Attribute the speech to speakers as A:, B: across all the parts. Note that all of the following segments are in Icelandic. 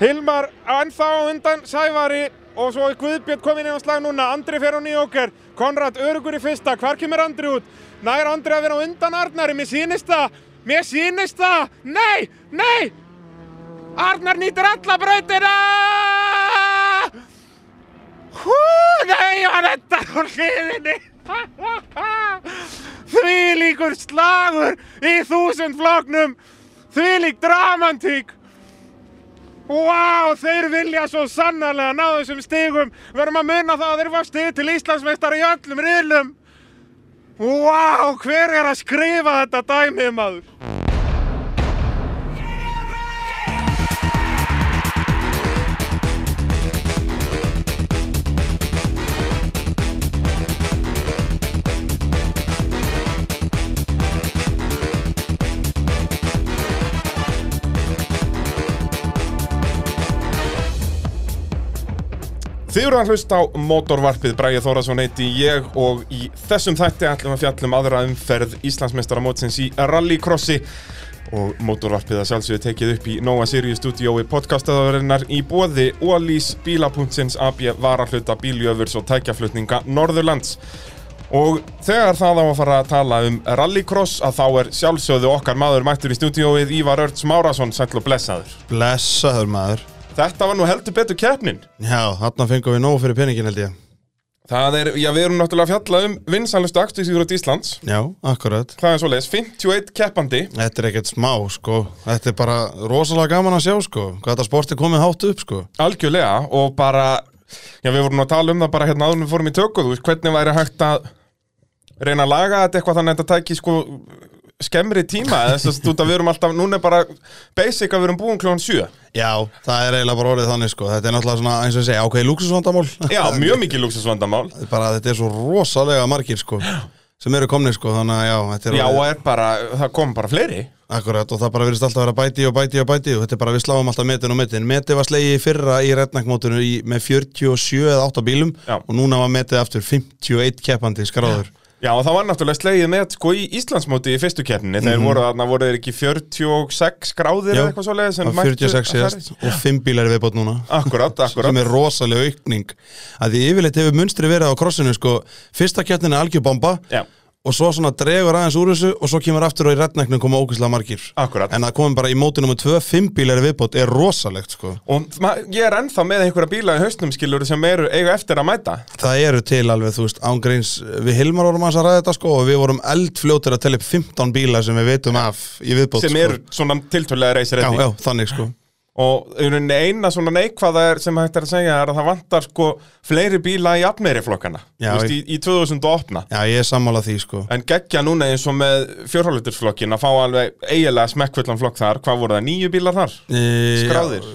A: Hilmar ennþá á undan Sævari og svo er Guðbjörn komin inn á slag núna, Andri fer á nýjóker, Konrad örugur í fyrsta, hvar kemur Andri út? Nær Andri að vera á undan Arnari, mér sýnist það, mér sýnist það, nei, nei! Arnar nýtir alla brautina! Hú, nei, hann endar á hliðinni! Því líkur slagur í þúsund floknum, því lík dramantík! Vá, þeir vilja svo sannarlega ná þessum stigum. Verðum að muna það að þeir var stig til Íslandsmeistar í öllum riðlum. Vá, hver er að skrifa þetta dæmið maður? Þið eru að hlusta á motorvarpið Bræði Þórasson heiti ég og í þessum þætti ætlum að fjallum aðra umferð Íslandsmeistara mótsins í rallycrossi og motorvarpið að sjálfsögðu tekið upp í Nóa Sirius stúdiói podcastaðarinnar í bóði Ólís, Bíla.sins, AB, Varahluta, Bíljöfurs og tækjaflutninga Norðurlands. Og þegar það á að fara að tala um rallycross að þá er sjálfsögðu okkar maður mættur í stúdióið Ívar Örts Márasson, sæll og blessaður.
B: Blessaður maður
A: Þetta var nú heldur betur keppnin.
B: Já, þarna fengum við nóg fyrir peningin held ég
A: Það er, já við erum náttúrulega að fjalla um vinsalustu aktuísíðurat Íslands
B: Já, akkurat
A: Það er svoleiðis, 51 keppandi
B: Þetta er ekkert smá sko Þetta er bara rosalega gaman að sjá sko Hvað þetta sport er komið hátt upp sko
A: Algjörlega og bara Já við vorum nú að tala um það bara hérna áður en við fórum í tökku Þú veist hvernig væri hægt að reyna að laga þetta eitthvað þannig að þetta tæki sko skemmri tíma eða þess að út að við erum alltaf, núna er bara basic að við erum búin klón 7
B: Já, það er eiginlega bara orðið þannig sko Þetta er náttúrulega svona eins og ég segja ákveði lúksusvandamál
A: Já, mjög mikið lúksusvandamál
B: Bara þetta er svo rosalega margir sko sem eru komni sko, þannig að já, þetta er
A: Já og
B: orðið-
A: er bara, það kom bara fleiri
B: akkurat og það bara virðist alltaf að vera bæti og bæti og bæti og þetta er bara við sláum alltaf metin og metin Meti var slegið í fyrra í retnakmótinu í, með 47 eða 8 bílum
A: Já.
B: og núna var metið aftur 51 keppandi skráður
A: Já og það var náttúrulega slegið með sko í Íslandsmóti í fyrstu keppninni Þeir voru þarna, voru þeir ekki 46 gráðir
B: Mhm. Já,
A: eða eitthvað svoleiðis sem
B: Það var
A: mættu
B: 46
A: að
B: síðast og 5 bílar viðbót núna
A: Akkurat, akkurat
B: sem er rosalega aukning að því yfirleitt hefur munstri verið á krossinu sko, fyrsta kjarnin er algjör bomba
A: Já.
B: og svo svona dregur aðeins úr þessu og svo kemur aftur og í reddnæknum koma ógæslega margir
A: Akkurat.
B: en að komum bara í móti nummer 2, 5 bílar viðbót er rosalegt sko
A: Og ma- ég er ennþá með einhverja bíla í hausnum skilur sem eru eiga eftir að mæta
B: það eru til alveg, þú veist, ángreins við Hilmar vorum aðeins að ræða þetta sko og við vorum eldfljótir að tella upp 15 bílar sem við veitum af í viðbót
A: sem
B: sko.
A: eru svona tiltölulega reysir
B: já, já, þannig sko
A: og í rauninni eina svona neikvaða er sem hægt er að segja er að það vantar sko fleiri bíla í apmeiri flokkana
B: Já,
A: Vist, í, í 2008
B: já, ég er sammála því sko
A: en geggja núna eins og með fjórhálfutursflokkin að fá alveg eiginlega smekkvöldan flokk þar hvað voru það, nýju bílar þar?
B: E,
A: Skráðir?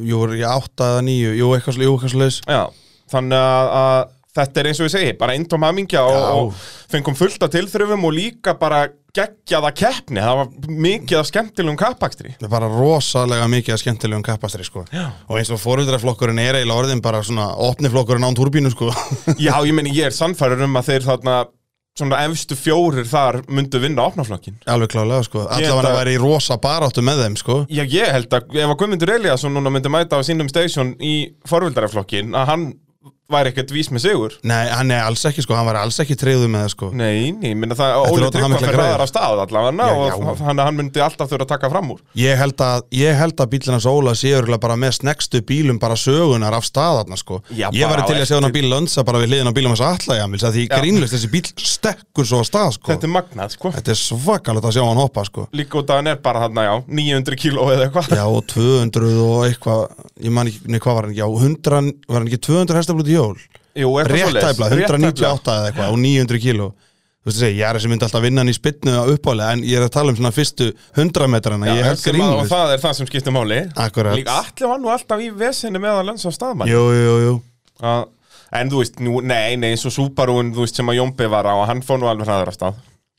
B: Jú, voru ekki átta eða nýju Jú, eitthvað sl- jú, eitthvað slags
A: Já, þannig að, að þetta er eins og ég segi, bara eintóm hamingja og,
B: Já.
A: og fengum fullt af tilþröfum og líka bara geggjaða keppni það var mikið af skemmtilegum kappakstri
B: Það er bara rosalega mikið að skemmtilegum kappastri sko. Og eins og fóröldraflokkurinn er eiginlega orðin bara svona opniflokkurinn án turbínu sko.
A: Já, ég meini, ég er sannfæður um að þeir þarna svona efstu fjórir þar myndu vinna opnaflokkin.
B: Alveg klálega sko.
A: Ég held
B: Allavega
A: að-
B: að væri í rosa baráttu með þeim sko.
A: Já, ég held að ef að Guðmundur Eliasson núna myndi mæta á sínum station í forvildaraflokkin að hann væri ekkert vís með sigur.
B: Nei, hann er alls ekki sko, hann var alls ekki treyðu með það sko.
A: Nei, nei, ég minna það
B: Þetta er
A: Óli
B: orðnar
A: Tryggva
B: mikla
A: fyrir
B: græður.
A: aðra af stað allavega
B: Já, já.
A: og hann, hann myndi alltaf þurfa að taka fram úr.
B: Ég held að, ég held að bílinas Óla sé örgulega bara með snegstu bílum bara sögunar af staðarna sko.
A: Já,
B: ég
A: bara
B: var til
A: á
B: að sjá hann að bíl lönsa bara við hliðin á bílum hans allajamils að því
A: Já.
B: grínlust þessi bíl stekkur svo á stað sko.
A: Þetta er magnað, sko.
B: Þetta er svakalegt að sjá hann hoppa sko
A: Líka út að hann er bara þarna, já, 900 kíló eða eitthvað.
B: Já og 200 og eitthvað Ég man ekki, nei hvað var hann ekki á 100, var hann ekki 200 hestaflötu hjól
A: Jú, eitthvað
B: Rétt
A: svoleiðis.
B: tæpla,
A: Rétt tæplega.
B: 198 eða eitthvað og 900 kíló Þú veist að segja, ég er þessi myndi alltaf vinna hann í spytnu á uppálega En ég er að tala um svona fyrstu 100 metrana
A: Já,
B: Ég held
A: sem að- og
B: grínlust
A: það er það sem skiptir máli.
B: Akkurat.
A: Líka allir var nú alltaf í vesinni með að lönsa á staðmann.
B: Jú, jú, jú
A: að, en þú veist, nú, nei, nei, eins og Subaruun, þú veist, sem að Jómbi var á, hann fór nú alveg hraðar af stað,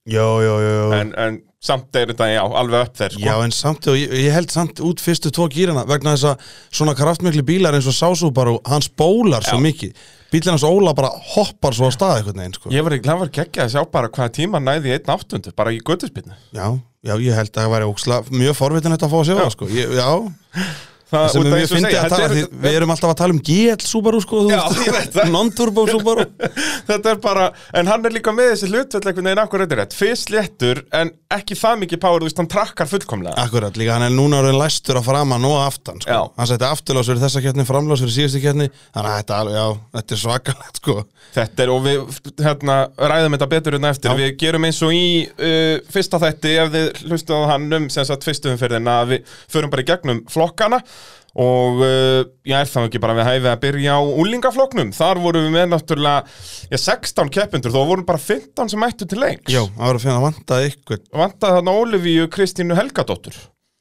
B: Jú, jú, jú, jú.
A: en, en samt er þetta, já, alveg upp þeir, sko.
B: Já, en samt, og ég, ég held samt út fyrstu tvo gýrana vegna þess að svona kraftmikli bílar eins og Sásubaru, hans bólar svo
A: Já.
B: mikið Bílinn hans Óla bara hoppar svo á stað einhvern veginn, sko
A: Ég var ekki glemur geggja að sjá bara hvaða tíma hann næði í einn áttundu, bara í göttuspinnu.
B: Já, já, ég held að það væri óksla mjög forvitin þetta að fá að sjá það, sko ég, Já,
A: Það
B: sem
A: út af
B: við
A: eins og
B: finnum
A: segja,
B: að
A: þetta
B: tala,
A: er-
B: því, við erum alltaf að tala um GL Subaru sko, þú
A: Já,
B: veist.
A: ég veit það.
B: non-turbo Subaru
A: Þetta er bara, en hann er líka með þessi hlutvöld einhvern veginn akkur reyndið rétt Fyrst léttur, en ekki það mikið power, þú veist, hann trakkar fullkomlega
B: Akkurat, líka hann er núna orðin læstur að framan og aftan sko.
A: Já.
B: hann setti afturlás fyrir þessa keppni, framlás fyrir síðustu keppni þannig að þetta, er alveg, já, þetta er svakalegt sko.
A: Þetta er, og við hérna, ræðum þetta betur hérna eftir
B: Já.
A: Við gerum eins og í uh, fyrsta þætti, ef þið hlustuðu á hann um sem sagt fyrstu umferðina að Við förum bara í gegnum flokkana Og uh, ég er þá ekki bara við hæfið að byrja á úlingaflokknum Þar vorum við með náttúrulega, já, 16 keppendur, þó vorum bara 15 sem mættu til leiks
B: já, það var að finna að vantaði ykkur
A: Vantaði þarna Ólifíu Kristínu Helgadóttur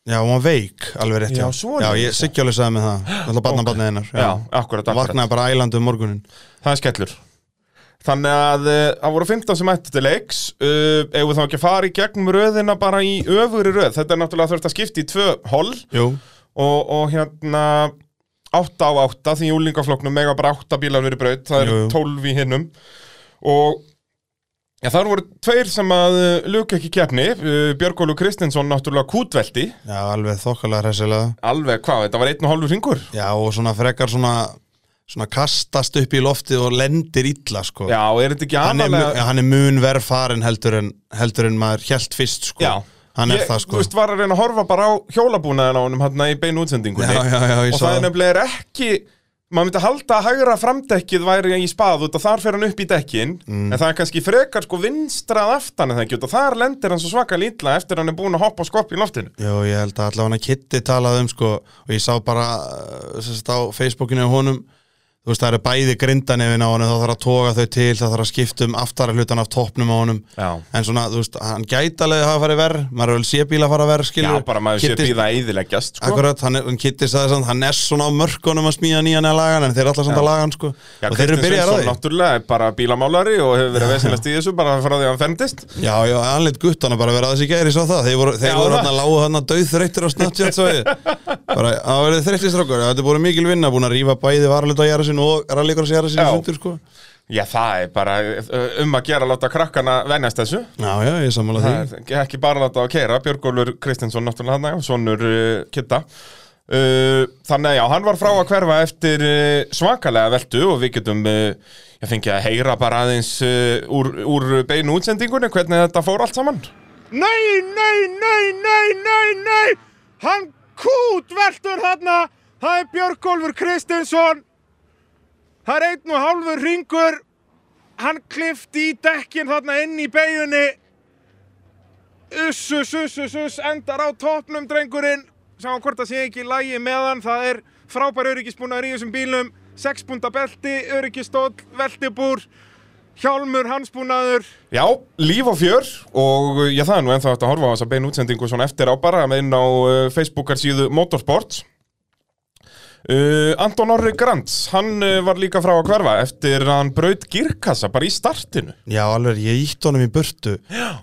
B: já, hún var veik, alveg rétt
A: Já,
B: já,
A: svoleiðis.
B: já ég siggjálega sagði með það, alltaf barnabarnið hennar
A: Já, akkurat,
B: það
A: akkurat
B: vaknaði bara ælandi um morgunin
A: Það er skellur Þannig að eh, það voru 15 sem ætti til leiks uh, Ef við þá ekki að fara í gegnum röðina bara í öfuri röð Þetta er náttúrulega þurft að skipta í tvö hol
B: Jú,
A: og, og hérna 8 á 8 því í úlingafloknum mega bara 8 bílar verið braut Það
B: Jú,
A: eru
B: jú.
A: 12 í hinnum Og ja, þar voru tveir sem að uh, luka ekki keppni uh, Björgólu Kristinsson náttúrulega kútveldi
B: já, alveg þokkalega hressilega
A: Alveg hvað, þetta var einn og hálfur ringur
B: já, og svona frekar svona, svona kastast upp í loftið og lendir illa sko.
A: Já, er þetta ekki
B: hann er,
A: aðalega
B: mu- já, hann er mun verð farin heldur en, heldur en maður hjælt fyrst sko.
A: Já.
B: hann er
A: Ég,
B: það
A: Þú
B: sko
A: veist, var að reyna að horfa bara á hjólabúnaðin á honum hérna í beinu útsendingunni
B: Já, já, já, ég
A: og
B: sá
A: það er
B: það.
A: nefnilega er ekki maður myndi halda að hægra framdekkið væri í spað út og þar fer hann upp í dekkin
B: Mm.
A: en það er kannski frekar sko vinstrað aftan en það ekki út og þar lendir hann svo svaka lítla eftir hann er búin að hoppa og skopp í loftinu
B: Jó, ég held að allavega hann að Kitty talaði um sko, og ég sá bara uh, sem sagt, á Facebookinu á honum þú veist það eru bæði grindanefin á honum þá þarf að toga þau til, þá þarf að skipta um aftara hlutan af toppnum á honum
A: Já.
B: en svona, þú veist, hann gæti alveg að hafa farið verð maður er vel sébíla að fara verð,
A: Já,
B: skilur
A: bara maður sé
B: Kiddi-
A: býða að eyðileggjast sko.
B: Akkurat, hann, er- hann Kitty sagði samt, hann er svona á mörkunum að smíða nýjan að laga hann, en þeir er alltaf samt að laga hann sko.
A: Já,
B: og þeir eru
A: Kristinn
B: byrjað
A: Sveinsson
B: að því
A: náttúrulega er bara bílamálari og hefur verið að vesinast í þessu bara frá því að hann fermdist
B: Já, já, hann lit guttana bara vera að þessi gæri svo það Þeir voru, þeir
A: Já,
B: voru
A: það.
B: hann að lágu hann að döð þreyttir á Snapchat svo ég Bara, það verið þreyttir strókar Þetta er búin mikil vinna, búin að rífa bæði varlut á jæra sinn og rallíkars jæra sinn
A: Já.
B: sundur sko
A: Já, það er bara eh, um að gera að láta krakkana venjast þessu
B: Já, já, ég sammála því
A: Það er ekki bara að láta að keira Björgólfur Kristinsson náttúrulega hann, já, sonur uh, Kitta uh, Þannig að já, hann var frá að hverfa eftir uh, svakalega veldu og við getum uh, ég fengi að heyra bara aðeins uh, úr, úr beinu útsendingunni hvernig þetta fór allt saman
C: Nei, nei, nei, nei, nei, nei Hann kútveltur þarna Það er Björgólfur Kristinsson Það er einn og hálfur ringur Hann klifti í dekkin þarna inn í beigunni Uss, uss, uss, uss, uss Endar á topnum drengurinn Sjáum hvort það sé ekki í lægi meðan Það er frábær öryggisbúnaður í þessum bílum 6 punta belti, öryggistól, veltibúr Hjálmur, hansbúnaður
A: Já, líf og fjör og uh, já, það er nú ennþá hægt að horfa á þessa beinu útsendingu svona eftir á bara inn á uh, Facebookar síðu Motorsports Uh, Anton Orri Grants, hann uh, var líka frá að hverfa eftir að hann braut girkassa bara í startinu
B: Já, alveg, ég ítt honum í burtu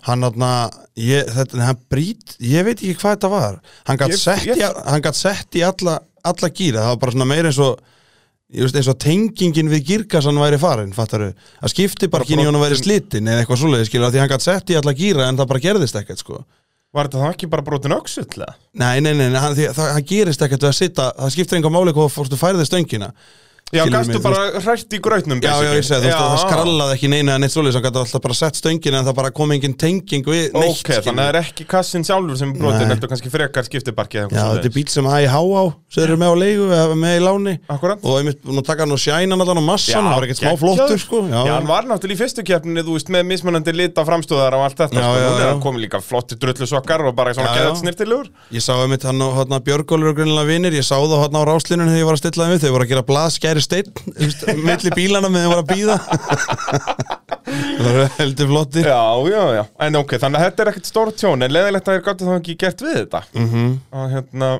B: Hann þarna, ég, þetta, hann brýt Ég veit ekki hvað þetta var Hann gat
A: Ég-
B: sett,
A: ég-
B: Í, a- hann gat sett í alla, alla gíra Það var bara svona meira eins og Ég veist, eins og tengingin við girkassan væri farin fattaru, að skiptibarkin í honum væri slitin eða eitthvað svoleiði skilur, því hann gat sett í alla gíra en það bara gerðist ekkert sko
A: Var þetta þá ekki bara brotin öxull?
B: Nei, nei, nei, nei hann, því, það, hann gerist ekkert við að sitja, það skiptir enga máli hvað fórstu færði stöngina
A: Já,
B: Skilur
A: gafstu
B: mig, þú
A: bara hrætt í grautnum
B: Já, já, ég segi, þú veist, það skrallaði ekki neina en eitt svoleiðis, hann gæti alltaf bara sett stöngina en það bara kom engin tenging við neitt
A: Ok,
B: skilur.
A: þannig að það er ekki kassin sjálfur sem er brotin
B: Nei.
A: Þetta kannski frekar skiptibarki eða
B: Já,
A: eitthvað
B: þetta
A: svoleiðis.
B: er bíl sem AIH á sem þeir eru með á leigu, eða með í láni
A: Akkúrat.
B: og einmitt, nú taka hann og shæna hann allan á massan, það var ekkert smá
A: geggjaður.
B: flottur sko
A: Já, hann var náttúrulega í fyrstu keppninu, þú veist, með mismunandi lit á framstöðar og allt þetta
B: Já,
A: sko.
B: já,
A: Núna er
B: já.
A: hann komið líka flotti drullusokkar og bara svona
B: Já, já.
A: geðat snirtilegur
B: Ég sá einmitt hann og hann Björgólfur og grunnilega vinir, ég sá það hann á ráslínunum þegar ég var að stilla þeim við, þau voru að gera blaðskæri steinn þú veist, milli bílana með þeim var að býða Það var heldur flotti
A: Já, já, já, en ok, þannig að þetta er ekkert stór tjón En leðilegt að þér gáttu þá ekki gert við þetta -hmm. og, hérna,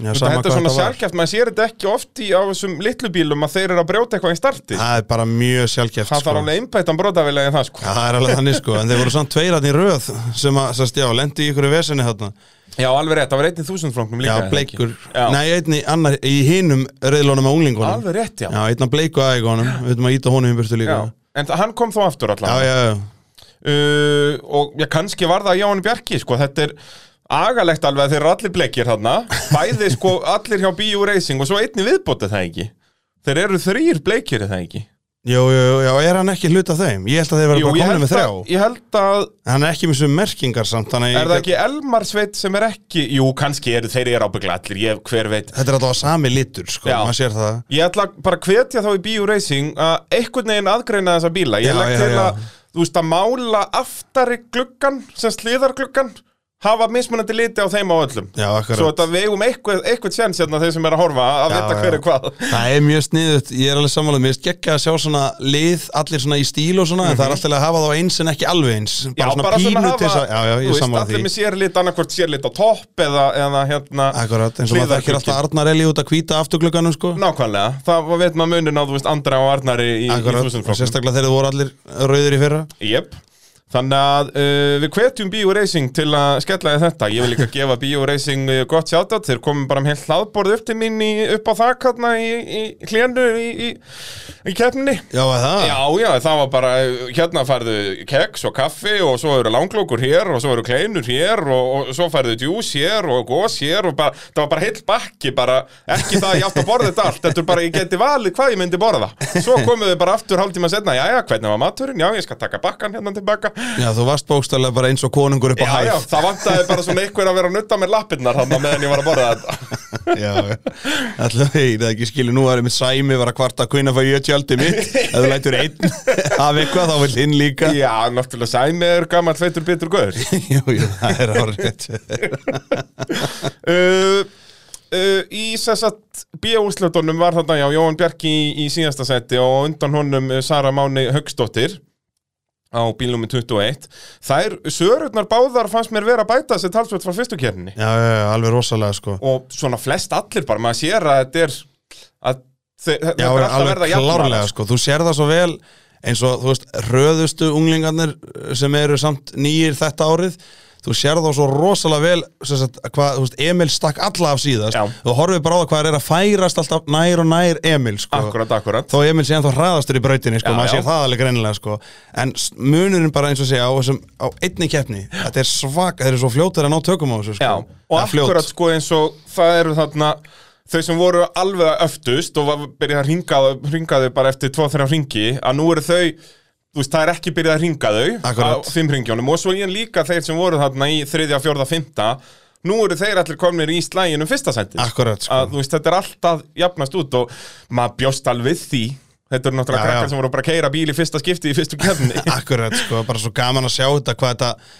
A: Þetta
B: Já, Mhm. sama
A: þetta
B: hvað
A: er svona
B: var.
A: sérkjæft, maður sér þetta ekki oft í á þessum litlu bílum að þeir eru að brjóta eitthvað í starti
B: Það er bara mjög sjálfgeft
A: Það
B: sko.
A: þarf alveg einbættan brotavilega það sko
B: Já, það er alveg þannig sko, en þeir voru samt tveirarn í röð sem að, sérst, já, lendi í ykkur í vesinni þarna
A: Já, alveg rétt, það var einnig þúsundflóknum líka
B: Já,
A: er það ekki?
B: bleikur,
A: Já.
B: nei, einni annar í hinum reyðlónum á unglingunum
A: Alveg rétt, já.
B: Já, einna bleiku aðeigunum, við veitum að íta honum í burtu líka
A: Já. En þa- hann kom þó aftur
B: já,
A: allavega
B: já, já.
A: Uh, Og já, kannski var það Jón Bjarki sko. Þetta er agalegt alveg að þeir eru allir blekir þarna bæði sko allir hjá B.U. Racing og svo einni viðbóti er það ekki þeir eru þrýr bleikir er það ekki
B: Jú, jú, jú, já, er hann ekki hlut af þeim? Ég held að þeir verða bara
A: ég
B: komin með
A: held,
B: þrjá
A: að, ég held að
B: En hann er ekki með svo merkingar samt þannig að
A: er það
B: ég-
A: ekki Elmar Sveit sem er ekki jú kannski eru þeir eru ábyggla allir ég, hver veit
B: Þetta er alltaf sami litur, sko,
A: Já.
B: maður sér það
A: Ég ætla bara að hvetja þá í B.U. Racing að einhvern veginn aðgreina þessa bíla. Ég
B: Já,
A: legg
B: já,
A: til
B: já.
A: að, þú veist, að mála aftari gluggan sem slíðar gluggan, hafa mismunandi liti á þeim á öllum.
B: Já, akkurat
A: Svo þetta vegum eitthvað, eitthvað séns hérna þeir sem er að horfa að
B: Já,
A: vita
B: já.
A: hver er hvað.
B: Það er mjög sniðut, ég er alveg samanlega Mér geggja að sjá svona lið, allir svona í stíl og svona En
A: Mhm.
B: það er alltaf að hafa þá eins en ekki alveg eins Bara svona pínu til þess að Já, já,
A: þú
B: ég
A: veist,
B: samanlega
A: allir
B: því
A: með sérlit, annarkvort sérlit á topp eða, eða hérna
B: Akkurat, eins og maður
A: hliðarglugginn.
B: þekkir alltaf Arnarelli út að hvíta afturglugganum, sko
A: Nákvæmlega, það var veit maður munin á, þú veist, Andra og Arnari í, í
B: Akkurat, og
A: þúsundflokkum.
B: sérstaklega þegar þú voru allir rauðir í fyrra
A: Jep Þannig að uh, við hvetjum B.O. Racing til að skella þér þetta Ég vil líka gefa B.O. Racing uh, gott sjáttat Þeir komum bara um heilt hlaðborð upp til mín í, upp á þak hérna í, í hlénu í, í, í keppninni
B: Já, er það?
A: Já, já, það var bara, uh, hérna færðu keks og kaffi og svo eru langlókur hér og svo eru kleinur hér og, og svo færðu djús hér og gós hér og bara, það var bara heill bakki bara, ekki það að ég átt að borða þetta allt, þetta er bara ég geti valið hvað ég myndi borða. Svo komuðu bara aftur hálftíma setna, já, já, hvernig var maturinn, já, ég skal taka bakkan hérna tilbaka.
B: Já, þú varst bókstæðlega bara eins og konungur upp á
A: Já, já,
B: hæð
A: það vantaði bara svona einhver að vera að nutta með lappirnar þannig meðan ég var að borða þetta.
B: Já, alltaf ég það ekki skilur nú að er mitt sæmi var að kvarta kvinna fæ ég tjaldi mitt ef þú lætur einn af eitthvað þá vil hinn líka
A: Já, náttúrulega sæmiður, gammal, feitur, bitur, guður.
B: Jú, jú, það er árið
A: uh, uh, í þess að bíóúslutunum var þarna já, Jóhann Bjarki í, í síðasta seti og á undan honum uh, Sara Máni Högstóttir á bílnum 21 þær sörurnar báðar fannst mér vera að bæta sér talsvöld frá fyrstu kérninni
B: Já, já, já, alveg rosalega sko
A: og svona flest allir bara, maður sér að þetta er að þe-
B: Já,
A: þetta er alltaf að
B: alveg
A: verða
B: klárlega
A: jafnara
B: sko Þú sér það svo vel eins og, þú veist, röðustu unglingarnir eh, sem eru samt nýjir þetta árið Þú sér það svo rosalega vel sem sagt, hvað, þú veist, Emil stakk alla af síðast
A: Já.
B: Þú horfir bara á það hvað er að færast alltaf nær og nær Emil sko
A: Akkurat, akkurat
B: Þó Emil sé ennþá hraðastur í brautinni sko,
A: Já,
B: maður
A: já.
B: sér það alveg greinilega sko En s- munurinn bara eins og segja á, þessum, á einni keppni Þetta er svak, þeir eru svo fljótir að ná tökum á þessu sko
A: Já, og
B: Það er fljót.
A: akkurat sko eins og það eru þarna þau sem voru alveg öftust og var byrjað að ringa, ringa þau bara eftir 2-3 ringi að nú eru þau þú veist, það er ekki byrjað að ringa þau
B: Akkurat.
A: á fimm ringjónum og svo ég líka þeir sem voru þarna í 3., 4., 5. nú eru þeir allir komnir í slægin um fyrsta sendi
B: Akkurat, sko.
A: að þú veist, þetta er alltaf jafnast út og maður bjóst alveg því þetta eru náttúrulega
B: Já, já.
A: krakkar sem voru bara að keira bíl í fyrsta skipti í fyrstu kefni
B: Akkurat, sko, bara svo gaman að sjá þetta hvað þetta,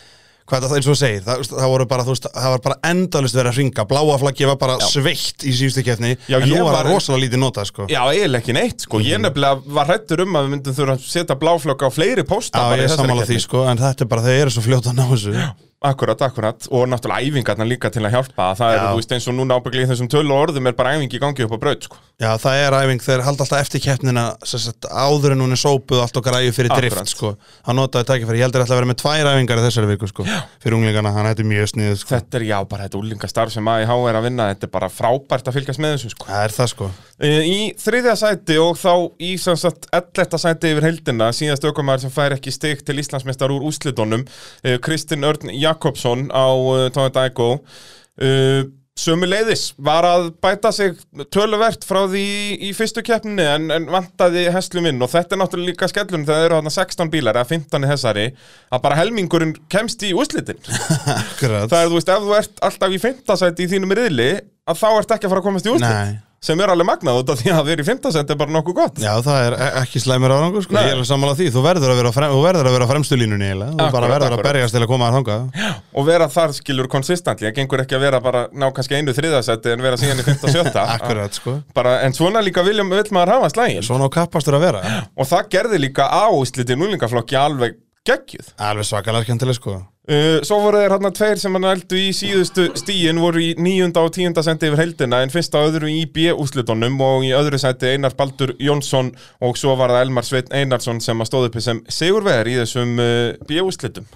B: hvað þetta eins og þú segir það, það voru bara, þú veist, það var bara endalist verið að hringa, bláa flaggi var bara sveitt í síðustu keppni,
A: Já,
B: en
A: ég
B: nú var
A: var-
B: það rosalega lítið notað, sko
A: Já, eiginlega ekki neitt, sko.
B: Mhm.
A: Ég nefnilega var hrættur um að við myndum þurfa að setja bláflöka á fleiri pósta.
B: Já, ég er sammála því, sko, en þetta er bara, þau eru svo fljóta að ná þessu
A: Akkurat, akkurat. Og náttúrulega æfingarna líka til að hjálpa. Það er,
B: Já.
A: þú veist, eins og núna ábygglega í þessum tölu orðum er bara æfing í gangi upp á braut, sko.
B: Já, það er æfing, þeir halda alltaf eftir keppnina sem sagt, áður en hún er sópuð allt og græju fyrir drift,
A: Akkurat.
B: sko Það notaði tækifæri, ég heldur alltaf að vera með tvær æfingar í þessari viku, sko, fyrir unglingarna, þannig að þetta er mjög snið, sko
A: Þetta er, já, bara þetta úlingastarf sem AIH er að vinna. Þetta er bara frábært að fylgjast með þessu, sko.
B: Það er það, sko
A: Eh, Í þriðja sæti og þá í sem sagt 11. sæti yfir heldina síðast aukumæður sem fær ekki stig til Íslandsmeistar úr úslitunum eh, Kristinn Örn Jakobsson á eh, Tónet Ægó Sömu leiðis var að bæta sig töluvert frá því í fyrstu keppninni en, en vantaði heslum inn og þetta er náttúrulega líka skellun þegar það eru þarna 16 bílar eða 15 í þessari að bara helmingurinn kemst í úslitin
B: Akkurat
A: Það er þú veist ef þú ert alltaf í 5. sæti í þínum riðli að þá ert ekki að fara að komast í úslit
B: Nei.
A: sem er alveg magnað út af því að vera í 15 cent er bara nokkuð gott
B: Já, það er e- ekki slæmur árangur sko.
A: Nei.
B: Ég er alveg sammála því, þú verður að vera, á frem, þú verður að vera á fremstu línunni eiginlega. Þú
A: Akkurat,
B: bara verður
A: akkurat.
B: að berjast til að koma að þanga
A: og vera þar skilur konsistantli það gengur ekki að vera bara ná kannski einu þriðasetti en vera síðan í 15 sjötta
B: Akkurat, sko
A: bara, en svona líka viljum vill maður hafa slægin
B: Svona á kappastur að vera
A: og það gerði líka ásliti núlingaflokki alveg geggjuð
B: Alveg svakalega skemmtileg, sko
A: uh, svo voru þeir hann tveir sem hann eldu í síðustu stíin voru í níunda og tíunda senti yfir heldina en fyrst á öðru í B-úslitunum og í öðru senti Einar Baldur Jónsson og svo var það Elmar Sveinn Einarsson sem að stóð uppi sem sigurvegar í þessum uh, B-úslitum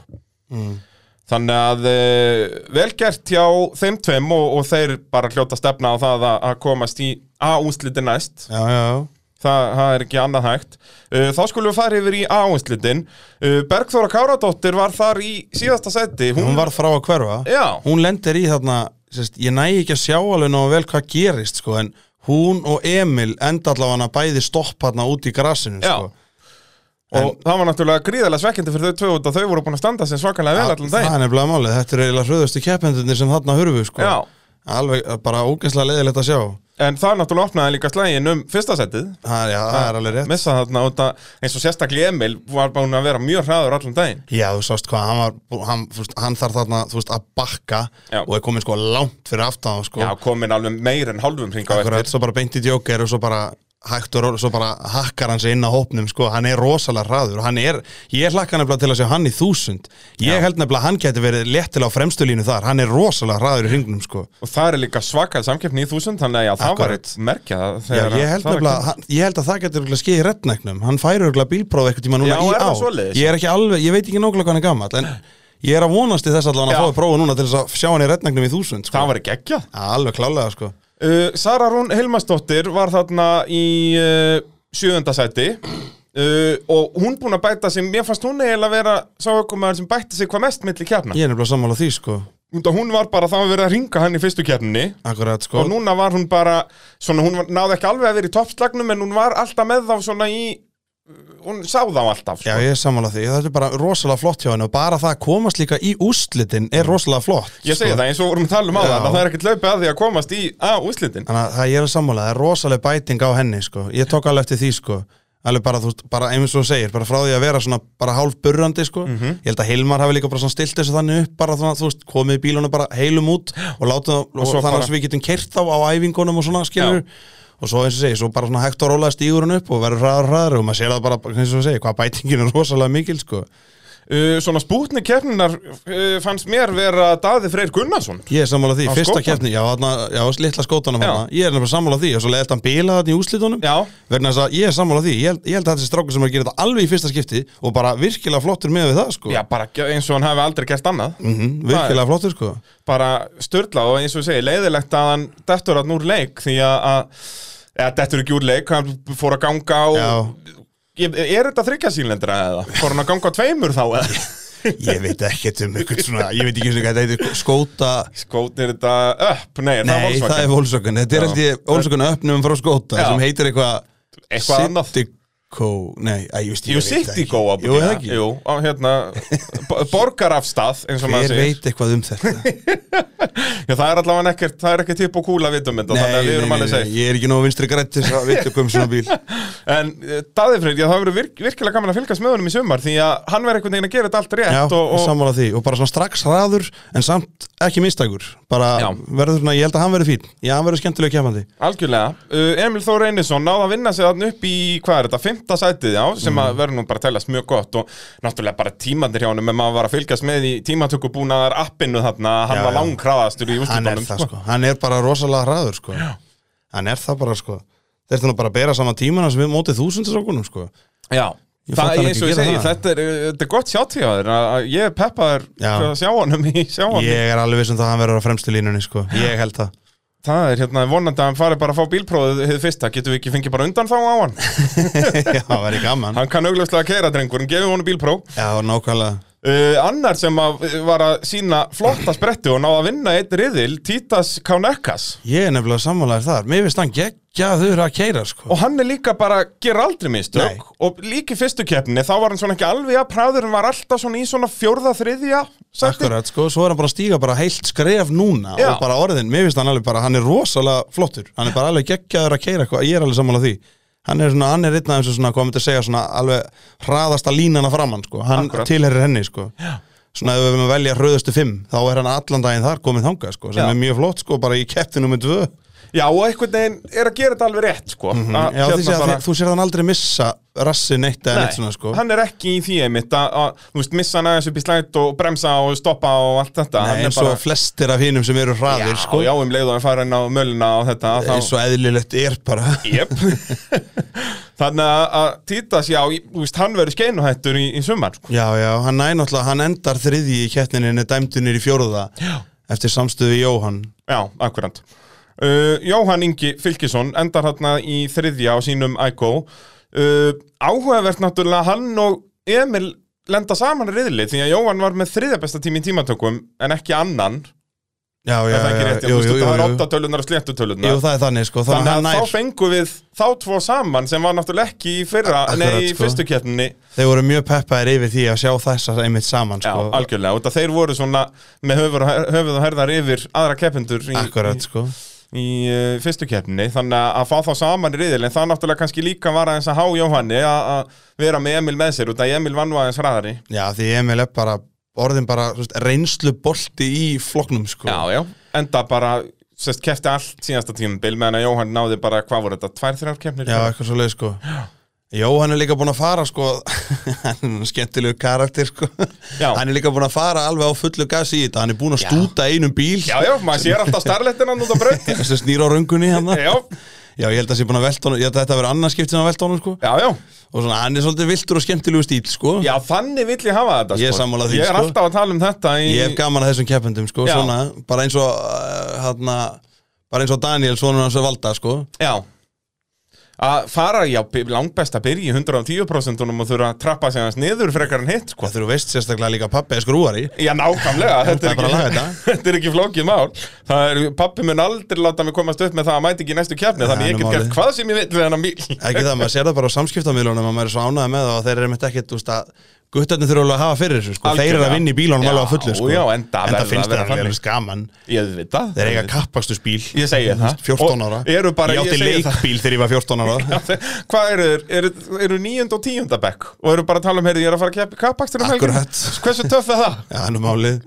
A: Þannig að uh, velgert hjá þeim tveim og, og þeir bara hljóta stefna á það að, að komast í A-úsliti næst.
B: Já, já, já
A: það, það er ekki annað hægt uh, þá skulum við fara yfir í áherslitin uh, Bergþóra Káradóttir var þar í síðasta seti
B: Hún var frá að hverfa
A: Já.
B: Hún lendir í þarna sérst, Ég næ ekki að sjá alveg nóg vel hvað gerist sko, En hún og Emil enda allavega bæði stopp hérna út í grassinu
A: Já.
B: sko.
A: og það var náttúrulega gríðarlega svekkjandi fyrir þau tvö út að þau voru búin að standa sem svakalega vel allan
B: Það
A: daginn
B: er nefnilega málið, þetta eru eiginlega hröðustu keppendurnir sem þarna hurfu sko.
A: Já.
B: Alveg bara ógæslega leiðilegt að sjá
A: en það náttúrulega opnaði líka slægin um fyrsta setið
B: Það, já, það er alveg rétt
A: missa þarna út að eins og sérstaklega Emil var búin að vera mjög hraður allan daginn
B: Já, þú sást hvað, hann, var, hann, þú veist, hann þarf þarna þú veist, að bakka
A: Já.
B: og er komin sko langt fyrir aftan þá, sko.
A: Já, komin alveg meir en hálfum hring á
B: Akkurat,
A: eftir
B: svo bara beint í djóker og svo bara hægt og ról, svo bara hakkar hann sig inn á hópnum sko, hann er rosalega hraður og hann er, ég hlakka nefnilega til að sjá hann í þúsund ég
A: Já.
B: held nefnilega að hann geti verið létt til á fremstu línu þar, hann er rosalega hraður í hringnum sko,
A: og það er líka svakað samkeppni í þúsund þannig að já, það var
B: Akkurat.
A: eitt merkja
B: já,
A: þegar
B: ég held
A: það var
B: nefnilega
A: ekki-
B: hann, ég held að það geti verið skeið í reddnæknum hann færi verið bílpróf eitthvað tíma núna
A: Já,
B: í
A: er
B: á
A: það svoleiðis?
B: ég er ekki alveg, ég veit ekki nákvæmlega hvað hann er gammal en ég er að vonast í þess allan
A: Já.
B: að fá prófa núna til þess að sjá hann í reddnæknum í þúsund sko.
A: það var ekki ekki
B: alveg klálega sko
A: Uh, Sara Rún Hilmarsdóttir var þarna í uh, sjöðunda sæti uh, og hún búin að bæta sem, mér fannst hún eiginlega vera sá okkur maður sem bætti sig hvað mest milli kjarna
B: ég er nefnilega sammála því sko,
A: yeah. hún var bara það að vera að ringa hann í fyrstu kjarninni
B: akkurat sko
A: og núna var hún bara svona, hún var, náði ekki alveg að vera í toppslagnum en hún var alltaf með þá svona í hún sá þá alltaf sko.
B: Já, ég er sammála því, þetta er bara rosalega flott hjá henni og bara það að komast líka í úrslitin er rosalega flott
A: Ég segi
B: sko.
A: það eins og vorum að tala um á
B: Já.
A: það, það er ekkert laupið að því að komast í að úslitin.
B: Þannig að það ég er sammála, það er rosalega bæting á henni sko. Ég tók alveg eftir því sko. alveg bara, þú, veist, bara eins og þú segir, bara frá því að vera svona bara hálf burrandi sko.
A: Mhm.
B: Ég held að Hilmar hafi líka bara svona stilt þessu þannig upp bara þannig að þú veist, komið í bílunum bara heilum út og látum það, og
A: svo
B: þannig
A: bara-
B: að við getum kert þá á æfingunum og svona skilur og svo eins og segir, svo bara svona hægt og róla stígurinn upp og verður hraðar hraðar og maður sér það bara, eins og þú segir, hvað bætingin er rosalega mikil sko.
A: Uh, svona spútni keppninar uh, fannst mér vera Daði Freyr Gunnarsson.
B: Ég er sammála því,
A: Á
B: fyrsta
A: skótanum?
B: keppni, já, þarna, já, litla skótanum
A: Já.
B: hana, ég er nefnilega sammála því og svo leiðist hann bila þarna í úslitunum
A: Já.
B: vegna þess að ég er sammála því, ég held, ég held að þessi strákur sem er að gera þetta alveg í fyrsta skipti og bara virkilega flottur með við það, sko
A: Já, bara ge- eins og hann hafi aldrei gert annað
B: Mhm, virkilega flottur, sko
A: Bara störla og eins og ég segi, leiðilegt að hann dettur hann úr leik Því að, að eða dettur ekki úr leik, hann fór að ganga og
B: Já.
A: ég, Er þetta þryggja sínlendra eða? Fór hann að ganga á tveimur þá eða?
B: Ég veit ekkert um ykkur svona, ég veit ekki einu sinni hvað þetta heitir skóta
A: Skótnir þetta upp, nei, er það
B: Nei, það er
A: Volkswagen
B: volsökun, þetta er
A: Já.
B: held ég volsökun öppnum frá skóta
A: Já.
B: sem heitir eitthvað
A: Eitthvað annað.
B: Citico, nei, að, ég veist, ég
A: Jú,
B: veit það
A: sitt í
B: ekki.
A: góa
B: Jú, eða ekki
A: Jú, á hérna, bo- borgarafstað, eins og
B: Hver
A: maður segir
B: veit eitthvað um þetta?
A: Já, það er allavega ekkert, það er ekkert hipp og kúla vitum þetta, þannig að við erum alveg segið
B: ég er ekki nógu vinstri grætt til þess að vita hvað um svona bíl
A: En uh, Daði Freyr, já, það verður virk, virkilega gaman að fylgast með honum í sumar Því að hann verður einhvern veginn að gera þetta allt rétt
B: Já,
A: og, og,
B: sammála því og bara svona strax hraður en samt ekki mistækur bara
A: Já.
B: verður svona, ég held að hann verður fín Já, hann verður skemmtilega kemandi
A: Algjörlega, uh, Emil Þór Einarsson náði að vinna sig þarna upp í, hvað er þetta, fymta sætið já, sem
B: Mm.
A: að verður nú bara að teljast mjög gott og náttúrulega bara tímandir hjá honum en maður var að fylgjast með í tímatökubúnaðar appinu þarna, hann
B: Já,
A: var
B: já.
A: langkraðastur í
B: Hann er
A: úrslutunum
B: það sko, hann er bara rosalega hraður sko Já. Hann er það bara sko Þetta er nú bara að bera saman tímana sem við mótið þúsundsrákunum sko
A: Já,
B: Ég fatt
A: það
B: hann
A: er eins og
B: ekki
A: ég
B: gera
A: segi,
B: það.
A: þetta er, uh, þetta er gott sjáttíðaður að ég er peppaður
B: Já.
A: fyrir að sjá honum í sjá honum
B: Ég er alveg vissum það að hann verður á fremstu línunni sko Ég held það
A: Það er hérna vonandi að hann fari bara að fá bílprófið hið fyrsta, getum við ekki fengið bara undan þá á hann
B: Já, það verður gaman
A: Hann kann augljóslega að keira drengurinn, gefum honum bílpróf
B: Já, nákvæmlega
A: uh, Annar sem að, var að sína flotta spretti og náða að vinna einn riðil Títas Kaunekas
B: Ég er nefnilega sammálaður þar Mér finnst hann geggjaður að keira sko
A: Og hann er líka bara, ger aldrei mistök
B: Nei.
A: Og líka í fyrstu keppni, þá var hann svona ekki alveg að præður Hann var alltaf svona í svona fjórða, þriðja sæti.
B: Akkurat, sko, svo er hann bara að stíga bara heilt skref núna
A: Já.
B: og bara orðin, mér finnst hann alveg bara, hann er rosalega flottur, hann er bara alveg geggjaður að keira eitthvað, ég er alveg sammála því hann er svona, hann er einn af þessu svona, hvað myndi að segja svona alveg hraðasta línana framann sko. hann
A: Akkurat.
B: tilherir henni, sko Já. svona ef við höfum að velja hröðustu fimm þá er hann allan daginn þar komið þangað, sko sem
A: Já.
B: er mjög flott, sko, bara í keppti nummer tvö
A: Já, og einhvern veginn er að gera þetta alveg rétt sko. mm
B: Mhm. Já, því sé að því- þú sér hann aldrei missa rassin eitt eða neitt svona, sko
A: hann er ekki í því einmitt að, að þú veist, missa hann aðeins upp í slætt og bremsa og stoppa og allt þetta Hann
B: Nei,
A: er
B: eins og flestir af hinum sem eru
A: já,
B: hraðir, sko
A: já, um leið og hann fara inn á möluna og þetta þá,
B: eins og eðlilegt er bara
A: Jep. Þannig að- að Títas, já, í- þú veist, hann verður skeinuhættur í, í sumar sko.
B: Já, já, hann næ náttúrulega, hann endar þriðji í kettninni en er dæmdunir í fjóruða já. eftir samstöðu við Jóhann
A: Já, akkurant Uh, Jóhann Ingi Fylkisson endar hérna í þriðja á sínum ICO uh, Áhugavert náttúrulega hann og Emil lenda saman í riðli því að Jóhann var með þriðja besta tími í tímatökum en ekki annan
B: já, já,
A: er það ekki
B: já,
A: rétt,
B: Eh, jú,
A: jú,
B: jú, jú,
A: það er
B: jú.
A: óttatölunar og
B: Jú,
A: sléttutölunar
B: það er þannig sko
A: þannig
B: Þannig
A: að
B: að
A: þá
B: nær,
A: fengum við þá tvo saman sem var náttúrulega ekki í fyrra,
B: Akkurat,
A: nei, í
B: sko.
A: fyrstu keppninni
B: þeir voru mjög peppaðir yfir því að sjá þessa einmitt saman
A: Já,
B: sko
A: algjörlega, út að þeir voru svona með höfuð og, her- höfuð og herðar yfir aðra keppendur í,
B: Akkurat sko
A: í uh, fyrstu keppni þannig að- að fá þá saman í riðil en það náttúrulega kannski líka var aðeins að há Jóhanni að- að vera með Emil með sér út að Emil vann nú aðeins hraðari
B: Já, því Emil er bara orðin bara þú veist, reynslu bolti í floknum sko
A: já. enda bara sest, kefti allt síðasta tímabil meðan að Jóhann náði bara, hvað voru þetta, tvær, þrjár keppnir
B: Já, eitthvað svo leið sko Jó, hann er líka búin að fara sko hann er skemmtilegu karakter sko
A: Já.
B: hann er líka búin að fara alveg á fullu gasi í þetta hann er búin að stúta einum bíl
A: já, já, maður sér alltaf starlettina nút á braut
B: sem snýr á röngunni hérna. hann
A: Já,
B: Já, ég held að sé búin að velta honum, ég held að þetta verið annað skipt sem að velta honum sko
A: já, já,
B: og svona, hann er svolítið viltur og skemmtilegu stíl sko
A: já, þannig vill ég hafa þetta
B: Ég er
A: sko.
B: sammála því,
A: Ég er
B: sko.
A: alltaf að tala um þetta í...
B: Ég hef gaman að þessum keppendum sko,
A: Já.
B: svona, bara eins og uh, hana, bara eins og Daniel, svona hans að valda sko
A: Já að fara, já, bi- langbest að byrja í 110% og þurfa að trappa sig hans niður frekar en hitt, sko
B: Hvað þú veist sérstaklega líka pappi er skrúari
A: Já, nákvæmlega, þetta
B: Það
A: er,
B: er bara að
A: ekki,
B: laga þetta.
A: þetta er ekki flókið mál Það er, pappi mun aldrei láta mig komast upp með það að mæti ekki í næstu kjarni Þannig
B: Það er
A: ég
B: nú
A: get gert
B: málið.
A: hvað sem ég vil við hennar bíl
B: Ekki það, maður sér það bara á samskiptamílunum að maður er svo ánægð með það og þeir eru mitt ekkit, þú veist að guttarnir þurfa alveg að hafa fyrir þessu sko Þeir eru
A: Algjörlega.
B: að vinna í bílunum alveg á fullu
A: Já,
B: sko
A: já, enda
B: en
A: verður
B: það finnst
A: að vera
B: þeir alveg
A: þannig.
B: eins gaman
A: Ég veit það
B: Þeir eiga kappakstusbíl
A: Ég segi það
B: 14 ára
A: Og eru bara,
B: Ég átti
A: segi það.
B: leikbíl þegar ég var 14 ára
A: Hvað eru þeir? Eru, eru níund og tíunda bekk? Og eru bara að tala um, heyrðu, ég er að fara að keppa kappakstur um helgina?
B: Akkurat.
A: Hversu töff er það?
B: Já, hann er málið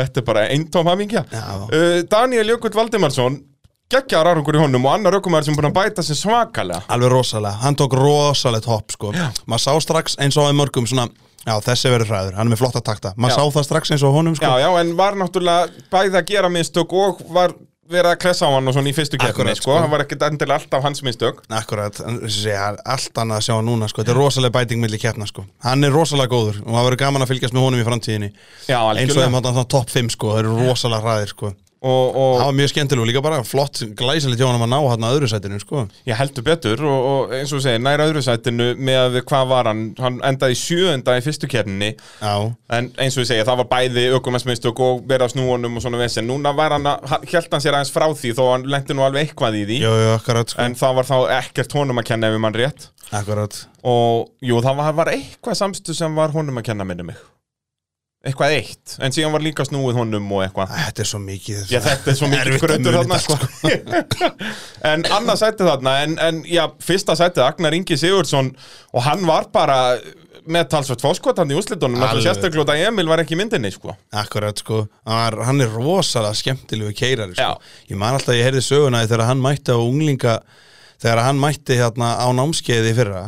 A: Þetta er bara eintóm hamingja
B: Já.
A: uh, Daniel Jökull Valdimarsson geggjaðar árangur í honum og annar ökumæður sem er búin að bæta sér svakalega
B: Alveg rosalega, hann tók rosalegt hopp sko Maður sá strax eins og á þeim mörgum svona Já, þessi verður hræður, hann er með flotta takta Maður
A: Já.
B: sá það strax eins og á honum sko
A: Já, já, en var náttúrulega bæði að gera mistök og var verið að klessa á hann og svona í fyrstu keppni,
B: Akkurat,
A: sko,
B: sko.
A: hann var ekkert endilega alltaf hans mistök
B: Akkurat, en þessi sé, það er allt annað að sjá hann núna sko. Þetta er rosalega bæting milli keppna sko. Hann er rosalega góður og það verður gaman að fylgjast með honum í framtíðinni
A: Já,
B: Eins og
A: algjörlega
B: þeim hann þannig topp 5 sko, það eru rosalega hraðir sko.
A: og,
B: Það
A: og
B: var mjög skemmtilegu líka bara, flott glæsilegt hjá hann að ná hann að öðru sætinu sko.
A: ég heldur betur og, og eins og segir, næra öðru sætinu með að við hvað var hann, hann endaði í sjöunda í fyrstu keppni
B: Já,
A: En eins og ég segja, það var bæði ökumessmistök og verið á snúanum og svona vesen. Núna var hann að, held hann sér aðeins frá því þó hann lendi nú alveg eitthvað í því.
B: jú, jú, akkurat sko.
A: En það var þá ekkert honum að kenna ef mann rétt.
B: Akkurat
A: Og jú, það var, var eitthvað samstu sem var honum að kenna minni mig. Eitthvað eitt. En síðan var líka snúið honum og eitthvað.
B: Æ, Þetta er svo mikið
A: Já, þetta er svo mikið
B: Erfitt að
A: grötur
B: muna
A: þarna,
B: þetta,
A: sko. en annað sætti þarna, en, en já, fyrsta sættið, Agnar Ingi Sigurðsson, og hann var bara með talsvært fóskotandi í úslitunum,
B: Alveg.
A: sérstaklega út að Emil var ekki í myndinni, sko.
B: Akkurat sko, hann er, hann er rosalega skemmtilegu keirari
A: Já.
B: sko. Ég man alltaf að ég heyrði söguna því þegar hann mætti á unglinga þegar hann mætti hérna á námskeiði í fyrra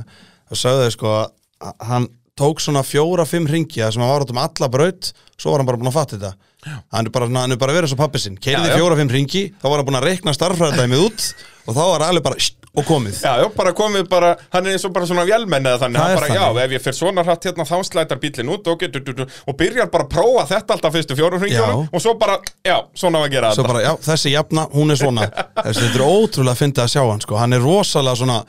B: þá sagði þau sko að hann tók svona fjóra-fimm ringja sem hann var út um alla braut svo var hann bara búin að fatta þetta hann er, bara, svona- hann er bara verið svo pappi sinn
A: Já,
B: keirði
A: já.
B: fjóra-fimm ringi, þá var hann búin að reikna starfræðdæmið út og þá var alveg bara "Sst", og komið
A: Já, já, bara komið bara, hann er eins og bara svona vélmenn eða þannig,
B: Það
A: hann
B: er
A: bara,
B: þannig.
A: já, ef ég fer svona hratt hérna þá slætar bílinn út og, getur, du, du, og byrjar bara að prófa þetta alltaf fyrstu fjórum hringjónum
B: Já.
A: og svo bara, já, svona á að gera
B: svo bara, já, þessi jafna, hún er svona þessi, þetta er ótrúlega að fyndi að sjá hann sko. hann er rosalega svona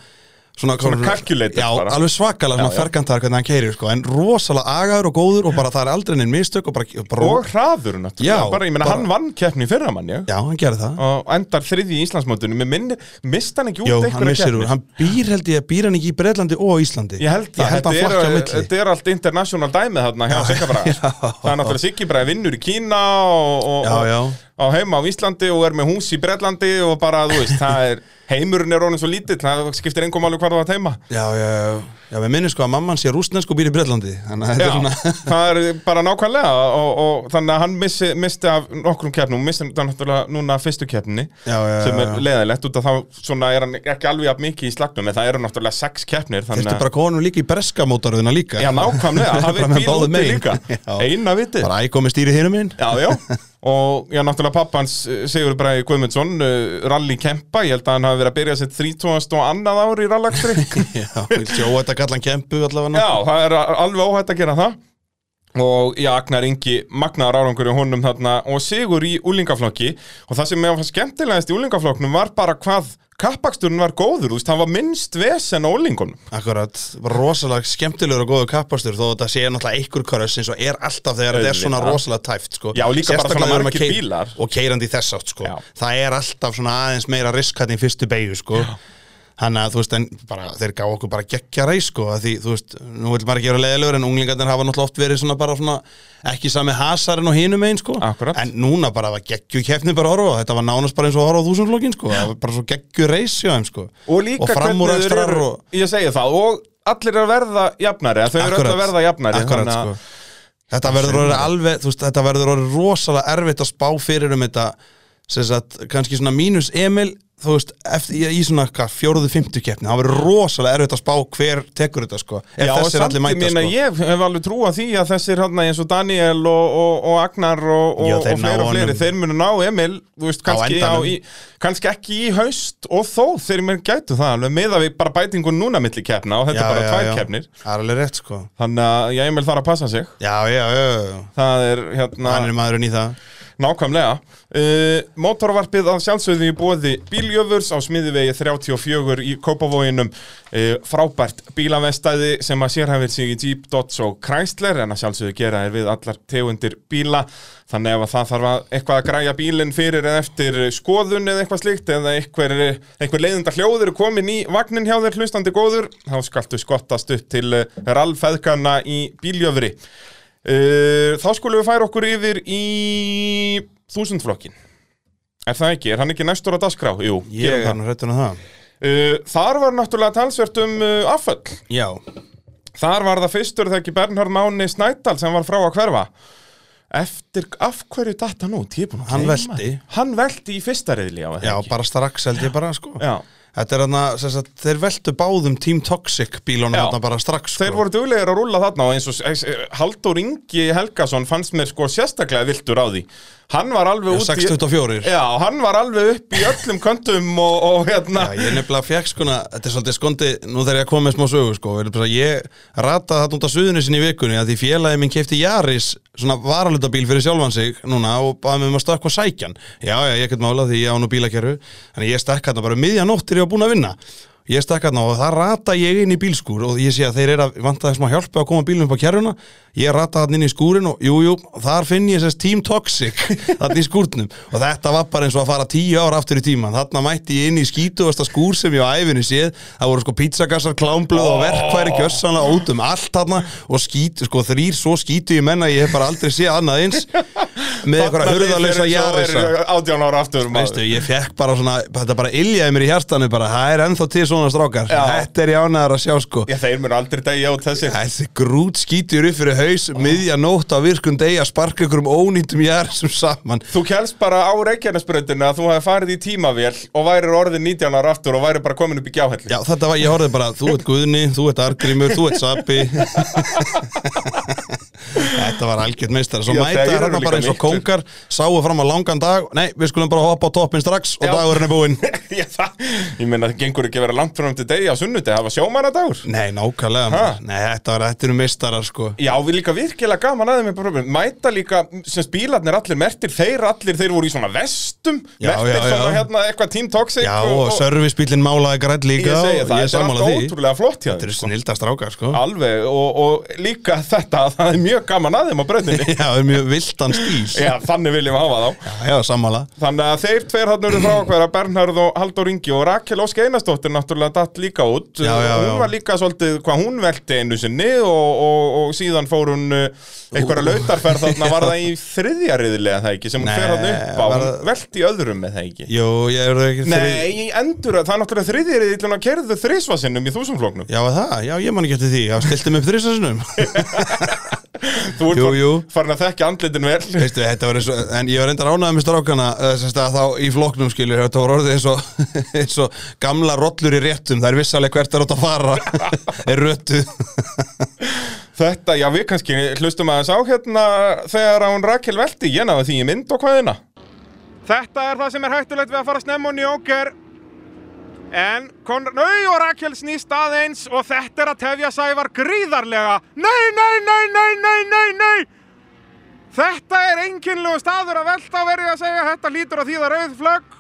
B: svona,
A: Svona calculated
B: já,
A: bara.
B: alveg svakalega
A: Já,
B: svona
A: já.
B: ferkantar hvernig hann keiri sko. en rosalega agaður og góður og bara það er aldrei neinn mistök og bara, og bara
A: þetta og hraður náttúrulega,
B: Já,
A: bara, ég meina,
B: bara-
A: hann vann keppni í fyrra mann, já,
B: já, hann gerir það
A: og endar þriði í Íslandsmótinu, mér minni, mist hann ekki út
B: Jó, hann
A: einhverja
B: missir úr,
A: keppni?
B: hann býr held ég, býr hann ekki í Breitlandi og á Íslandi
A: Ég held
B: ég
A: það,
B: held hann
A: þetta
B: flakka á
A: er,
B: milli
A: þetta er allt international dæmið þarna hjá Sigga Braga
B: já.
A: Það er náttúrulega Siggi Braga vinnur í Kína og, og,
B: Já, já.
A: og á heima á Íslandi og er með hús í Bretlandi og bara, þú veist, það er heimurinn er orðin svo lítill, það skiptir engum alveg hvar það var heima
B: já, já, já, já, við minnum sko að mamman sé rústnensk og býr í Breitlandi
A: Já,
B: þannig að þetta er svona
A: það er bara nákvæmlega og, og þannig að hann missi, misti af nokkrum keppnum, missi þetta náttúrulega núna fyrstu keppninni
B: Já, já, já,
A: sem er
B: já.
A: leiðilegt út af þá svona er hann ekki alveg jafn mikið í slagnum en það eru náttúrulega sex keppnir
B: Þetta
A: þannig
B: bara konum líka í breska mótaröðina líka
A: Já, nákvæmlega,
B: Bara
A: það er
B: með
A: bíl
B: báðum
A: úti
B: megin.
A: líka
B: Já.
A: Eina viti
B: Bara ækomi stýri hinum minn
A: Já, já, og já, náttúrulega pappans Sigur Bræði Guðmundsson, uh, rally kempa, ég held að hann hafi verið að byrja sitt 30. og annað ár í rallakstri
B: Já, sjó þetta kallan kempu allavega
A: Já, það er alveg óhætt að gera það og já, Agnar Ingi magnaðar árangur í honum þarna og sigur í úlingaflokki og það sem mér var skemmtilegast í úlingaflokknum var bara hvað kappaksturinn var góður, þú veist, hann var minnst vesen á úlingunum.
B: Akkurat, var rosalega skemmtilegur og góður kappastur þó þetta sé náttúrulega einhver körðs eins og er alltaf þegar þetta er svona
A: Auðvitað.
B: rosalega tæft sko.
A: Já, og líka bara
B: Sérstaklega
A: svona
B: þegar maður
A: margir
B: keyr-
A: bílar.
B: Og keirandi í þess átt sko.
A: Já.
B: Það er alltaf svona aðeins meira riskatni í fyrstu beigju sko. Þannig að þú veist, en bara, þeir gá okkur bara geggja reis sko, að því, þú veist, nú vil maður ekki vera leiðilegur en unglingarnir hafa náttúrulega oft verið svona bara svona, ekki sami hasarinn og hinum einn sko.
A: Akkúrat.
B: En núna bara var geggju keppni bara að horfa, á, þetta var nánast bara eins og að horfa á þúsundflokkin sko, það var bara svo geggju reis hjá þeim sko.
A: Og líka
B: og framúrækstrar
A: eru,
B: og...
A: ég segi það, og allir er að verða jafnari, að þau eru öll að verða jafnari.
B: akkurat,
A: þannig að-
B: sko. Þetta verður orðið alveg, þú veist, þetta verður orðið rosalega erfitt að spá fyrir um þetta sem sagt, kannski svona mínus Emil þú veist, eftir, í, í svona hvað, fjóruðu, fymtu keppni, það verður rosalega erfitt að spá hver tekur þetta, sko, ef
A: Já, og
B: þessir
A: samt,
B: allir
A: ég
B: mæta,
A: meina,
B: sko
A: ég hef alveg trú að því að þessir hérna eins og Daniel og, og, og Agnar og, og,
B: Já,
A: og
B: þeir ná
A: fleiri og fleiri,
B: honum.
A: þeir munu ná Emil, þú veist, kannski, á
B: endanum.
A: í, kannski ekki í haust og þó þeir mér gætu það alveg meða við bara bætingun núna milli keppna og þetta er bara tvær keppnir.
B: Það er alveg rétt, sko
A: Þannig að já, Emil þarf að passa sig.
B: Já, já, já, já, já.
A: Það er hérna
B: hann er maðurinn í það
A: nákvæmlega. Uh, Mótorvarpið að sjálfsögðu í bóði bíljöfurs á smiðivegi 34 í Kópavóginum. Uh, frábært bílavestæði sem að sérhæfir sig í Jeep, Dodge og Chrysler en að sjálfsögðu gera er við allar tegundir bíla. Þannig ef að það þarf að eitthvað að græja bílinn fyrir eða eftir skoðun eða eitthvað slíkt eða einhver, einhver leiðinda hljóður er komin í vagnin hjá þér hlustandi góður, þá skaltu skottast upp til eh, rallfeðkana í bíljöfri. Uh, þá skulum við færa okkur yfir í þúsundflokkin. Er það ekki? Er hann ekki næstur á dagskrá? Jú,
B: Ég er hann hrættur á það
A: Uh, þar var náttúrulega talsvert um uh, afföll.
B: Já,
A: Þar var það fyrstur þegar ekki Bernhard Máni Snædal sem var frá að hverfa. Eftir, af hverju datt hann út? Ég er búinn að
B: Hann
A: gleyma.
B: velti.
A: Hann velti í fyrsta reyðli á það
B: já,
A: ekki.
B: bara strax held ég bara, sko
A: Já.
B: Þetta er hann að, þeir veltu báðum Team Toxic bílunum
A: Já.
B: þarna bara strax, sko
A: Þeir voru duglegir að rúlla þarna og eins og eins- Halldór Ingi Helgason fannst mér sko sérstaklega viltur á því. Hann var alveg út í...
B: 624
A: Já, hann var alveg upp í öllum köndum og, og hérna
B: Já, ég nefnilega fekk skona, þetta er svolítið skondi nú þegar ég kom með smá sögu sko ég, bara, ég rataði það út af suðunni sinni í vikunni að því félagi minn kefti Jaris svona varalutabíl fyrir sjálfan sig núna og baði mig um að stökkva og sækja hann já, já, ég get mála því ég á nú bílakerfu þannig ég stökk hann bara um miðja nótt er ég að búin að vinna ég stökk hann og það rata ég inn í bílskúr og ég sé að þeir eru að vantaði smá hjálpa að koma bílum upp á kerfuna ég rata hann inn í skúrin og jú, jú, þar finn ég þess Team Toxic þarna í skúrnum og þetta var bara eins og að fara tíu ár aftur í tíman þarna mætti ég inn í skítuvasta skúr sem ég á æfinni séð það voru sko pizzagassar, klámblöð og verkfæri kjössanlega út um allt þarna og skít, sko þrýr svo skítu ég menna ég hef bara aldrei séð annað eins með einhverja hurðalösa jarisa
A: Átján ára aftur
B: Veistu, ég fekk bara svona, þetta bara iljaði mér í hjartanu bara, það er ennþá til svona strákar
A: Já.
B: þetta er ég ánæðar að sjá sko
A: Já, þeir munu aldrei degja út þessi
B: Þessi grút skýtur upp fyrir haus miðja nótt á virkum degi að sparka ykkur um ónýttum jarisum saman
A: Þú kælst bara á Reykjanesbröndinu að þú hefði farið í tímavél og værir orðin 19 ára aftur og værir bara komin upp í gjáhelli
B: Já, þetta var, ég horfði bara, þú ert Guðni, þú ert Argrímur, þú ert Sappi Þetta var algjört meistar Svo
A: Já,
B: mæta
A: þeir eru
B: hérna bara
A: líka
B: eins og
A: miklir.
B: kóngar sáu fram á langan dag, nei, við skulum bara hoppa á toppin strax og
A: Já.
B: dagurinn er búinn
A: Já, það, ég meina það gengur ekki að vera langt fram til degi á sunnundi, það var sjómanadagur
B: Nei, nákvæmlega, maður. nei, þetta var, þetta eru meistarar sko
A: Já, við líka virkilega gaman aðeins með problem Mæta líka, sem bílarnir allir mertir Þeir allir, þeir voru í svona vestum
B: Já,
A: Mertir
B: já, já.
A: svona hérna eitthvað Team Toxic
B: Já, og servisbílinn málaði grætt
A: Ég
B: líka
A: segi
B: og
A: það, þetta
B: ég er
A: er
B: sammála
A: alltaf
B: því
A: ótrúlega flott hjá
B: Þetta
A: þeim
B: eru snilda strákar sko
A: Alveg, og, og líka þetta að það er mjög gaman að þeim á bröndinni
B: Já, það er mjög viltan stíl
A: Já, þannig viljum við hafa þá
B: Já, já, sammála
A: Þannig að þeir tveir hann eru frá hverja Bernharð og Halldór Ingi og Rakel Ósk Einarsdóttir náttúrulega datt líka út
B: Já, já, já.
A: Hún var líka svolítið hvað hún velti einu sinni og, og, og síðan fór hún uh, einhverja lautarferð þarna var það í þriðja riðilega það ekki sem hún
B: Nei,
A: fer hann upp á
B: var
A: hún
B: það-
A: velti í öðrum með það ekki
B: Jú, ég er ekki
A: Nei, í endur, það er náttúrulega þriðja riðilega að kerðu þrisvasinnum í þúsumflóknum
B: Já, var það, já, ég man ekki eftir því Já, stilti mig upp þrýsasunum
A: Þú ert
B: Jú,
A: jú,
B: jú.
A: farin að þekka andlitin vel
B: Veistu, þetta var eins og En ég var reyndar ánæðið með strákana eh, sem sagt að Þá í floknum skilur Þetta var orðið eins og, eins og Gamla rollur í réttum Það er vissalega hvert er átt að fara Er röttu
A: Þetta, já við kannski hlustum aðeins á hérna þegar hún Rakel velti, ég náði því í mynd og hérna. hvaðina
C: Þetta er það sem er hættulegt við að fara snemma á njóker En Konrad, nau og Rakel snýst aðeins og þetta er að tefja Sævar gríðarlega. Nei, nei, nei, nei, nei, nei, nei! Þetta er einkynlegu staður að velta verði að segja, þetta lítur að þýða rauð flögg.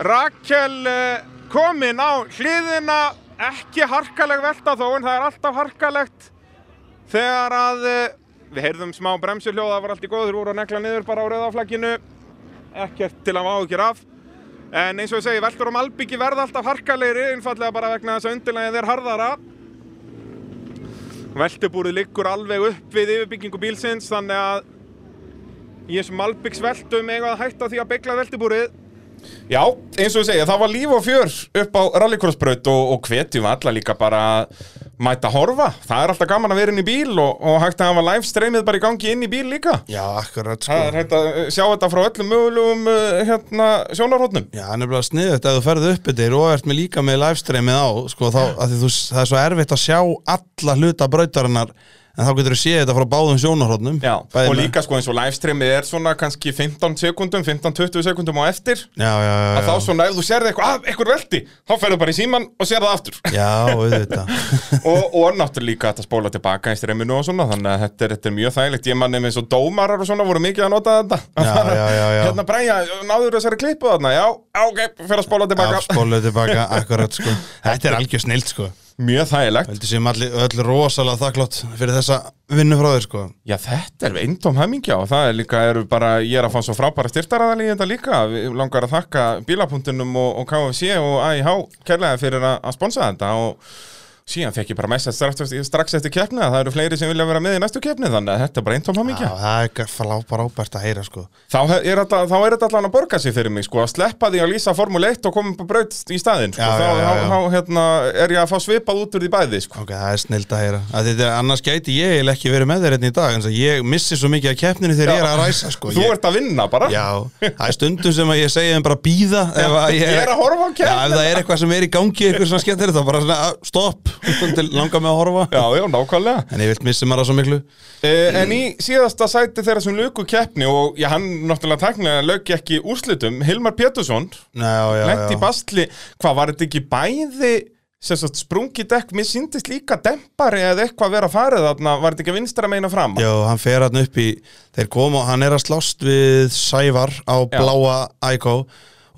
C: Rakel eh, komin á hliðina, ekki harkaleg velta þó, en það er alltaf harkalegt þegar að eh, við heyrðum smá bremsuhljóð, það var allt í góður úr að negla niður bara á rauðaflagginu, ekkert til að má ekki raf. En eins og ég segi, veldur um albyggi verða alltaf harkalegri, einfallega bara vegna þess að undirlægið er harðara. Veltubúrið liggur alveg upp við yfirbyggingu bílsins, þannig að í þessum albyggsveltum eiga að hætta því að byggla veltubúrið.
A: Já, eins og ég segja, það var líf og fjör upp á rallycrossbraut og, og hvetjum alla líka bara að mæta horfa. Það er alltaf gaman að vera inn í bíl og, og hægt að hafa livestreamið bara í gangi inn í bíl líka.
B: Já, akkurat sko
A: Það er hægt að uh, sjá þetta frá öllum mögulegum uh, hérna, sjónarhóttnum.
B: Já, hann er bara sniðut ef þú ferði upp yfir og ert með líka með livestreamið á sko, þá, að þú, það er svo erfitt að sjá alla hluta brautarinnar en þá getur þú séð þetta frá báðum sjónarhóttnum
A: Já, og líka sko eins og livestreamið er svona kannski 15 sekundum, 15-20 sekundum á eftir.
B: Já, já, já,
A: Að
B: já.
A: þá svona, ef þú sérði eitthvað, að, eitthvað veldi, þá ferðu bara í síman og sérði það aftur.
B: já auðvitað
A: og, og náttúrulega líka hægt að spóla tilbaka í streminu og svona þannig að þetta er, þetta er mjög þægilegt ég mann eins og dómarar og svona voru mikið að nota þetta
B: Já, já, já, já.
A: hérna bræja, náður þessari klippu þarna já, já, ok, fyrir að spóla tilbaka
B: Já, spóluðu tilbaka, akkurat sko Þetta er algjör snilt sko
A: mjög þægilegt
B: Heldur sem allir, öll rosalega þakklátt fyrir þessa vinnu frá þér sko
A: já, þetta er eindóm hemmingja og það er líka eru bara, ég er að fá svo frábæra styrtaraðal í þetta líka við langar að þakka bílapunktunum og, og KFC og AIH kærlega fyrir að, að sponsa þetta og síðan fekk ég bara message strax, strax eftir keppni að það eru fleiri sem vilja vera með í næstu keppni þannig að þetta er bara eintóm
B: Já,
A: hamingja
B: það er frábær ábært að heyra sko
A: Þá hef- er þetta, þá er þetta allan að borga sig fyrir mig sko, að sleppa því að lýsa Formule 1 og koma upp á braut í staðinn sko.
B: Já,
A: þá,
B: já, já, já.
A: þá, þá hérna, er ég að fá svipað út úr því bæði sko.
B: Ok, það er snilt að heyra að þetta, er- Annars gæti ég eiginlega ekki verið með þér einn í dag en ég missi svo mikið af keppninu þegar ég er að ræsa sko
A: Þú
B: ég,
A: ert að vinna bara
B: Já, það er stundum sem að ég segja þeim bara býða ef að
A: Ég er að horfa á
B: Já,
A: keppnina.
B: ef það er eitthvað sem er í gangi eitthvað svona skemmtir þá bara svona, að, stopp til langa með að horfa
A: já, já, nákvæmlega
B: En ég vilt missi maður það svo miklu Mm.
A: Uh, en í síðasta sæti þeirra sem luku keppni og já, hann náttúrulega tæknilega lög ekki úrslitum, Hilmar Pétursson
B: Já, já,
A: lent í
B: já
A: bastli, hvað var þetta ekki bæði sem sagt sprungi dekk, mér síndist líka dempari eða eitthvað vera farið þarna, var þetta ekki vinstra meina fram
B: Já, hann fer hann upp í þeir koma og hann er að slást við Sævar á bláa Ækó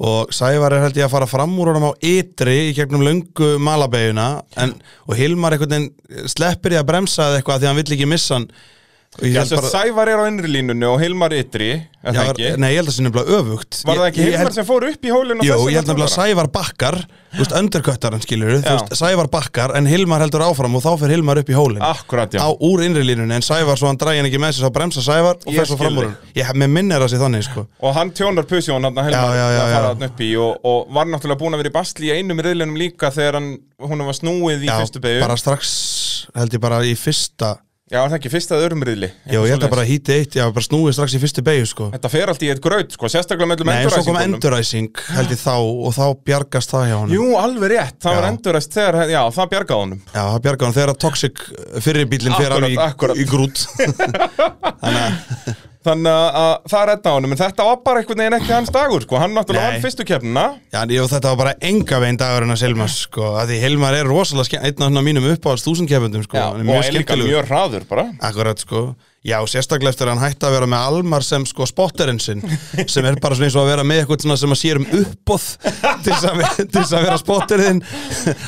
B: og Sævar er held ég að fara fram úr honum á ytri í gegnum löngu malabeguna en, og Hilmar einhvern veginn sleppir í að bremsa eða eitthvað því hann vill ekki missa hann og ég
A: Já,
B: held
A: sem
B: bara
A: Sævar er á innri línunni og Hilmar ytri, er
B: Já,
A: það ekki?
B: nei, ég held að það sé nefnilega öfugt
A: Var það ekki
B: Ég- ég
A: Hilmar
B: held-
A: sem fór upp í hólinu?
B: Jú, ég held nefnilega að Sævar bakkar Þú veist, underköttar hann skilur Þú
A: Já.
B: veist, Sævar bakkar en Hilmar heldur áfram og þá fer Hilmar upp í hólinn
A: Akkurat, já
B: á úr innri línunni en Sævar svo hann dræði hann ekki með sér svo bremsa Sævar og
A: Ég
B: fer svo
A: skil
B: fram úr
A: þig.
B: hann ég, með minn er það sér þannig sko
A: Og hann tjónar pusjón hann að Hilmar
B: Já, já, já,
A: að fara
B: já.
A: hann upp í og, og var náttúrulega búin að vera í basli í einum riðlinum líka þegar hann, hún var snúið í fyrstu beigju
B: bara strax held ég bara í fyrsta
A: Já, er það ekki fyrsta eða öðrum riðli
B: já ég held að bara híti eitt já bara snúið strax í fyrstu beigju sko
A: Þetta fer allt í eitt graut, sko, sérstaklega mellum
B: nei svo kom
A: enduræsingunum.
B: enduræsing held ég þá og þá bjargast það hjá hann
A: Jú, alveg rétt, það var
B: Já.
A: enduræst þegar, já, það bjargaði honum
B: já það bjarga hann þegar að toxic eh, fyrir bílinn fyrir
A: Akkurat,
B: alveg
A: akkurat.
B: í, í grút
A: Þannig að- að það redda honum, en þetta var bara einhvern veginn ekki hans dagur, sko Hann náttúrulega
B: Nei.
A: vann fyrstu keppnina
B: já en ég, þetta var bara enga veginn dagurinn að Silmas sko að því Hilmar er rosalega skemmt einn af svona mínum uppáhalds þúsundkefundum sko
A: Já,
B: Hann
A: og er líka
B: skemmtilegur.
A: mjög hraður bara
B: Akkurat sko Já, sérstaklega eftir að hann hætti að vera með Almar sem sko spotterinn sinn sem er bara svona eins og að vera með eitthvað svona sem að sér um uppbóð til þess að, ve- til þess að vera spotterinn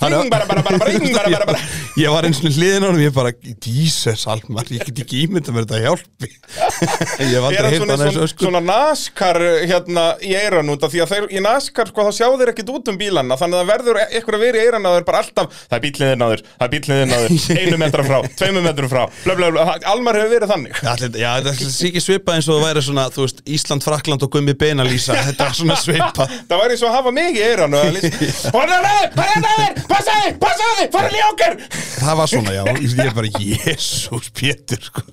A: Ring, bara, bara, bara, bara, ring, bara, bara, bara.
B: Ég var eins og hliðin á honum, ég bara Jesus Almar, ég get ekki ímynda mér þetta hjálpi Ég hef
A: er
B: aldrei
A: hann
B: heilt
A: svona,
B: hann eins
A: svona,
B: og sko
A: svona naskar hérna í eiran út af því að þeir, í naskar sko þá sjá þeir ekkit út um bílana þannig að það verður e- eitthvað að vera í eiran að þeir bara alltaf það er bílinn þinn á þér, það er bílinn þinn á þér einu metra frá, tveimu metrum frá bla, bla, bla, Almar hefur verið þannig
B: Allir, já, þetta er ekki svipað eins og það væri svona, þú veist, Ísland, Frakland og Gummi Benalísa, þetta er svona svipað
A: Það væri svo að hafa mig í eiran og að lýsa Hann er að þér, hann er að þér, passa þig, passa þig, fara ljókar
B: það var svona, já, ég er bara Jésús Pétur sko.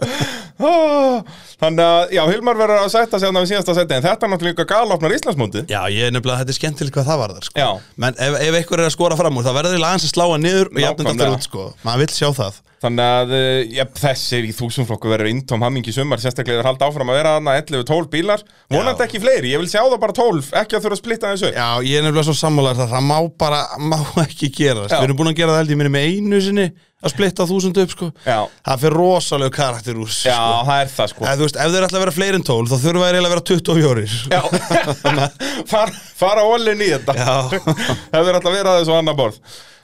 A: Ah, Þannig að, já, Hilmar verður að sætta sig þannig við síðasta seti En þetta er náttúrulega galopnar Íslandsmóti
B: Já, ég er nefnilega, þetta er skemmtilegt hvað það var þar sko.
A: Já.
B: menn ef, ef einhver er að skora fram úr það verður eiginlega aðeins að sláa niður og jafnir þetta
A: Nákvæmlega.
B: út, sko, maður vill sjá það
A: Þannig að, eh, já, þessir í þúsumflokku verður intóm hamingi sumar Sérstaklega þeir halda áfram að vera þarna 11-12 bílar Vonandi ekki fleiri, ég vil sjá það bara 12 Ekki að þurfa að splitta þessu
B: Já, ég er nefnilega svo sammálaður það það má bara, má ekki gera
A: Já.
B: við erum búin að gera það held ég minni með einu sinni að splitta þúsund upp, sko
A: Já.
B: það fyrir rosalega karakter úr
A: Já, það er það sko
B: Ef, þú veist, ef þeir ætla að vera fleiri en tól þá þurfa þeir eiginlega að vera 24
A: Já, Far, fara ólinn í þetta
B: Já.
A: Það verður alltaf að vera þessu annar borð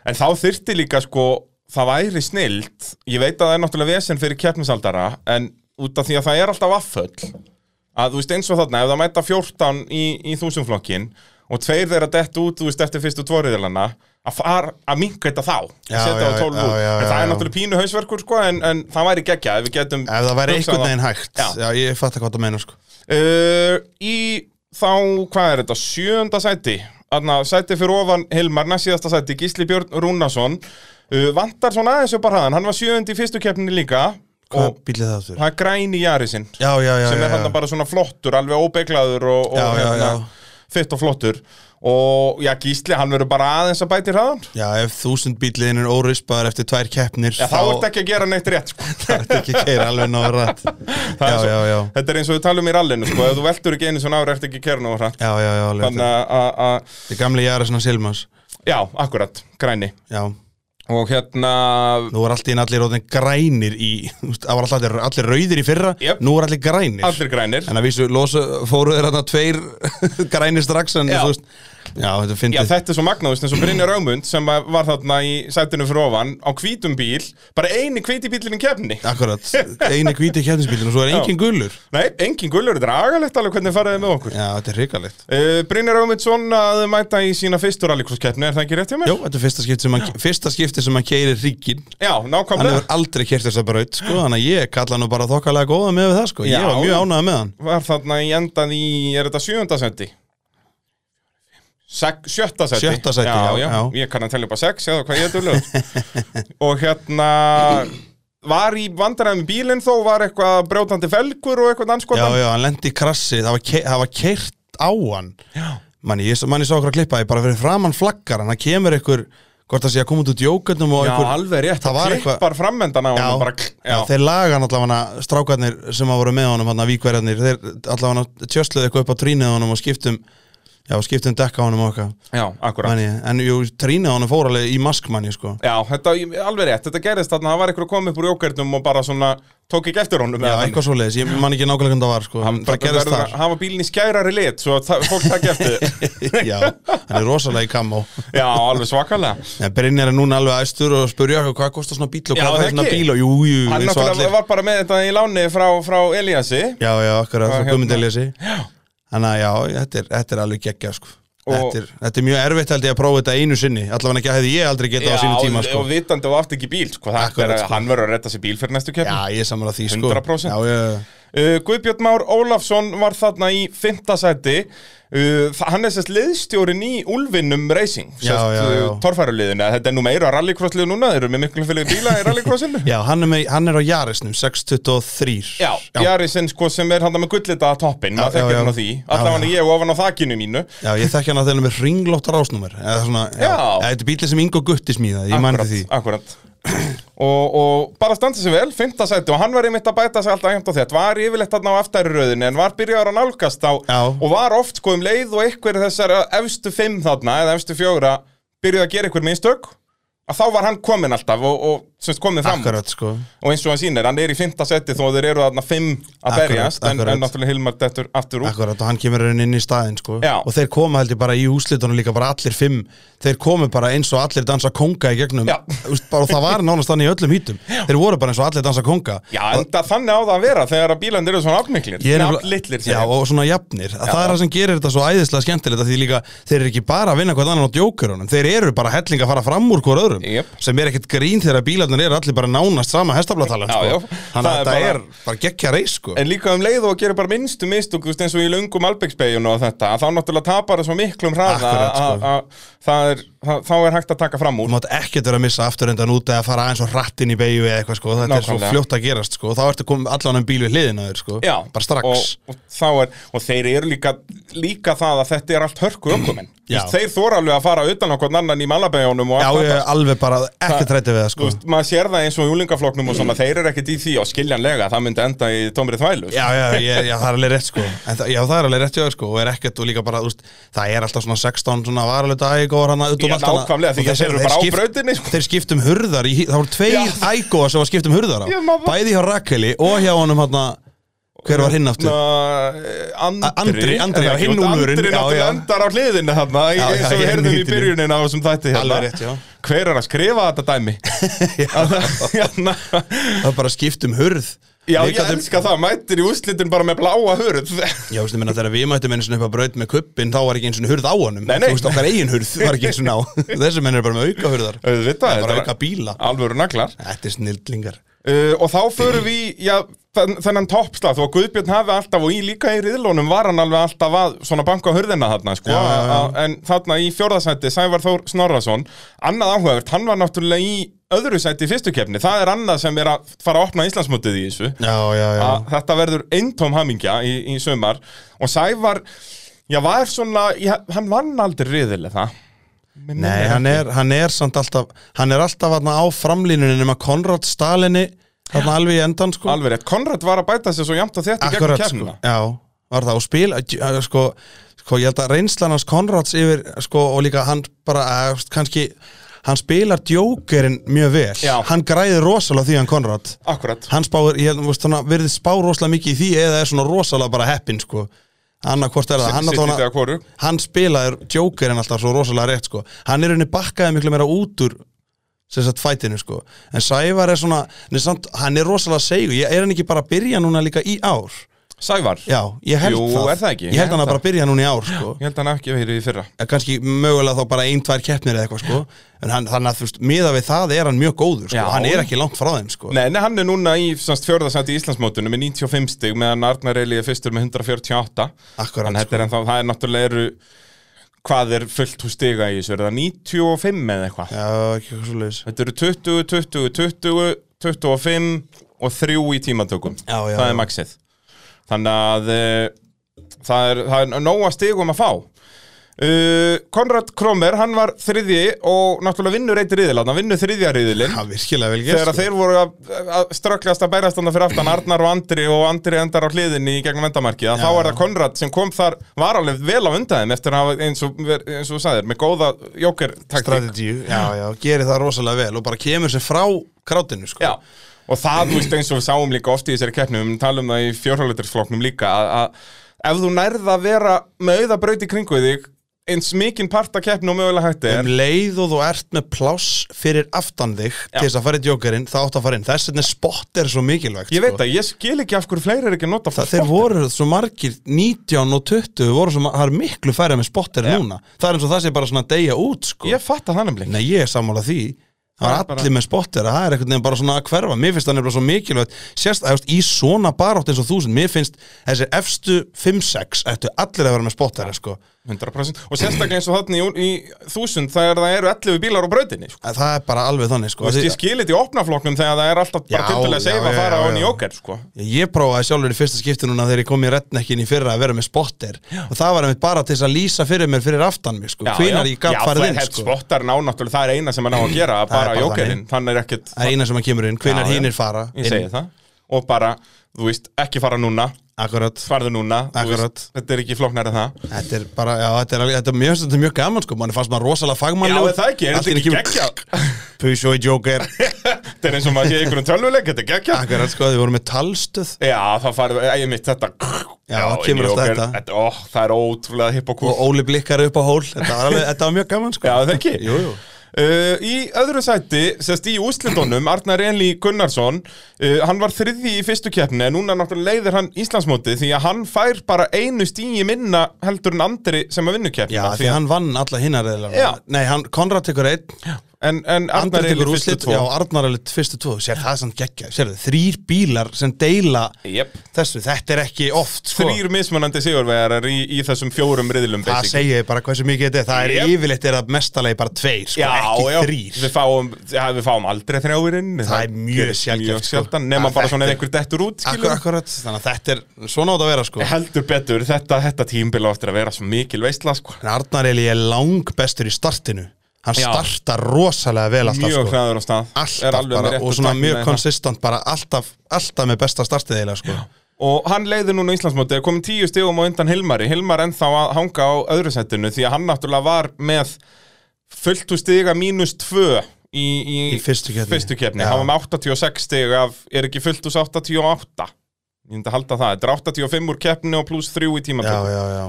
A: En þá þyrfti líka sko Það væri snilt Ég veit að það er náttúrulega vesen fyrir keppnisaldara En út af því að það er alltaf afföll Að þú veist eins og þarna Ef það mæta 14 í, í þúsumflokkin Og tveir þeirra dett út Þú veist eftir fyrstu tvoriðilana Að, fara- að minka þetta þá
B: Já,
A: Setja á
B: já,
A: 12 út
B: já, já,
A: En
B: já,
A: það er
B: já.
A: náttúrulega pínu hausverkur sko En, en það væri geggja Ef við getum
B: ef það væri
A: hugsað
B: einhvern
A: það.
B: veginn hægt
A: Já.
B: já, ég fatt hvað það meina sko.
A: Uh, í þá, hvað er þetta, sjönda sæti Þarna, sæti fyrir ofan Hilmar, næstsíðasta sæti, Gísli Björn Rúnason uh, Vantar svona aðeins upp að hraðan, hann var sjöndi í fyrstu keppninni líka
B: hvað
A: Og
B: bílið það þurr?
A: það er græn í jari sinn
B: Já, já, já,
A: Sem
B: já,
A: er hann
B: já.
A: bara svona flottur, alveg óbeklaður og, og
B: Já, já,
A: hérna,
B: já.
A: fitt og flottur Og já, Gísli, hann verður bara aðeins að bæti hraðan
B: Já, ef þúsund bíliðin er órispaður eftir tvær keppnir
A: Já, þá ertu ekki að gera neitt rétt sko.
B: ertu ekki að keira alveg nóg rætt
A: Það er
B: Já,
A: svo-
B: já, já
A: Þetta er eins og við talum í rallinu, sko, ef þú veltur ekki einu svona ára eftir ekki að kera nú hraðan
B: Já, já, já, alveg
A: Þannig að- að, að-
B: Þetta er gamli Jara svona Silmas
A: já, akkurat, græni
B: Já,
A: Og hérna,
B: nú er allt í einn allir rótin grænir í þú veist, Það var allir, allir rauðir í fyrra
A: Jöp.
B: Nú er allir grænir
A: allir grænir
B: En að vísu, losu, fóru þeir þarna tveir grænir strax En
A: Já.
B: þú veist Já, þetta
A: Já,
B: finnir
A: þetta er svo magnaðust eins og Brynjar Ámund sem að var þarna í sætinu fyrir ofan á hvítum bíl, bara eini hvíti bílinn í kefni.
B: Akkurat, eini hvíti kefnisbílin og svo er
A: Já.
B: engin gullur
A: Nei, engin gullur, þetta er agalegt alveg hvernig faraði með okkur.
B: Já, þetta er hrikalegt
A: Uh, Brynjar Ámundsson að mæta í sína fyrstu rallycross keppni, er það ekki rétt hjá mér?
B: Jó, þetta er fyrsta skipti sem hann, fyrsta skipti sem hann keirir ríkin
A: Já,
B: Hann
A: nákvæmlega.
B: hefur aldrei kert þessa braut, sko Þannig að ég kalla hann nú bara þokkalega góða með við það, sko
A: Já.
B: Ég var mjög ánægða með hann
A: Var þarna í endan í, er þetta sjöunda seti? Sek, sjötta seti
B: Sjötta sæti, já,
A: já,
B: já.
A: Ég kann að telja upp að sex, eða hvað ég er dulluð Og hérna Var í vandræðum í bílinn þó Var eitthvað brjótandi felgur og eitthvað
B: Já,
A: anskotan
B: já, hann lendi í krassi, það var, ke það var keirt á hann
A: já.
B: Manni, ég, manni sá okkur að klippa, ég bara fyrir framann flaggar Hann það kemur ykkur, hvort það sé að koma út út jókarnum og
A: Já,
B: ykkur
A: alveg rétt,
B: það var eitthvað-
A: klippar framvendan á
B: Já,
A: hann bara, já,
B: já, þeir laga hann allavega strákarnir sem að voru með honum, hann að víkverjarnir Þeir allavega tjösluðu eitthvað upp á trínið á honum og skiptum Já, skiptum dekka honum og okkar
A: já, akkurat
B: manni, En jú, trínið á honum fór alveg í mask, manni, sko
A: Já, þetta, alveg rétt, þetta gerist þarna Það var eitthvað komið upp úr jókernum og bara svona Tók ekki eftir honum
B: Já,
A: eða þannig.
B: eitthvað svoleiðis, ég man ekki nákvæmlega hvernig það var, sko en Það
A: Bara
B: gerðist
A: verður að
B: þar
A: Hafa bílinn í skærari lit Svo að það- fólk takk eftir því.
B: Já, hann er rosalega í kamó
A: Já, alveg svakalega
B: En Brynjar er núna alveg æstur og spurja okkur hvað kostar svona bíl og
A: Já,
B: hvað
A: það
B: fær svona
A: ekki.
B: bíl og jú, jú,
A: Hann
B: eins og
A: náttúrulega
B: allir
A: var bara með þetta í láni frá, frá Eliassi
B: Já, já, okkar að
A: Var
B: það
A: hérna.
B: komið til þessi Þannig að já, þetta er, þetta er alveg geggja sko.
A: Og-
B: þetta, er, þetta er mjög erfitt held ég að prófa þetta einu sinni Allavega ekki hefði ég aldrei getað á sínu tíma
A: og-
B: sko.
A: og vitandi og átti ekki bíl sko. Það
B: Akkurat,
A: er að
B: sko.
A: hann verður að retta sér bíl fyrir næstu
B: Já,
A: keppni
B: ég er samar að því sko.
A: 100%.
B: Já, já,
A: uh, Guðbjörn Már Ólafsson var þarna í fymta sæti uh, þa- Hann er sérst liðstjórin í Ulfinum Racing
B: Já, já, já.
A: Torfæruliðinu, þetta er nú meira rallycrosslið núna Þeir eru með miklu fyrir bíla í rallycrossinu
B: já hann, er með, hann er á Jarisnum 623
A: Já, Jarisinn sko sem er hann með gullita toppin, maður
B: Já,
A: þekkir
B: já,
A: hann á
B: já.
A: því
B: Já,
A: Alla hann
B: já.
A: ég ofan á þakinu mínu
B: já, ég þekki hann að þeirna með ringlótt rásnúmer Eða svona, já,
A: Já.
B: Eða Þetta er bíli sem Ingo Gutti smíðaði, ég mann
A: Akkurat,
B: því
A: akkurat. og, og bara standi sig vel, fymta sæti og hann var einmitt að bæta sig alltaf hefnt á þetta var yfirleitt þarna á aftariröðinu en var byrjaður að nálgast á
B: Já.
A: og var oft sko um leið og einhver þessar efstu fimm þarna eða efstu fjóra byrjuði að gera einhver mistök að þá var hann kominn alltaf og, og semst kominn fram úr.
B: Akkurat, sko
A: og eins og hann sýnir, hann er í fymta sæti þó að þeir eru þarna fimm að
B: Akkurat,
A: berjast en,
B: akkurat.
A: en náttúrulega Hilmar dettur aftur út
B: Akkurat, og hann kemur raun inn í staðinn sko.
A: Já.
B: og þeir koma held ég bara í úslitunum líka bara allir fimm, þeir komu bara eins og allir dansa konga í gegnum
A: Já.
B: Úst, bara, og það var nánast þannig í öllum hýtum þeir voru bara eins og allir dansa konga
A: Já, enda þannig á það að vera þegar að bílandir eru svona afmiklir,
B: Ég er nefnilega-
A: aflitlir
B: Já, og svona jafnir það er það sem gerir þetta svo æðislega skemmtilegt af því líka þeir eru ekki bara að vinna hvað annan á djókurunum þeir eru bara helling að fara fram úr hver öðrum
A: Jep.
B: sem er ekkert grín þegar bílarnir eru allir bara nánast sama hestaflatalan
A: Já,
B: sko.
A: já.
B: þannig
A: Það
B: að
A: er
B: þetta
A: bara-
B: er bara gekkja reis sko.
A: En líka um leið og að gera bara minnstu mistök þú veist, eins og í löngum Albegsbeginu og þetta að þá náttúrulega tapar það svo miklum hraða
B: Akkurat,
A: að-
B: sko.
A: að- að það er, það, þá er hægt að taka fram
B: Þú
A: úr
B: mátt ekkert vera að missa afturendan út eða fara aðeins og rattin í beigju eða eitthvað sko, þetta er
A: Nákvæmlega.
B: svo fljótt að gerast sko, þá ertu komið allan um bíl við hliðina á þér sko,
A: Já,
B: bara strax.
A: og, og, þá er, og þeir eru líka, líka það að þetta er allt hörku ökumenn Þú
B: Já.
A: veist, Þeir þóra alveg að fara utan á hvern annan í malabæjónum og
B: Já,
A: allt
B: ég
A: þetta,
B: er alveg bara ekkert
A: Það-
B: rætti við það
A: Þú
B: sko.
A: veist, maður sér það eins og í úlingafloknum og svona, þeir eru ekkert í því og skiljanlega, það myndi enda í tómrið þvælu
B: Já, já, já, já, það er alveg rétt sko en, það- Já, það er alveg rétt hjá þér sko og er ekkert og líka bara, þú veist, það er alltaf svona 16 svona varaluta ægóar hana út
A: Já,
B: um allt hana
A: nákvæmlega, því
B: Og
A: að þeir eru bara á brautinni, sko.
B: Þeir skiptum hurðar, í, hí- það voru
A: Já.
B: tveir ægóar sem var skiptum hurðar á
A: Ég má-
B: Bæði hjá Rakeli og hjá honum hana Hver var hinn aftur?
A: Andri
B: Andri,
A: er það
B: Andri, já,
A: ekki?
B: hinn
A: Og
B: úlfurinn,
A: Andri
B: já,
A: náttúrulega
B: já.
A: endar á hliðinu þarna í-
B: Já, já,
A: eins og við
B: ég er
A: heyrðum í
B: nýtinu.
A: byrjunin á þessum þætti hérna.
B: Alveg rétt, já.
A: Hver er að skrifa þetta dæmi? Hérna,
B: Það var bara skiptum hurð
A: Já, ég
B: Við gátum-
A: elska það, mættir í úslitin bara með bláa hurð
B: Já, þú veist, ég meina þegar við mættum einu sinni upp að braut með kuppin þá var ekki einu sinni hurð á honum
A: Nei, nei.
B: Þú veist, okkar eigin hurð var ekki einu sinni á Þessi menn eru bara með auka hurðar
A: Auðvitað,
B: Það er bara
A: þetta er-
B: auka bíla
A: Alvöru naglar
B: Þetta er snildlingar
A: uh, Og þá förum við, í, já, þenn- þennan toppslag Þó að Guðbjörn hafi alltaf og í líka í riðlónum var hann alveg alltaf að svona banka á hurðina þarna sko,
B: Já, já, já.
A: a- a- En þarna í fjórðasætti Sævar Þór Snorrason Annað áhugavert, hann var náttúrulega í öðru sætti í fyrstu kefni Það er annað sem er að fara að opna Íslandsmótið í þessu
B: Já, já, já
A: að þetta verður eintóm hamingja í, í sumar og Sævar já, var svona, já, hann vann aldrei riðilega það Mig
B: Nei,
A: minnir
B: hann
A: ekki.
B: er, hann er samt alltaf hann er alltaf hann á framlínunni nema Konrad Stalinni hann alveg í endan sko
A: alveg rétt, Konrad var að bæta sér svo jæmt að þetta
B: Akkurat
A: gegnum
B: sko
A: kemna
B: Já, var það og spil að- sko, sko, ég held að reynslan hans Konrads yfir sko og líka hann bara að, þú veist, kannski hann spilar djókerinn mjög vel
A: Já.
B: hann græðir rosalega því hann Konrad
A: akkurat,
B: hann spáir, ég held, þú veist, þannig að verðið spá rosalega mikið í því eða er svona rosalega bara heppin sko annarkvort er það, hann,
A: sitt í
B: allavega-
A: þegar hvoru
B: hann spilaður Jokerinn alltaf svo rosalega rétt sko. hann er henni bakkaði miklu meira út úr sem sagt fætinu sko en Sævar er svona, hann er, samt, hann er rosalega seigu, ég er hann ekki bara að byrja núna líka í ár,
A: Sævar,
B: já, ég held
A: Jú,
B: það
A: er það ekki?
B: ég held hann
A: Ég held
B: að bara byrja núna í ár sko
A: ég held hann ekki verið í fyrra
B: Eða kannski mögulega þá bara ein, tvær keppnir eða eitthvað sko en hann, þannig að þú veist, miða við það er hann mjög góður sko,
A: Já.
B: hann er ekki langt frá þeim sko
A: Nei, nei, hann er núna í fjörðasætt í Íslandsmótinu með 95 stig meðan Arnar Eli er fyrstur með 148
B: Akkurat, sko.
A: Þannig þetta er ennþá, það er náttúrulega eru hvað er fullt hús stiga í þessu, er það 95 eða eitthvað
B: já, ekki eitthvað svo leis
A: Þetta eru 20, 20, 20, 25 og 3 í tímatökum.
B: Já, já,
A: það er
B: já.
A: maxið. Þannig að uh, það, er, það er nóga stigum að fá. Uh, Konrad Kromer, hann var þriðji og náttúrulega vinnur eitt riðil, hann vinnur þriðja riðilinn.
B: það er virkilega vel gert
A: Þegar að þeir voru að, að ströklast að bærast hann fyrir aftan Arnar og Andri og Andri endar á hliðinni í gegnum endamarkið að
B: Já,
A: þá er
B: já.
A: það Konrad sem kom þar var alveg vel á undaðum eftir að hafa eins og, eins og þú sagðir með góða jókertaktík
B: strategíu, já, já, gerir það rosalega vel og bara kemur sér frá krátinu sko.
A: Já, og það, þú veist, eins og við sáum líka oft í þessari keppni, við talum það í fjórhjóðleitarsflokknum líka, að- að ef þú nærð að vera með auðabraut í kringu þig, eins mikinn part að keppni og mögulega hætti
B: um
A: er,
B: leið og þú ert með pláss fyrir aftan þig
A: Já.
B: til þess að fara í djókerinn, þá átt að fara inn þess vegna er spott er svo mikilvægt
A: ég veit
B: sko.
A: að ég skil ekki af hverju fleiri er ekki að nota
B: það, þeir voru svo margir 19 og 20 voru svo, mar- það er miklu færið með spotter
A: Já.
B: núna það er eins og það sé bara svona að deyja út sko.
A: Ég fatt að það nefnilega.
B: Nei, ég er sammála því Það
A: Það
B: var
A: er bara-
B: allir með spotter, það er einhvern veginn bara svona að hverfa Mér finnst það nefnilega svo mikilvægt Sérst, þú veist, í svona barátt eins og þúsund Mér finnst þessi efstu 5-6 Ættu allir að vera með spotter sko.
A: 100% og sérstaklega eins og þarna í, í þúsund þegar það eru 11 bílar á brautinni sko.
B: Að Það er bara alveg þannig
A: Þú
B: sko.
A: veist, ég skil þetta í opnaflokknum þegar það er alltaf bara
B: Já,
A: tildulega að
B: já,
A: seifa að
B: já,
A: fara á
B: já,
A: henni
B: já.
A: jóker sko.
B: Ég, ég prófaði sjálfur í fyrsta skipti núna Þegar ég kom í retnekkin í fyrra að vera með spotter Og það var einmitt bara til þess að lýsa fyrir mér Fyrir aftan mér, sko. hvínar ég gat farið inn
A: sko.
B: sko.
A: spottar ná náttúrulega, það er eina sem að ná að gera
B: Það er
A: bara
B: bara
A: jókerinn, þannig er ekkert
B: Það er eina sem að kemur inn, hvínar
A: Já, já.
B: hínir fara
A: ég segi
B: inn.
A: það og bara, þú veist, ekki fara núna
B: Akkurat
A: farðu núna, þú
B: Akkurat.
A: þetta er ekki flóknæri það
B: Þetta er bara, já, þetta er, alveg- þetta er, mjög, þetta er mjög gaman sko, mann fannst maður rosalega
A: Já,
B: fagmannlegur
A: er það ekki, er
B: Allt
A: þetta
B: í einu
A: ekki
B: kemur-
A: geggja
B: Peugeot í Joker
A: þetta er eins og maður sé í einhverjum tölvuleik, þetta er geggja
B: Akkurat sko, þið voru með talstöð
A: Já, þá farðu, eh, ég mitt þetta
B: Já, kemur
A: inn í
B: alltaf
A: okkur.
B: þetta.
A: Ó, það er ótrúlega hipp og kúl
B: og Óli blikkar upp á hól Þetta var, alveg, þetta var mjög gaman sko
A: Já, það ekki
B: Jú, jú
A: Uh, í öðru sæti, sérst í úslitunum, Arnar Enli Gunnarsson, uh, hann var þriði í fyrstu keppni en núna náttúrulega leiðir hann Íslandsmótið því að hann fær bara einu stíi minna heldur en Andri sem að vinnu keppni
B: Já, því hann vann alla hinnar eða
A: Já.
B: Nei, hann, Konrad tekur einn
A: En, en
B: Arnar
A: Arnar
B: tekur
A: Eilir fyrstu
B: úrslit,
A: tvo
B: já, Arnar Eilir fyrstu tvo, sér það samt geggja sér það, þrýr bílar sem deila
A: Jep.
B: þessu, þetta er ekki oft sko.
A: Þrýr mismunandi sigurvegarar í, í þessum fjórum riðlum
B: það
A: basically.
B: segja ég bara hversu mikið þetta er það er
A: Jep.
B: yfirleitt er það mestalegi bara tveir sko,
A: Já,
B: ekki
A: já,
B: þrýr
A: við fáum, já, við fáum aldrei þrjáurinn Það,
B: er mjög
A: gerist
B: sjaldgæft,
A: mjög
B: sko.
A: sjaldan, nema
B: Já,
A: bara svona ef
B: þetta er-
A: einhver dettur út
B: Akkur,
A: skilur.
B: akkurat, þannig að þetta er svona átt að vera sko.
A: Heldur betur, þetta, þetta tímbil á eftir að vera svo mikil veistla sko.
B: en Arnar Eli er lang bestur í startinu hann
A: Já.
B: startar rosalega vel alltaf
A: Mjög
B: sko.
A: hraður á stað Er
B: alltaf
A: alveg með
B: bara,
A: réttu
B: og svona
A: tæknina í
B: mjög
A: það.
B: konsistant bara alltaf, alltaf með besta startið eiginlega sko.
A: Og hann leiði núna Íslandsmóti, komin tíu stigum á undan Hilmari Hilmar ennþá að hanga á öðru setinu Því að hann náttúrulega var með fullt úr stiga mínus tvö Í, í,
B: Í fyrstu keppni.
A: fyrstu keppni.
B: Já.
A: Hann var með 86 stig af, er ekki fullt úr 88 Ég myndi að halda það, þetta er 85 úr keppni og pluss 3 í
B: já,
A: tímatöku
B: já, já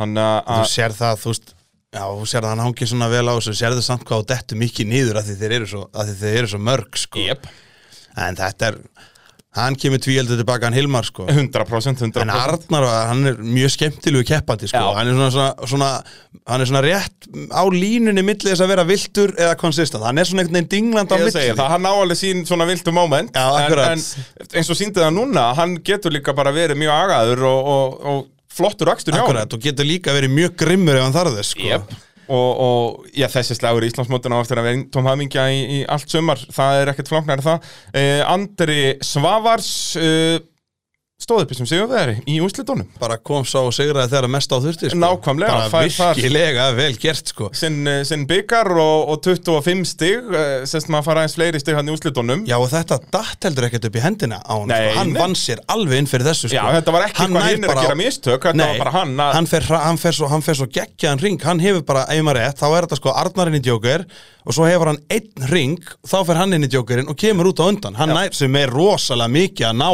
A: Þannig að
B: þú sér það, þú veist Já, þú sér það, hann hangið svona vel á þessu Sér það samt hvað á dettu mikið niður að því þeir eru svo, að því þeir eru svo mörg, sko
A: Jep,
B: En þetta er, hann kemur tvíeldur tilbaka hann Hilmar, sko
A: 100%, 100%.
B: En Arnar, hann er mjög skemmtilegu keppandi, sko
A: Já.
B: Hann er svona, svona, svona, hann er svona rétt á línunni milli þess að vera viltur eða konsistant Hann er svona einhvern veginn dingland á
A: Ég
B: milli
A: segi það, hann á alveg sín svona viltu moment
B: Já,
A: en,
B: akkurat.
A: en eins og síndi það núna, hann getur líka bara verið mjög agaður og, og, og flottur akstur hjá
B: Akkurat, og getur líka verið mjög grimmur ef hann þarf þess, sko
A: Jep. Og, og já, þessi slagur í Íslandsmótinu á eftir að vera tóm hafingja í, í allt sumar, það er ekkert flóknar það. Eh, Andri Svavars eh, stóð upp í sem sigurvegari í úslitunum.
B: Bara kom sá og sigraði þegar mest á þurfti, sko
A: Nákvæmlega,
B: Bara
A: fær þar-
B: virkilega vel gert, sko
A: Sinn, eh, sinn byggar og, og 25 stig, eh, sérst maður fara aðeins fleiri stig hann í úslitunum.
B: Já og þetta datt heldur ekkert upp í hendina á hann
A: Nei,
B: sko. Hann
A: nei.
B: vann sér alveg inn fyrir þessu sko.
A: Já, þetta var ekki
B: Hann
A: hvað
B: nær
A: hinn er að
B: bara-
A: gera mistök, þetta
B: Nei,
A: var bara hann að...
B: hann fer, hra- hann fer svo, hann fer svo geggjaðan ring Hann hefur bara, ef maður rétt, þá er þetta sko Arnarinn í djókur Og svo hefur hann einn ring Þá fer hann inn í djókurinn og kemur út á undan Hann nær sem er rosalega mikið að ná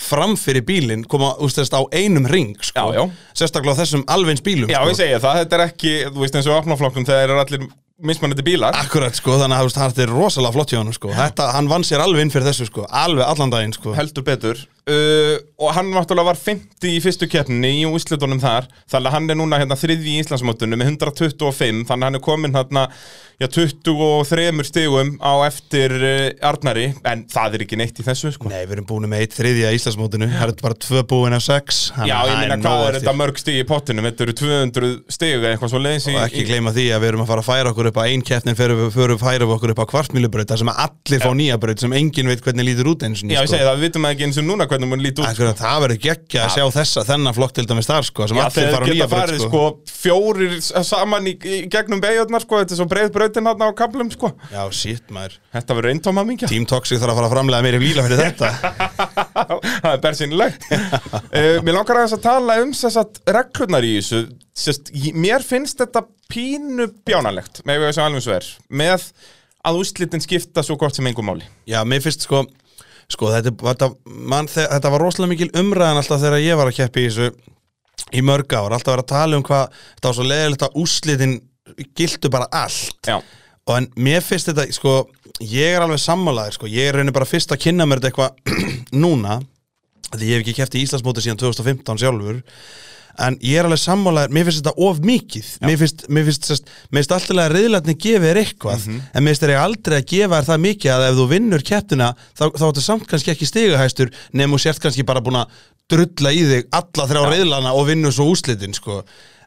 B: Fram fyrir bílinn, koma úst þess á einum ring sko.
A: Já, já.
B: Sérstaklega á þessum alveins bílum
A: Já,
B: sko.
A: ég segi það, þetta er ekki, þú veist eins og opnaflokkum þegar eru allir mismunandi bílar
B: Akkurat sko, þannig að þú veist, þetta er rosalega flott hjá hann sko. Þetta, hann vann sér alveg inn fyrir þessu sko. Alveg allan daginn sko.
A: heldur betur uh, og hann náttúrulega var 50 í fyrstu keppni í úslitunum þar þannig að hann er núna hérna þriði í Íslandsmótinu með 125 þannig að hann er komin hérna já, 23 stigum á eftir uh, Arnari en það er ekki neitt í þessu sko.
B: Nei, við erum búin með eitt þriðja í Íslandsmótinu Það eru bara tvö búin af sex þannig
A: Já, ég
B: að það
A: meina
B: er
A: hvað
B: nóg
A: er
B: eftir.
A: þetta mörg stig í pottinum þetta eru 200 stig eða eitthvað svo leiðis í,
B: Og ekki gleyma því að við erum að fara að færa okkur upp að ein keppnin fyrir við fyrir við færa við okkur upp að kvartmýlubraut þar sem að allir fá nýja braut sem enginn veit hvernig lítur út eins og
A: Já, ég segi það, við vitum ekki eins og núna hvernig mun líti út sko.
B: En hvernig sko. það verður geggja að sjá þessa þennan flokk til dæmis þar sko sem
A: Já,
B: allir
A: þeir
B: fara á
A: geta
B: nýja braut
A: farið
B: sko.
A: sko fjórir s- saman í, í gegnum beigjarnar sko, þetta er svo breið brautin hérna á kaplum sko.
B: Já, shit maður
A: Þetta verður eintóma mingja,
B: Team Toxic þarf að fara að framlega meiri líla fyrir þetta
A: það er bersinilegt. uh, mér langar aðeins að tala um þessat reglurnar í þessu, Sest, ég- mér finnst þetta pínu bjánalegt, með þess að alveg svo er, með að úslitin skipta svo gott sem engum máli.
B: Já, mér finnst sko Sko, þetta, þetta, man, þe- þetta var rosalega mikil umræðan alltaf þegar ég var að keppi í þessu í mörg ár, alltaf var að tala um hvað þetta var svo leiðilegt að úrslitin giltu bara allt
A: Já,
B: og en mér finnst þetta, sko ég er alveg sammálaðir, sko, ég er raunin bara fyrst að kynna mér þetta eitthvað núna því ég hef ekki keppt í Íslandsmóti síðan 2015 sjálfur en ég er alveg sammálaður, mér finnst þetta of mikið mér finnst, mér finnst, sest, mér finnst alltaf að reyðlarni gefi þér eitthvað en mér finnst þér aldrei að gefa þér það mikið að ef þú vinnur keppnina þá, þá áttu samt kannski ekki stigahæstur nefnum þú sért kannski bara búin að drulla í þig alla þrjá reyðlana og vinnur svo úslitin sko.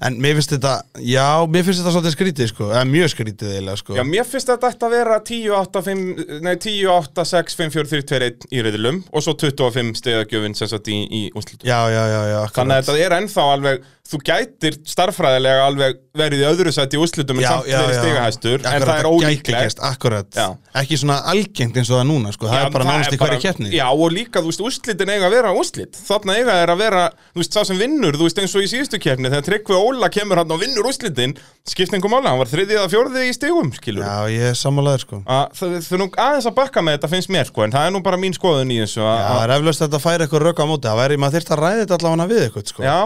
B: en mér finnst þetta já, mér finnst þetta svolítið skrítið sko. eða mjög skrítið eiginlega sko.
A: Já, mér finnst að þetta ætti að vera 10, 8, 5, nei, 10, 8, 6, 5, 4, 3, 2, 1 í riðlum og svo 25 stegagjöfin sem sagt í, í úslitum.
B: já, já, já, já akkurat.
A: Þannig að þetta er ennþá alveg, þú gætir starffræðilega alveg verið í öðru sætt í úrslitum en samt verið stigahæstur, en það er ólíklegt.
B: Akkurat,
A: Já.
B: ekki svona algengt eins og það er núna sko. það
A: Já,
B: er bara nánast í hverju
A: bara-
B: keppni
A: Já, og líka, þú veist, úrslitin eiga að vera úrslit. Þarna eiga er að vera, þú veist, sá sem vinnur, þú veist, eins og í síðustu keppni, þegar Tryggvi Óla kemur hann og vinnur úrslitin, skipt einhver mála, hann var þriðið eða fjórðið í stigum, skilur.
B: Já, ég er sammálaður sko
A: Að, það, það er nú aðeins að bakka með þetta finnst mér, sko, en það er nú bara mín skoðun í þessu.
B: Já,
A: að-
B: það er eflaust að þetta færi eitthvað röka á móti Það væri, maður þyrfti að ræða þetta allavega við eitthvað sko
A: Já.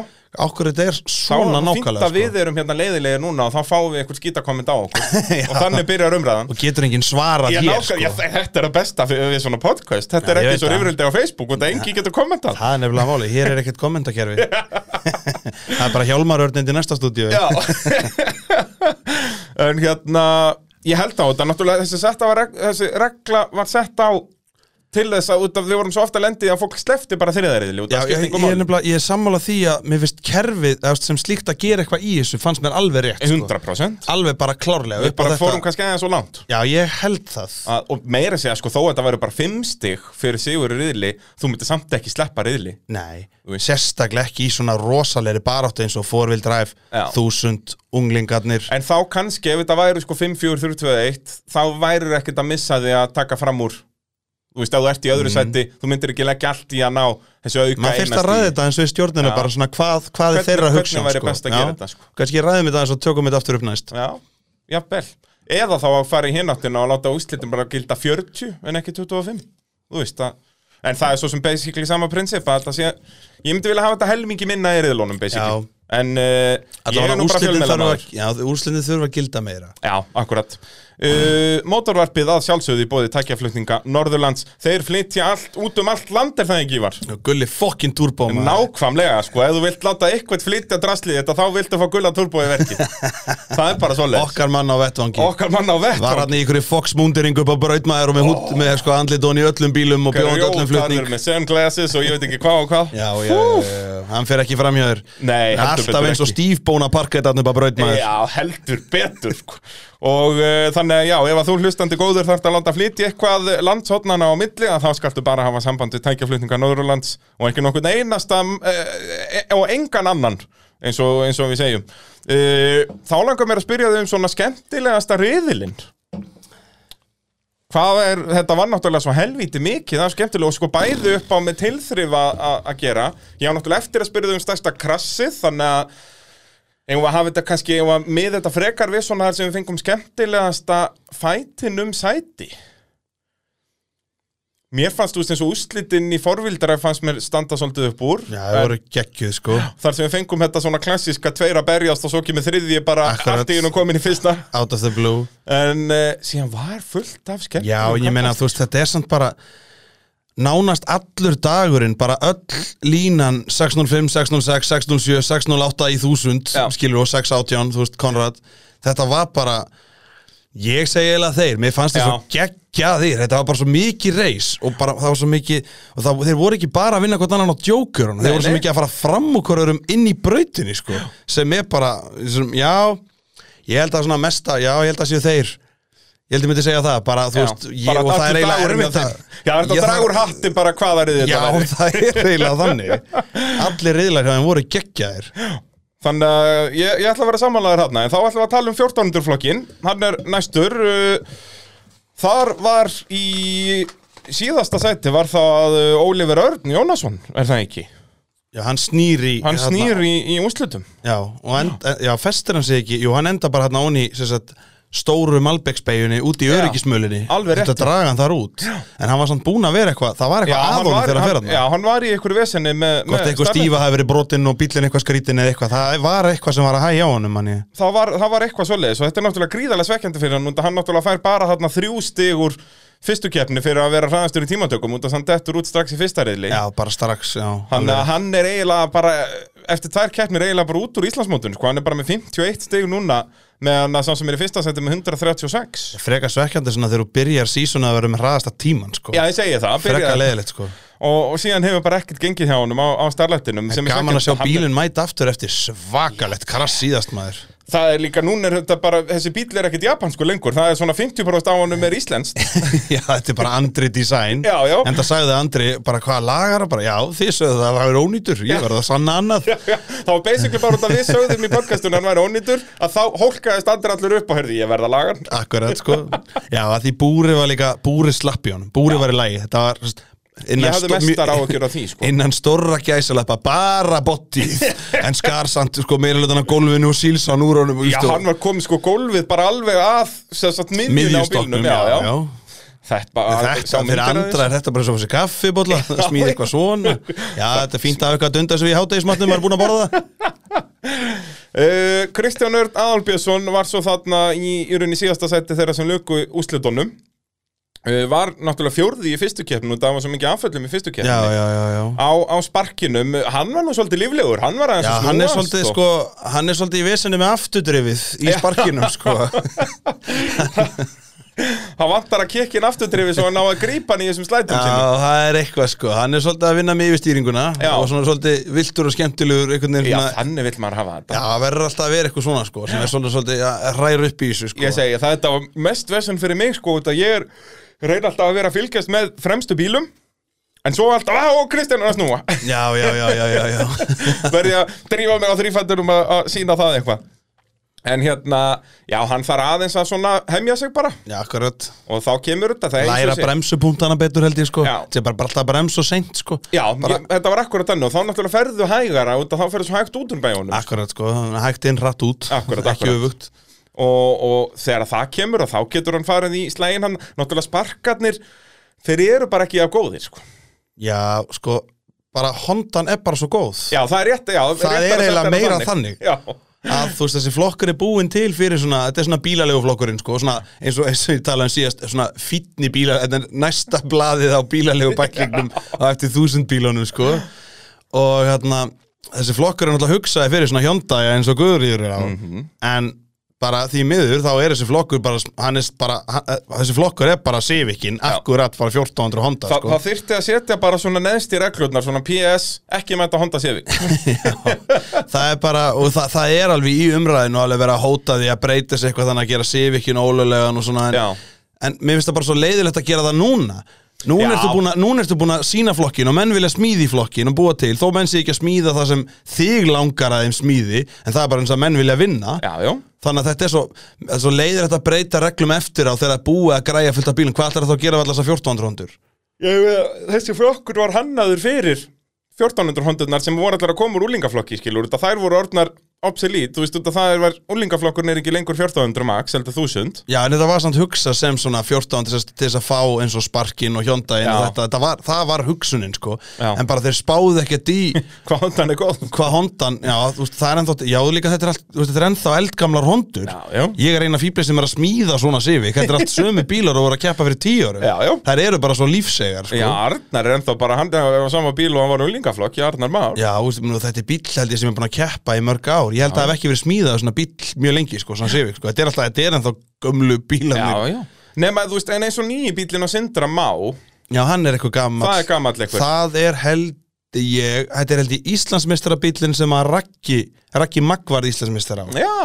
B: Okkur þetta er svona
A: Þá fínt
B: nákvæmlega
A: að við
B: sko
A: erum hérna leiðilegir núna og þá fáum við eitthvað skítakomment á okkur og þannig byrjar umræðan
B: Og getur enginn svarað
A: Já,
B: hér
A: nákvæm,
B: sko
A: já, þe- þetta er að besta fyrir, við svona podcast Þetta
B: Já,
A: er
B: ég
A: ekki
B: veit
A: svo
B: það.
A: yfirildið á Facebook og það engi getur kommentað
B: Það er nefnilega máli, hér er ekkert kommentakerfi Það er bara hjálmarörnind í næsta stúdíu
A: Já En hérna, ég held á þetta, náttúrulega þessi, setta var, reg- þessi regla var sett á til þess að út af við vorum svo ofta lendið að fólk slefti bara þriðariðli út
B: Já,
A: af
B: ég, ég,
A: skiptingum
B: er nefnilega, ég er sammála því að mér finnst kerfið eða sem slíkt að gera eitthvað í þessu fannst mér alveg rétt sko.
A: 100%
B: Alveg bara klárlega
A: Við
B: upp á
A: bara
B: þetta-
A: fórum Ah. kannski aðeins svo langt
B: Já, ég held það
A: að, og meira segja sko þó að þetta væri bara fimm stig fyrir sigur í riðli, þú myndir samt ekki sleppa riðli
B: Nei,
A: Þú veist.
B: sérstaklega ekki í svona rosalegri baráttu eins og four-wheel drive,
A: Já.
B: þúsund unglingarnir
A: en þá kannski ef þetta væri sko 5-4-3-2-1 þá værir ekkert að missa því að taka fram úr þú veist, ef þú ert í öðru sæti þú myndir ekki leggja allt í að ná þessu auka
B: Mhm. maður fyrst
A: eina
B: að ræða
A: stigi.
B: þetta eins og í stjórnina
A: Já.
B: bara svona hvað, hvað
A: Hvernig-
B: er þeirra
A: hvernig
B: hugsun
A: væri best að gera þetta, sko?
B: kannski ræðum þetta eins og tökum þetta aftur upp næst
A: Já, jafnvel Eða þá að fara í hináttina og láta úslitin bara gilda 40 en ekki 25 Þú veist að En það er svo sem basically sama prinsip að þetta sé Ég myndi vilja hafa þetta helmingi minna í riðlónum basically
B: Já.
A: En uh, ég er
B: Allavega
A: nú bara fjölmeila
B: úrslitin þurfa,
A: maður
B: já, úrslitin þurfa að gilda meira
A: Já, akkurat uh, Mótorvarpið að sjálfsögðu í bóði tækjaflutninga Norðurlands Þeir flytja allt út um allt land er það ekki var
B: og gulli fokkin turbo maður.
A: Nákvæmlega sko, ef þú vilt láta eitthvað flytja draslið þetta þá viltu fá gulla turbói verki Það er bara svo leið
B: okkar mann á vettvangi
A: Okkar mann á vettvang
B: var hann í ykkur foxmúndering upp á brautmaður og með, hund, með sko, andlitón í öllum bílum og
A: Grjótarður
B: bjóðandi öllum flutning
A: með sunglasses og ég veit ekki hvað og hvað
B: já, já, já, já, hann fer ekki fram hjá þér
A: Nei, heldur betur
B: alltaf eins og
A: ekki.
B: stífbóna parkett hann upp á brautmaður
A: Já, heldur betur sko. Og uh, þannig að já, ef að þú hlustandi góður þarft að láta flytja eitthvað landshotnana á milli að þá skaltu bara hafa samband við tækjaflutninga Norðurlands og ekki nokkurn einasta uh, og engan annan eins og, eins og við segjum uh, Þá langar mér að spyrja þau um svona skemmtilegasta riðilinn Hvað er, þetta var náttúrulega svo helvíti mikið, það var skemmtilega og sko bæði upp á með tilþrifa a- að gera. Ég á náttúrulega eftir að spyrja þau um stærsta krassið, þannig að eigum við að hafa þetta kannski, eigum við að miða þetta frekar við svona þar sem við fengum skemmtilegasta fætin um sæti. Mér fannst þú veist eins og úslitinn í forvildara fannst mér standa svolítið upp úr.
B: já, það
A: En
B: voru geggjuð sko
A: Þar sem við fengum þetta svona klassíska tveir að berjast og svo kemur þriðji bara
B: Akkurat.
A: allt í einu komin í fyrsta.
B: out of the blue
A: En uh, síðan var fullt af skemmtilegum.
B: Já, en ég meina, þú veist, þetta er samt bara nánast allur dagurinn bara öll línan 605, 606, 607, 608 í þúsund,
A: Já.
B: skilur og 618 þú veist, Konrad, þetta var bara ég segi eiginlega þeir mér fannst
A: Já.
B: það svo geggja þér þetta var bara svo mikið reis og bara, það var svo mikið og það, þeir voru ekki bara að vinna hvort annan á djókur þeir
A: Nei,
B: voru svo
A: nei.
B: mikið að fara fram úr hverjum inn í brautinni, sko, sem er bara sem, já, ég held að svona mesta, já, ég held að séu þeir ég held að ég myndi segja það, bara þú
A: Já,
B: veist ég,
A: bara
B: og það er
A: allur
B: eiginlega
A: dagurinn
B: erfitt
A: með
B: að-
A: þeim. Já, það er
B: Já,
A: þetta dragur
B: það-
A: hattin bara hvaða riðið
B: Já,
A: þetta væri
B: það er eiginlega þannig Allir riðlar hjá þeim voru geggjaðir
A: Þannig að ég, ég ætla að vera samanlæður hérna En þá ætla að tala um 1400 flokkin Hann er næstur uh, Þar var í síðasta sæti var það uh, Oliver Örn Jónasson, er það ekki?
B: Já, hann snýr í
A: Hann
B: þarna-
A: snýr í, í úslutum
B: Já, og end, já, festir hann sig ekki Jú, hann enda bara hérna onni sagt, stóru Malbeksbeigjunni út í
A: Já,
B: öryggismölinni
A: alveg rétt.
B: Þetta draga hann þar út En hann var samt búinn að vera eitthvað Það var eitthvað að honum þegar hann fer
A: hann, já,
B: hann
A: hann var í einhverju vesenni með,
B: Hvort
A: með
B: eitthvað
A: starfið.
B: stífa hafi verið brotinn og bíllinn eitthvað skrítin eða eitthvað Það var eitthvað sem var að hæja á honum manni.
A: það var, það var eitthvað svoleiðis og þetta er náttúrulega gríðarlega svekkjandi fyrir hann og hann náttúrulega fær bara þarna þrjú stig úr fyrstu keppni fyrir að vera hraðastur í tímatökum og hann dettur út strax í fyrsta reyðli
B: Já, bara strax já,
A: Þannig
B: alveg.
A: að hann er eiginlega bara, eftir tvær keppnir eiginlega bara út úr Íslandsmótun, sko, hann er bara með 51 stig núna, meðan að sá sem er í fyrsta seti með 136.
B: Frekar svekkjandi svona þegar þú byrjar sísuna að vera með hraðasta tíman sko.
A: Já, ég segi það, hann
B: Frekar
A: byrjaði-
B: leiðilegt sko.
A: og, og síðan hefur bara ekkert gengið hjá honum á, á starlættinum. sem er
B: Gaman að sjá
A: svekkjandi. Hann-
B: bílinn mæta aftur eftir svakalett krass síðast maður
A: Það er líka, núna er þetta bara, þessi bíl er ekkert japansku lengur, það er svona 50% á honum er íslenskt.
B: Já, þetta er bara Andri design
A: Já, já.
B: En það sagði Andri, bara hvað lagar það bara Já, þið sögðu það að það er ónýtur Ég verði að sanna annað
A: Já, já, það var basically bara út að við sögðum í podcastunum hann væri ónýtur, að þá hólkaðist andri allur upp og hörði ég verða lagan.
B: Akkurat, sko Já, að því búri var líka, búri slapp í honum Búri var í lagi, þetta var þú veist,
A: Ég
B: innan
A: hafði
B: stó-
A: mestar á
B: mjö-
A: að gera því, sko.
B: Innan stórra gæsalappa, bara bottið En skarsamt, sko, meira hlutan á gólfinu og sílsan úr honum
A: Já, hann var komið sko gólfið bara alveg að sem sagt miðjunni á
B: Miðjustoknum,
A: bílnum já, já.
B: já.
A: Þetta bara
B: Þetta fyrir andra er þetta bara svo þessi kaffibólla
A: Já.
B: smíði eitthvað svona Já, þetta er fínt að hafa eitthvað að dunda sem við hátegismatnum er búin að borða það
A: uh, Kristján Örn Aðalbjörnsson var svo þarna í, í rauninni síðasta seti þeirra sem lögu úslitunum uh, var náttúrulega fjórði í fyrstu keppnum og það var svo mikið afföllum í fyrstu
B: já,
A: keppnum
B: já, já, já.
A: á, á sparkinum, hann var nú svolítið líflegur hann var aðeins
B: Já,
A: að
B: hann er
A: snúast
B: svolítið,
A: og-
B: sko, hann er svolítið í vesinu með afturdrifið í sparkinum, sko.
A: hann vantar að kikkin afturdrifi svo hann ná að grípa hann í þessum slætum
B: Já,
A: sinni
B: það er eitthvað, sko. Hann er svolítið að vinna með yfirstýringuna
A: Já.
B: og svona svolítið viltur og skemmtilegur, einhvern veginn
A: Já,
B: svona...
A: þannig vill maður hafa þetta
B: Já, verður alltaf að vera eitthvað svona, sko, sem er svolítið, svolítið að hræra upp í þessu, sko.
A: Ég segi, það þetta var mest vesen fyrir mig sko, út að ég er, reyna alltaf að vera að fylgjast með fremstu bílum En svo alltaf, á, og Kristján er að snúa
B: Já, já, já, já, já, já.
A: Verði að drífa mig á þrýfættunum að, að sína það eitthvað En hérna, já, hann þarf aðeins að svona hemja sig bara
B: Já, akkurat.
A: Og þá kemur þetta, það er eins
B: Læra
A: og sé
B: bremsupunktana betur held ég, sko.
A: Já.
B: Það er bara, bara alltaf brems og seint, sko.
A: Já,
B: Bara-
A: ég, þetta var akkurat enn og þá náttúrulega ferðu hægara út að þá ferðu svo hægt út um bæjónum
B: Akkurat, sko. Hægt inn, rætt út.
A: Akkurat,
B: Ekki
A: akkurat.
B: öfugt.
A: og, og þegar það kemur og þá getur hann farið í slægin hann náttúrulega sparkarnir þeir eru bara ekki af góðir sko.
B: Já, sko, bara hondan er bara svo góð.
A: já það er rétt já, rétt
B: Það er
A: að setja
B: eiginlega
A: þetta
B: meira þannig.
A: Já.
B: að þú veist þessi flokkur er búinn til fyrir svona, þetta er svona bílalegu flokkurinn sko, svona, eins og eins og ég talaði um síðast svona fítni bílar, þetta er næsta blaðið á bílalegu bæklingnum á eftir þúsund bílunum sko og hérna, þessi flokkur er náttúrulega hugsaði fyrir svona hjóndæja eins og guðrýður er á en bara því miður þá er þessi flokkur bara, hann er bara hann, eh, þessi flokkur er bara sivikinn, akkurat bara 1400 honda
A: Þa,
B: sko
A: það þyrfti að setja bara svona neðst í reglurnar svona PS, ekki með þetta Honda Civic
B: það er bara, og það, það er alveg í umræðinu alveg verið að hóta því að breyta sig eitthvað þannig að gera sivikin ólulegan og svona
A: Já.
B: en, en mér finnst það bara svo leiðilegt að gera það núna Nún
A: Já.
B: ertu, búin að, núna ertu búin að sína flokkin og menn vilja smíði flokkin og búa til þó menn sé ekki að smíða það sem þig langar að þeim smíði en það er bara eins að menn vilja vinna
A: já, já,
B: þannig að þetta er svo, þetta er svo leiðir að breyta reglum eftir á þegar það er búið að græja fullt af bílum hvað ætlar það að gera við alltaf 14 rondur?
A: ég, veit að þessi flokkur var hannaður fyrir 1400 Hondunar sem voru allar að koma úr úlingaflokki skilur, út að þær voru orðnar obsolete, þú veist út að það er var úlingaflokkur er ekki lengur 1400 max, heldur 1000
B: Já, en þetta var samt hugsa sem svona 14 til þess, til þess að fá eins og sparkin og hjóndaginn
A: Já.
B: og þetta, þetta var, það var hugsunin sko
A: Já.
B: en bara þeir spáðu ekkert í
A: hvað Hondan er góð
B: hvað hondan, já, þú veist, það er ennþá já, líka þetta er, allt, þú veist, þetta er ennþá eldgamlar hondur
A: Já, já.
B: ég er eina fíblis sem er að smíða svona sifik, þetta er allt sömu bílar og voru að keppa fyrir tíu árum,
A: Já, já.
B: þær eru bara svo lífsegar sko.
A: Já, Arnar er ennþá bara, hann er á sama bíl og hann var úlingaflokk, já, Arnar Már.
B: Já, þú veist, nú, þetta er bíll held ég sem er búin að keppa í mörg ár Ég held að það hef ekki verið smíðað svona bíll mjög lengi sko, svona sifik, sko. Þetta er alltaf, þetta er ennþá gömlu bílarnir
A: já. Nefna, þú veist, en eins og nýji bílinn á Sindra Má,
B: Já, hann er eitthvað gammal
A: það er gamall eitthvað.
B: Það er held ég, þetta er held ég Íslandsmeistarabíllinn sem að Raggi, Raggi Magg varð Íslandsmeistar á.
A: Já,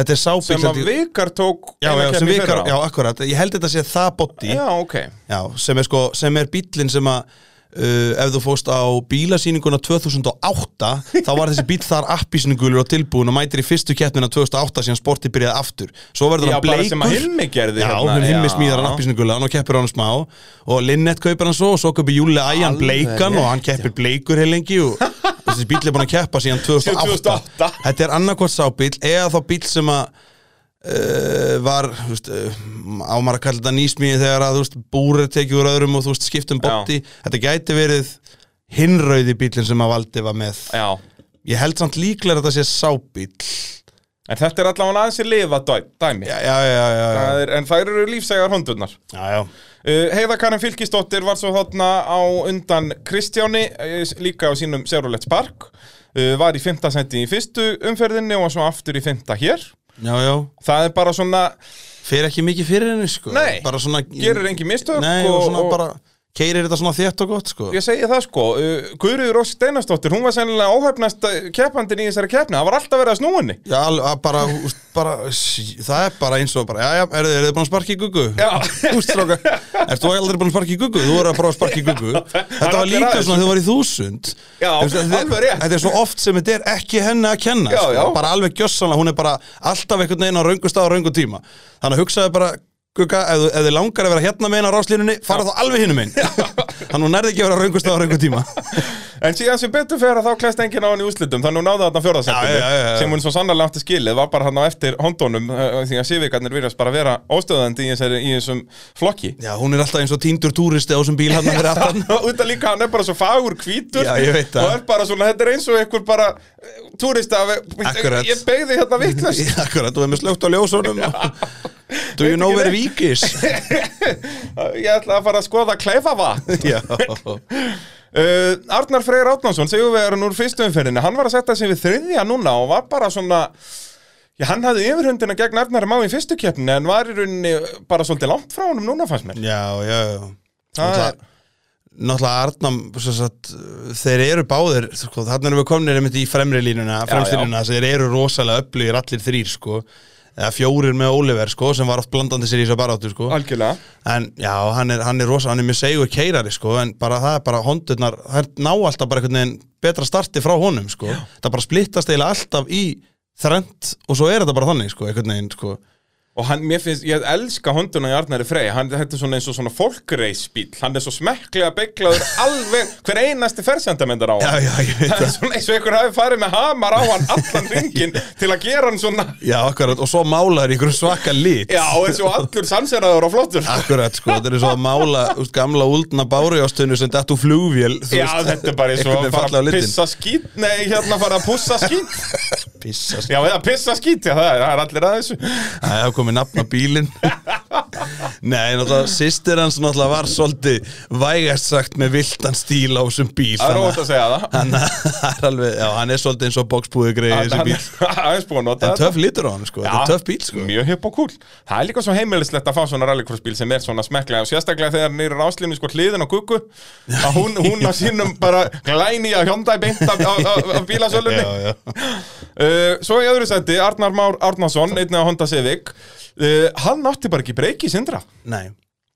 B: Þetta er sábíll.
A: sem að Vikar tók
B: Já,
A: eina
B: já, sem
A: keppni í
B: vikar,
A: fyrra.
B: já, akkurat, ég held þetta sé það botti,
A: Já, ok.
B: já, sem er sko, sem er bíllinn sem að, uh, ef þú fóst á bílasýninguna 2008, þá var þessi bíll þar appisningulur og tilbúin og mætir í fyrstu keppnina 2008 síðan sportið byrjaði aftur, svo verður
A: Já,
B: hann
A: bara
B: bleikur.
A: sem að Hilmi gerði.
B: Já,
A: hérna,
B: hún himmi
A: já.
B: smíðar hann appisningula og keppir hann smá og Linnett kaupir hann svo og svo kaupir Júli Æjan
A: Alveg
B: bleikan og hann
A: rétt,
B: keppir bleikur heil lengi og þessi bíl er búin að keppa síðan 2008,
A: Síðan 2008.
B: Þetta er annarkvort sábíl eða þá bíl sem að uh, var þú veist, uh, ámar að kalla þetta nýsmíði þegar að þú veist, búr er tekið úr öðrum og þú veist, skiptum botti þetta gæti verið hinrauði bílinn sem að Valdi var með
A: Já,
B: ég held samt líklega að þetta sé sábíl
A: en þetta er allavega aðeins í lifadæmi.
B: já, já, já, já, já.
A: Það er- En þær eru lífsægar hondunar.
B: já, já.
A: Uh, Heiða Karin Fylkisdóttir var svo þarna á undan Kristjáni, uh, líka á sínum Sérulegt Spark, uh, var í fymta sendi í fyrstu umferðinni og var svo aftur í fymta hér.
B: já, já.
A: Það er bara svona,
B: fer ekki mikið fyrir henni sko
A: Nei,
B: bara svona
A: gerir engin mistök
B: Nei, og,
A: og-
B: svona
A: og-
B: bara keirir þetta svona þétt og gott sko
A: ég segi það sko, uh, Guðrýður Ósk Steinarsdóttir, hún var sennilega óhefnast keppandin í þessari keppni, það var alltaf verið að snúa henni.
B: Já, al- að bara, úst, bara, sí- það er bara eins og bara, já, já, eru þið búin að sparka í guggu?
A: Já.
B: Ústráka, ert þú aldrei búin að sparka í guggu? Þú voru að prófa að sparka í guggu. Þetta
A: er
B: var
A: allir
B: líka
A: aðeins.
B: svona þegar þú var í þúsund.
A: Já,
B: Þú veist, þetta-
A: alveg rétt.
B: Þetta er svo oft sem þetta er ekki henni að kenna.
A: Já,
B: sko.
A: já.
B: Bara alveg gjössanlega, hún er bara alltaf einhvern veginn á raungu stað og raungu tíma. Þannig að hugsaðu bara, gugga, ef, þú- ef þið langar að vera hérna meginn á ráslínunni, fara þá alveg hinum meginn. Þannig að hún nærði ekki að vera á raungu stað og raungu tíma.
A: En síðan sem betur fyrir að þá klæst enginn á hann í úslitum, þannig hún náði þarna
B: Já, já, já,
A: fjórðasendinu,
B: já.
A: sem hún svo sannarlega átti skilið, var bara hann á eftir hondunum, uh, því að sífikarnir virðast bara vera óstöðandi í, þessari, í þessum flokki.
B: Já, hún er alltaf eins og týndur túristi á þessum bíl hann fyrir aftan.
A: Út að líka hann er bara svo fagur hvítur
B: Já, ég veit það.
A: Og er bara svona, þetta er eins og einhver bara uh, Túrista,
B: Akkurat.
A: ég beigði hérna vittlust
B: Akkurat, þú hefði með slögt á ljósunum og- Do you know where Vík is?
A: Ég ætla að fara að skoða kleifavatn
B: Já,
A: Uh, Arnar Freyr Átnánsson, segjum við erum úr fyrstu umferðinni, hann var að setja sig við þriðja núna og var bara svona Já, hann hafði yfirhundina gegn Arnar Má í fyrstu keppni en var í rauninni bara svolítið langt frá honum núna fannst mér
B: já, já, já.
A: Það er-
B: Náttúrulega, náttúrulega Arnam, sem sagt, þeir eru báðir, sko, þarna erum við komnir einmitt í fremri línuna, fremstu
A: já.
B: línuna, þeir eru rosalega öflugir allir þrýr, sko, eða fjórir með Oliver, sko, sem var oft blandandi sér í þessu baráttu, sko.
A: Algjörlega
B: En já, hann er, hann er rosa, hann er mjög segur keirari, sko, en bara það er bara hondurnar, það er ná alltaf bara einhvern veginn betra starti frá honum, sko. Það bara splittast eiginlega alltaf í þrend og svo er þetta bara þannig, sko, einhvern veginn, sko.
A: Og hann, mér finnst, ég elska honduna í Arnari Frey hann, Þetta er svona eins og svona fólkreisbíl Hann er svo smekklega beiglaður alveg Hver einasti fersendamendar á hann
B: Já, já, ég veit
A: Það
B: það.
A: er svona eins og einhver hafi farið með hamar á hann allan ringin Til að gera hann svona
B: Já, akkurat, og svo málaður í einhverjum svaka lit.
A: Já, eins og allur samseraður og flottur
B: Akkurat, sko, þetta er svo að mála úst, gamla úldna bárujástunni sem dættu flugvél, þú
A: Já, þetta er bara eins og
B: einhvern
A: að fara að
B: veginn falla á litin.
A: pissa skít Nei, hérna fara að pussa skít
B: Pissa, sko.
A: Já, eða pissa skít, já, það er, það er allir að þessu
B: Það hefði komið nafn á bílinn Nei, náttúrulega, sýstir hans náttúrulega var svolítið vægast sagt með viltan stíl á þessum bíl
A: Það er
B: þannig að-
A: óvægt að segja það
B: hann það er alveg, já, hann er svolítið eins og boxbúið greið
A: Hann-
B: þessi
A: hann-
B: bíl
A: hann er búinn að nota
B: en
A: þetta.
B: töff lítur á hann, sko, þetta er töff bíl, sko
A: Mjög hipp og cool Það er líka svo heimilislegt að fá svona rallycrossbíl sem er svona smekklega og sérstaklega þegar hann er í ráslinu sko hliðin á kukku að hún, hún á sínum bara glæni að hjónda í beint af, af, af, af bílasölunni
B: já, já.
A: uh, Svo í öðru seti Arnar Már Arnason, einnig að Honda Civic uh, Hann átti bara ekki breyki sindra
B: Nei,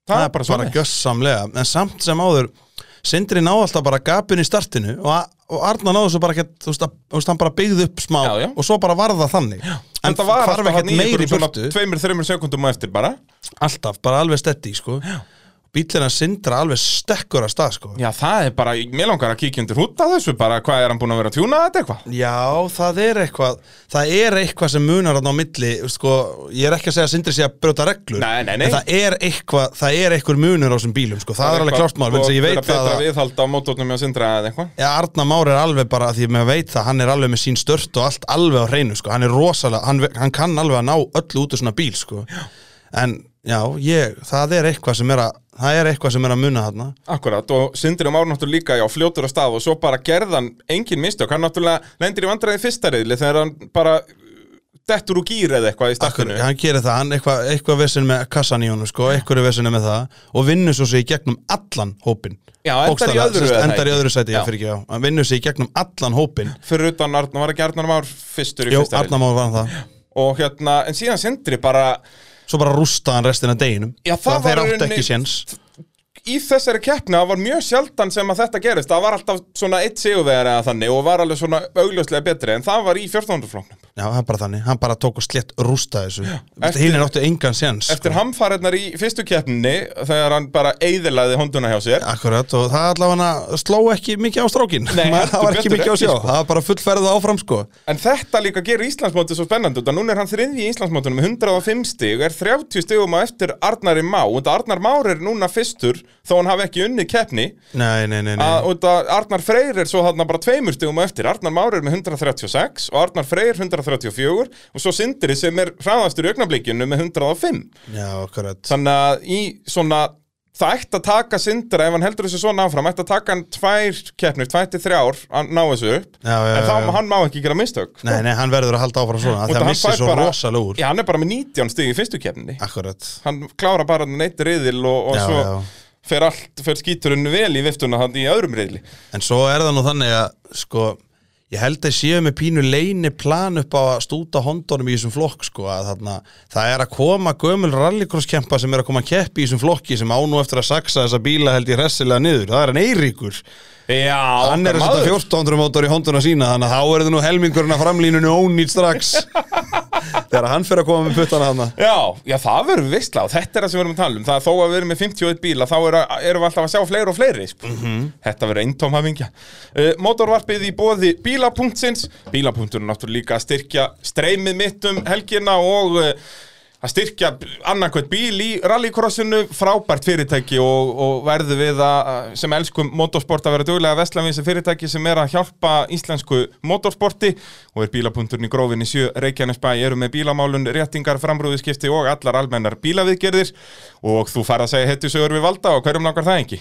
A: Það er bara svona.
B: gjössamlega, en samt sem áður Sindri náði alltaf bara gapin í startinu og, og Arna náði svo bara ekkert þú veist, að- þú veist, hann bara byggði upp smá
A: Já, já.
B: og svo bara varða þannig já. en
A: En það var
B: þarf
A: alltaf
B: ekkert
A: hann í
B: meiri
A: ykkur
B: í
A: svona
B: burtu
A: tveimur, þreimur sekundum á eftir bara
B: alltaf, bara alveg stetti, sko bílina Sindra alveg stekkur að stað, sko
A: Já, það er bara, mér langar að kíkja undir hútt að þessu bara, hvað er hann búin að vera að tjúna þetta eitthvað?
B: Já, það er eitthvað Það er eitthvað sem munar hann á milli sko, Ég er ekki að segja að Sindri sé að brjóta reglur
A: Nei, nei, nei.
B: En það er eitthvað Það er eitthvað munur á þessum bílum sko. það, er alveg klárt mál vegna þess að Ég
A: Vera
B: veit það
A: betra
B: að
A: viðhald á mótornum hjá Sindra eða eitthvað
B: Já, Arna Már er alveg bara Því að maður veit það Hann er alveg með sín stört og allt alveg á hreinu sko. Hann er rosalega hann, ve- hann kann alveg að ná öllu út úr svona bíl sko. En já, ég, það er eitthvað sem er að Það er eitthvað sem er að muna þarna
A: Akkurat, og Sindri og Már náttúrulega líka, já, fljótur á stað og svo bara gerðan engin mistök, hann náttúrulega lendir í vandræði fyrsta reyðli þegar hann bara uh, dettur úr gýr eða eitthvað í
B: Akkur,
A: startinu
B: hann gerir það, hann eitthvað, eitthvað vesinn með kassan í honum sko, eitthvað vesinn með það og vinnur svo sig í gegnum allan hópin
A: Já, endar í
B: Bókstaflega,
A: öðru
B: sem sagt,
A: eða
B: endar í
A: ekki?
B: öðru sæti, já,
A: Já.
B: fyrir ekki, já hann vinnur sig í gegnum allan hópin
A: Fyrir utan Arnar, var ekki Arnar Már fyrstur í
B: Jó,
A: fyrsta reyðli
B: Arnamár var hann það
A: Og hérna, en síðan Sindri bara
B: Svo bara rústaði hann restina af deginum
A: Já, það
B: Bara
A: var
B: þeir áttu
A: rauninni-
B: ekki séns
A: í þessari keppni, það var mjög sjaldan sem að þetta gerist, það var alltaf svona eitt sigurvegar eða þannig og var alveg svona augljóslega betri en það var í 14. flóknum
B: Já, hann bara þannig, hann bara tók og slett rústaði þessu
A: eftir-
B: eftir, Hinn er áttu engan séns sko.
A: Eftir hamfarinnar í fyrstu keppninni þegar hann bara eyðilaði honduna hjá sér
B: Akkurat, og það allavega sló ekki mikið á strákin
A: Nei, heldur
B: Það var ekki
A: betur
B: mikið á
A: ekki,
B: sjá,
A: sko.
B: það var bara fullferða áfram sko
A: En þetta líka gerir Íslandsmótið svo spennandi út að núna er hann þriðji í Íslandsmótinu með 105 stig er 30 stigum á eftir Arnari Má og þetta Arnar Már er núna fyrstur þó hann hafi ekki unni keppni
B: Nei, nei, nei, nei.
A: að, og þetta Arnar Freyr er svo þarna bara tveimur stigum á eftir Arnar Már er með 136 og Arnar Freyr 134 og svo Sindri sem er hraðastur í augnablikinu með 105
B: Já, akkurat
A: Þannig að í svona Það ætti að taka Sindra, ef hann heldur þessu svona áfram ætti að taka hann tvær keppnir, tvær til þrjár að ná þessu upp
B: Já, já,
A: en
B: já,
A: þá
B: já.
A: hann má ekki gera mistök
B: Eh. Nei, nei, hann verður að halda áfram svona af því að
A: Sko- hann
B: Það missir
A: fær
B: svo
A: bara-
B: rosalega úr
A: Já, hann er bara með 19 stig í fyrstu keppninni
B: Akkurat
A: Hann klára bara neitt riðil og, og
B: Ah. Já,
A: svo
B: já.
A: fer allt, fer skíturinn vel í viftuna hann í öðrum riðli
B: En svo er það nú þannig að sko, ég held að séu með pínu leini plan upp á að stúta hondunum í þessum flokk sko, að þarna, það er að koma gömul rallycrosskempa sem er að koma að keppi í þessum flokki sem á nú eftir að saksa þessa bíla held ég hressilega niður, það er hann Eiríkur
A: Já,
B: hann er að setja 1400 mótor í honduna sína þannig að þá er það nú helmingurinn að framlínunni ónýtt strax þegar hann fer að koma með puttana hann
A: Já, já, það verður veistla og þetta er það sem við erum að tala um það er þó að við erum með 51 bíla þá er að- erum við alltaf að sjá fleiri og fleiri sko. Þetta verður eintóm hafingja uh, Motorvarpið í bóði bílapunktsins Bílapunkturinn náttúrulega líka að styrkja streymið mitt um helgina og uh, að að styrkja annarkvæmt bíl í rallycrossinu frábært fyrirtæki og, og verðu við að sem elskum motorsport að vera duglega veslan við þessi fyrirtæki sem er að hjálpa íslensku motorsporti og er bílapunkturinn í grófinni 7 Reykjanesbæ eru með bílamálun, réttingar, framrúðiskipti og allar almennar bílaviðgerðir og þú fara að segja hettu sögur við valda og hverjum langar það ekki?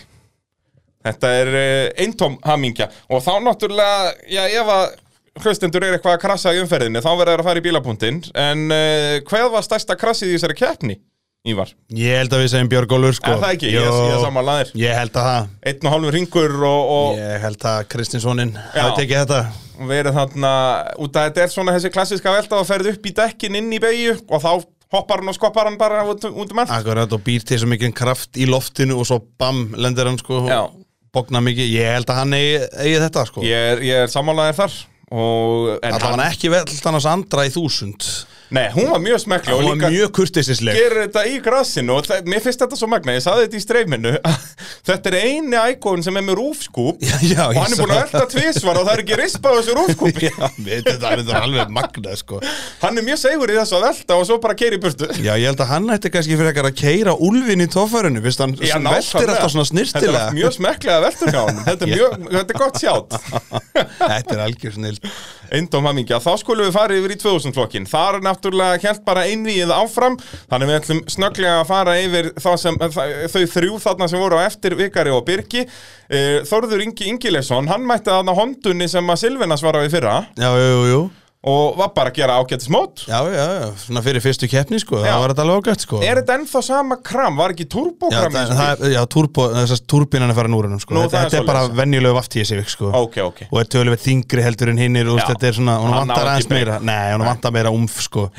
A: Þetta er eh, eintóm hamingja og þá náttúrulega, já ef að hlustendur er eitthvað að krasa í umferðinni þá verður það að fara í bílapunktinn en uh, hvað var stærsta krasið í þessari keppni, Ívar?
B: Ég held að við segjum Björg Ólfur sko
A: Er það ekki? Ég, ég er saman laðir
B: Ég held að það
A: Einn og hálfur ringur og, og
B: Ég held að Kristinssonin hafi tekið þetta
A: verið þarna út að þetta er svona þessi klassiska velta að ferð upp í dekkin inn í beigju og þá hoppar hann og skoppar hann bara út, út um allt
B: Akkurat og býr til svo mikið kraft í loftinu og svo bam, lendir hann sko og
A: Já.
B: bognar mikið, ég held að hann eigi, eigi þetta sko
A: Ég er, ég er samanlæðir þar og, en
B: Það
A: hann,
B: var hann ekki velt annars andra í þúsund
A: nei, hún var mjög smekkli
B: Hún
A: og
B: var
A: líka
B: mjög kurtisisleg
A: gerir þetta í grassinu og það, mér finnst þetta svo magna, ég saði þetta í streiminu þetta er eini íkón sem er með rúfskúp
B: Já, já,
A: og
B: ég
A: hann er
B: sá
A: búin að elda tvísvar og það er ekki rispa á þessu rúfskúpi
B: Já, við- þetta er þetta er alveg magnað sko
A: hann er mjög segur í þessu að elda og svo bara keiri burtu
B: Já, ég held að hann ætti kannski fyrir ekkert að keira úlfin í toffærinu, fyrst hann
A: Já,
B: veltir
A: nákvæmlega.
B: alltaf svona
A: Þetta er
B: snirtilega
A: mjög smekklega veltur hjá hann Þetta er, mjög, þetta er gott sjátt
B: Þetta er algjör snill
A: Eindóm hamingja, þá skulum við fara yfir í 2000 flokkin Þar er náttúrulega kjent bara einvíð áfram Þannig við ætlum snögglega að fara yfir þá sem, eh, þa- þau þrjú þarna sem voru á eftir Vikari og Birki Eh, Þórður Ingi Ingileson, hann mætti þarna hondunni sem að Silvinas var á í fyrra
B: Já, jú, jú, jú
A: Og var bara að gera ágætis mót
B: Já, já, já, svona fyrir fyrstu keppni sko,
A: Já.
B: það var þetta alveg ágætt sko
A: Er þetta ennþá sama kram, var ekki
B: Já,
A: turbokram í
B: það,
A: þessu bíl?
B: það, já turbo, þessast turbinan er farin úr hennum sko.
A: Nú, það
B: þetta,
A: er
B: þetta er bara
A: svoleiðis.
B: venjulegu vaftíði sig sko.
A: Ok, ok.
B: og er töluvert þingri heldur en hinnir og
A: Já.
B: þetta er svona, hún
A: Hann á
B: vantar
A: ekki
B: aðeins
A: breyk.
B: meira nei, hún vantar meira umf sko.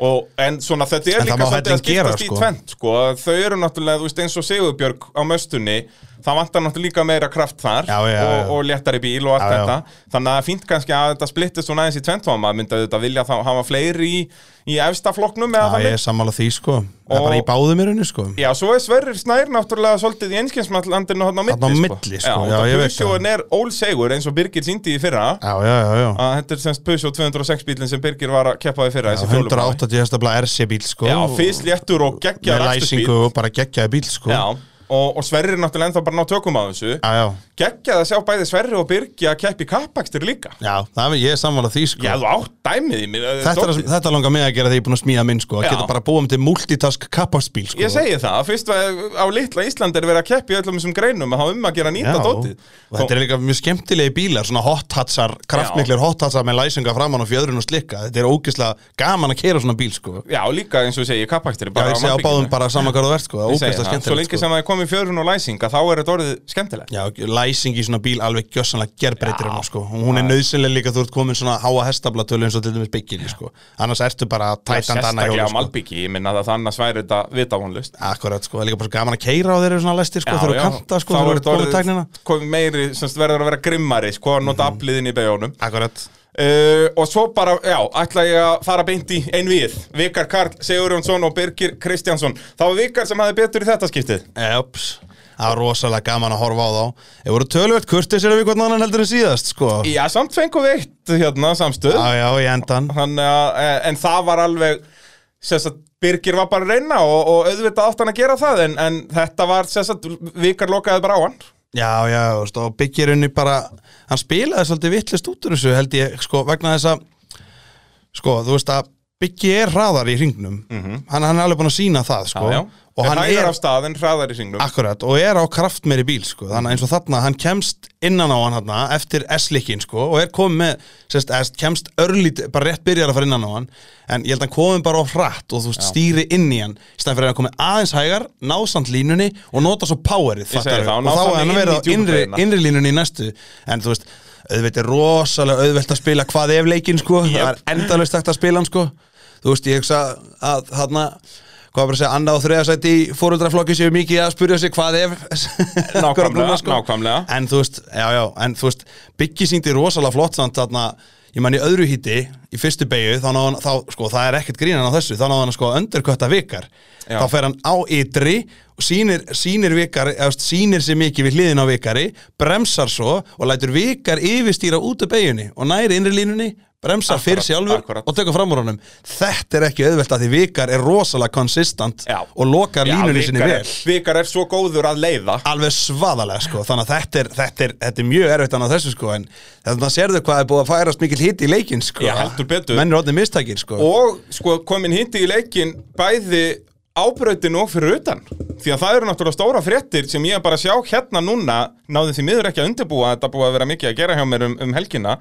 A: Og, en svona þetta er
B: En það
A: líka
B: má
A: svolítið að
B: helling gera,
A: skiptast í
B: sko.
A: tvent sko. þau eru náttúrulega, þú veist eins og Sigurbjörg á möstunni, það vantar náttúrulega líka meira kraft þar
B: Já, já,
A: og,
B: já.
A: og léttari bíl og allt
B: Já, já.
A: þetta þannig að það er fínt kannski að þetta splittist svona aðeins í tvent og maður myndi auðvitað vilja þá hafa fleiri í, í efstafloknum eða
B: það
A: þannig
B: er sammála því sko. það
A: Og-
B: er bara í báðum í rauninu sko.
A: Já, svo er Sverrir Snær náttúrulega svolítið í einskjensmallandinu hann á milli,
B: Þarna á milli, sko.
A: Já,
B: Já,
A: já
B: ég veit
A: Pusjóin er ólsegur eins og Birgir síndi í fyrra
B: já, já, já, já.
A: að þetta er semst Pusjó 206 bílinn sem Birgir var að keppa í fyrra þessi fjólubáði.
B: 180 hestabla RC bíl sko.
A: Já, fyrst léttur og geggja
B: með læsingu og bara geggjaði bíl sko.
A: Já, og, og Sverri er náttúrulega ennþá bara ná tökum á þessu
B: já, já,
A: Geggjað að sjá bæði Sverri og Birgi að keppi kappakstir líka
B: já það er, ég er sammála því sko.
A: Já, þú átt dæmið í mér
B: þetta, er, þetta langar mig að gera því ég er búin að smíða minn sko. að
A: Já.
B: geta bara búum til multitask kappasbíl sko.
A: Ég segi það, fyrst að á litla Íslandi er verið að keppi öllum þessum greinum að hafa um að gera nýta dótið
B: og þetta er líka mjög skemmtilegi bílar svona hot hatsar, kraftmiklir hot hatsar með læsinga framann og fjöðrun og slikka þetta er ógeðslega gaman að keira svona bíl sko
A: Já, líka eins og ég segi, kappakstir
B: Já, ég segja á báðum bara saman hvað þú ert sko, það er ógeðslega
A: Svo lengi
B: skemmtilegt sko.
A: sem það er komið fjörun og læsinga, þá er þetta orðið skemmtilegt
B: Já, læsing í svona bíl alveg gjössanlega gerbreytir hennar sko og hún er nöðsynlega líka þú ert komin svona háa hestablatölu eins og til dæmis bygginni sko annars ertu bara tætandi annað
A: Sérstaklega
B: hjóli
A: á
B: sko
A: Malbyggi, ég minna að það annars væri þetta vitavonlust
B: Akkurat sko, það er líka bara svo gaman að keira á þeir eru svona læstir sko, þeir eru kanta sko,
A: þá er
B: þeir eru
A: þetta
B: komið
A: orðið-
B: tæknina Mhm.
A: komið meiri, semst verður að vera grimmari sko, að nota afliðin í beigjónum
B: Akkurat,
A: uh, og svo bara, já, ætla ég að fara beint í einvið, Vikar Karl Sigurjónsson og Birgir Kristjánsson það var Vikar sem hafði betur í þetta skiptið
B: Eps, það var rosalega gaman að horfa á þá Þeir voru tölvöld kurtisir ef við hvernig annan heldur en síðast sko
A: já, samt fengum við eitt hérna samstöð
B: Já, já, í endan
A: Þannig að, eh, en það var alveg sem sagt, Birgir var bara að reyna og, og auðvitað átt hann að gera það en, en þetta var, sem sagt, Vikar lokaði bara á hann
B: Já, já, þú veist, og byggir henni bara Hann spilaði svolítið vittlist út úr þessu held ég, sko, vegna þess að Sko, þú veist að byggi er hraðar í hringnum hann, hann er alveg búin að sína það, sko
A: og
B: Og
A: hann
B: hann
A: hægir
B: er,
A: af staðin, hraðar í singnum
B: akkurat, og er á kraftmeri bíl, sko Þannig að eins og þarna, hann kemst innan á hann þarna Eftir S-likkin, sko, og er komið með sérst, S, Kemst örlít, bara rétt byrjar að fara innan á hann En ég held að hann komið bara á hratt Og þú veist, stýri inn í hann Í stæðan fyrir að hann komið aðeins hægar, náðsamt línunni Og nota svo powerið,
A: Ég segi
B: fattarðu?
A: það, og ná
B: Og þá
A: þannig
B: er
A: inn í
B: hann verið á
A: djúpu
B: innri,
A: beygina.
B: innri línunni í næstu en þú veist, auðvitað er rosalega auðvelt að spila hvað ef leikinn sko það er endalaust hægt að spila hann sko þú veist, ég hugsa að þarna hvað var bara að segja, annað og þriðasæti í fóröldraflokki séu mikið að spyrja sig hvað ef
A: Nákvæmlega, nákvæmlega.
B: en þú veist, já, já, en þú veist Biggi síndi rosalega flott samt þarna ég man í öðru híti, í fyrstu beigju þá, náði hann- þá, sko, það er ekkert grínan á þessu þá náði hann sko öndurkötta vikar
A: Já.
B: þá fer hann á ytri og sýnir, sýnir vikar, eða þú veist, sýnir sér mikið við hliðin á vikari, bremsar svo og lætur vikar yfirstýra út af beigjunni og næri innri línunni bremsar fyrir sjálfur
A: akkurat.
B: og tekur fram úr honum þetta er ekki auðvelt að því vikar er rosalega konsistant
A: Já.
B: og lokar línunni sinni
A: Vikar er-
B: vel
A: Vikar er svo góður að leiða
B: alveg svaðalega sko þannig að þetta er, þetta er, þetta er mjög erfitt annað þessu sko en þannig að sérðu hvað er búið að færast mikil hitt í leikinn sko
A: Já, heldur betur.
B: menn er orðin mistakir sko
A: og sko komin hindi í leikin bæði ábreytin og fyrir utan því að það eru náttúrulega stóra fréttir sem ég er bara að sjá hérna núna náðum því miður ekki að undirbúa þetta búið að vera mikið að gera hjá mér um, um helgina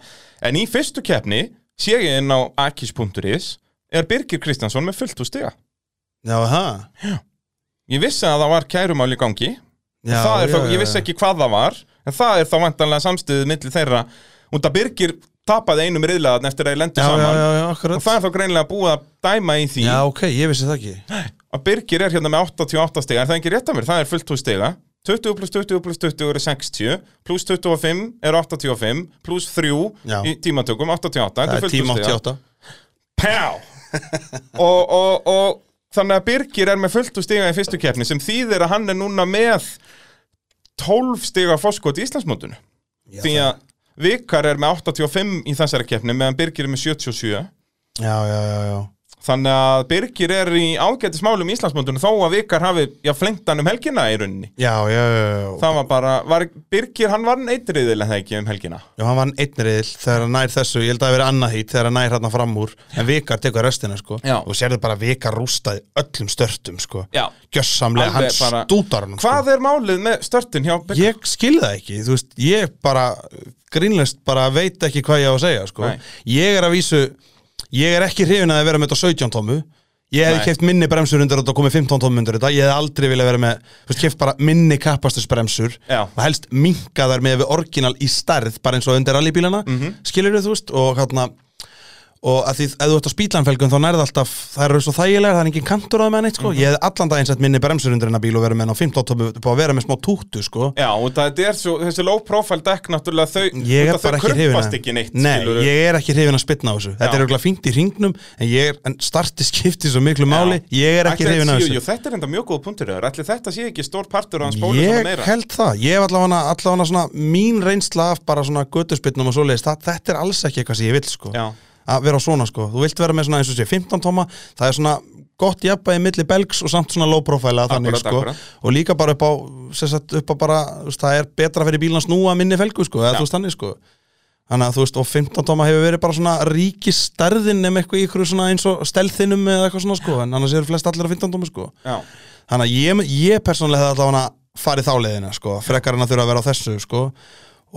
A: en í fyrstu keppni sé ég inn á akis.is er Birgir Kristjansson með fullt úr stiga
B: já, ha.
A: ég vissi að það var kærumál í gangi
B: já,
A: það er
B: já,
A: þá, ég vissi ekki hvað það var en það er þá vantanlega samstöðið milli þeirra út að Birgir tapaði einum riðlaðan eftir að ég lendi
B: já, já,
A: saman
B: já, já,
A: og
B: akkurat
A: það er þá greinlega búið að dæma í því
B: já, ok, ég vissi það ekki
A: að Birgir er hérna með 88 stiga er það ekki rétt að mér, það er fullt hús stiga 20 pluss 20 pluss 20 eru 60 pluss 25 eru 85 pluss 3
B: Já.
A: í tímatökum 88, þetta er
B: það er
A: fullt hús
B: tíma
A: stiga
B: 88
A: Pjá! og, og, og þannig að Birgir er með fullt hús stiga í fyrstu keppni sem þýðir að hann er núna með 12 stiga fórskot í Íslandsmótinu
B: Já,
A: því
B: það-
A: að Vikar er með 85 í þessari keppni meðan Birgir er með 77
B: já, já, já, já
A: Þannig að Birgir er í ágætis málum í Íslandsmóndunum þó að Vikar hafi já, flengt hann um helgina í rauninni.
B: já, já, já, já.
A: Það var bara, var, Birgir hann var neitriðilega það ekki um helgina.
B: Já, hann vann einn riðil þegar hann nær þessu, ég held að það hafi verið annað hít þegar hann nær hérna fram úr, en Vikar tekur restina sko,
A: Já.
B: og sérðu bara að Vikar rústaði öllum störtum sko,
A: Já.
B: gjössamlega, hann
A: Alveg bara-
B: stútar sko. hann
A: Hvað er málið með störtin hjá Birgir?
B: Ég skil það ekki, þú veist, ég bara grínlust bara veit ekki hvað ég á að segja sko.
A: Nei.
B: ég er að vísu ég er ekki hrifin að vera með þetta á 17 tómu
A: Nei.
B: ég hefði keft minni bremsur undir þetta og komið 15 tómu undir þetta, ég hefði aldrei vilja vera með þú veist, keft bara minni kappastusbremsur
A: Já.
B: og helst minkaðar með við orginal í stærð, bara eins og undir rallybílana mm
A: Mhm.
B: þú veist, og hérna og að því ef þú ert á spýtlanfelgum þá nærða alltaf það eru svo þægilegar, það er engin kantur á það með neitt
A: Mhm.
B: sko. ég hefði allan daginn sett minni bremsur undir hennar bíl og verið með hennar 15 tómi, búið að vera með smá túttu sko.
A: Já, og það er svo, þessi low profile deck náttúrulega þau,
B: ég er
A: út af
B: bara
A: þau
B: ekki hrifin
A: krumpast
B: að-
A: ekki neitt.
B: Nei,
A: skilurðu.
B: ég er ekki hrifin að spytna á þessu þetta
A: Já.
B: er auðvitað fínt í hringnum en, ég er, en starti skipti svo miklu
A: Já.
B: máli ég er ekki
A: Ætli
B: hrifin
A: þetta
B: að
A: séu- Jú,
B: þessu
A: þetta er enda mjög góð punktur þar. Ætli þetta sé ekki stór partur á hans bólu
B: ég
A: svona meira.
B: held það, ég hef allavega allavega svona mín reynsla af bara svona göttuspytnum og svoleiðis, það, þetta er alls ekki eitthvað sem ég vil sko
A: Já.
B: að vera svona sko, þú vilt vera með svona eins og sé 15 tóma, það er svona gott jafnbæði milli belgs og samt svona low profile að þannig
A: Akkurat,
B: sko,
A: akkurat.
B: og líka bara upp á sem sagt, upp á bara, þú veist, það er betra fyrir bílans nú að minni felgu sko, eða þú veist þannig sko þannig að þú veist, og 15 tóma hefur verið bara svona ríkistærðin nema eitthvað í ykkur svona eins og stelþinum eða eitthvað svona sko, en annars eru flest allir á 15 tóma sko
A: Já.
B: Þannig að ég, ég persónulega hefði allavega farið þá leiðina sko, frekar en að þurfa að vera á þessu sko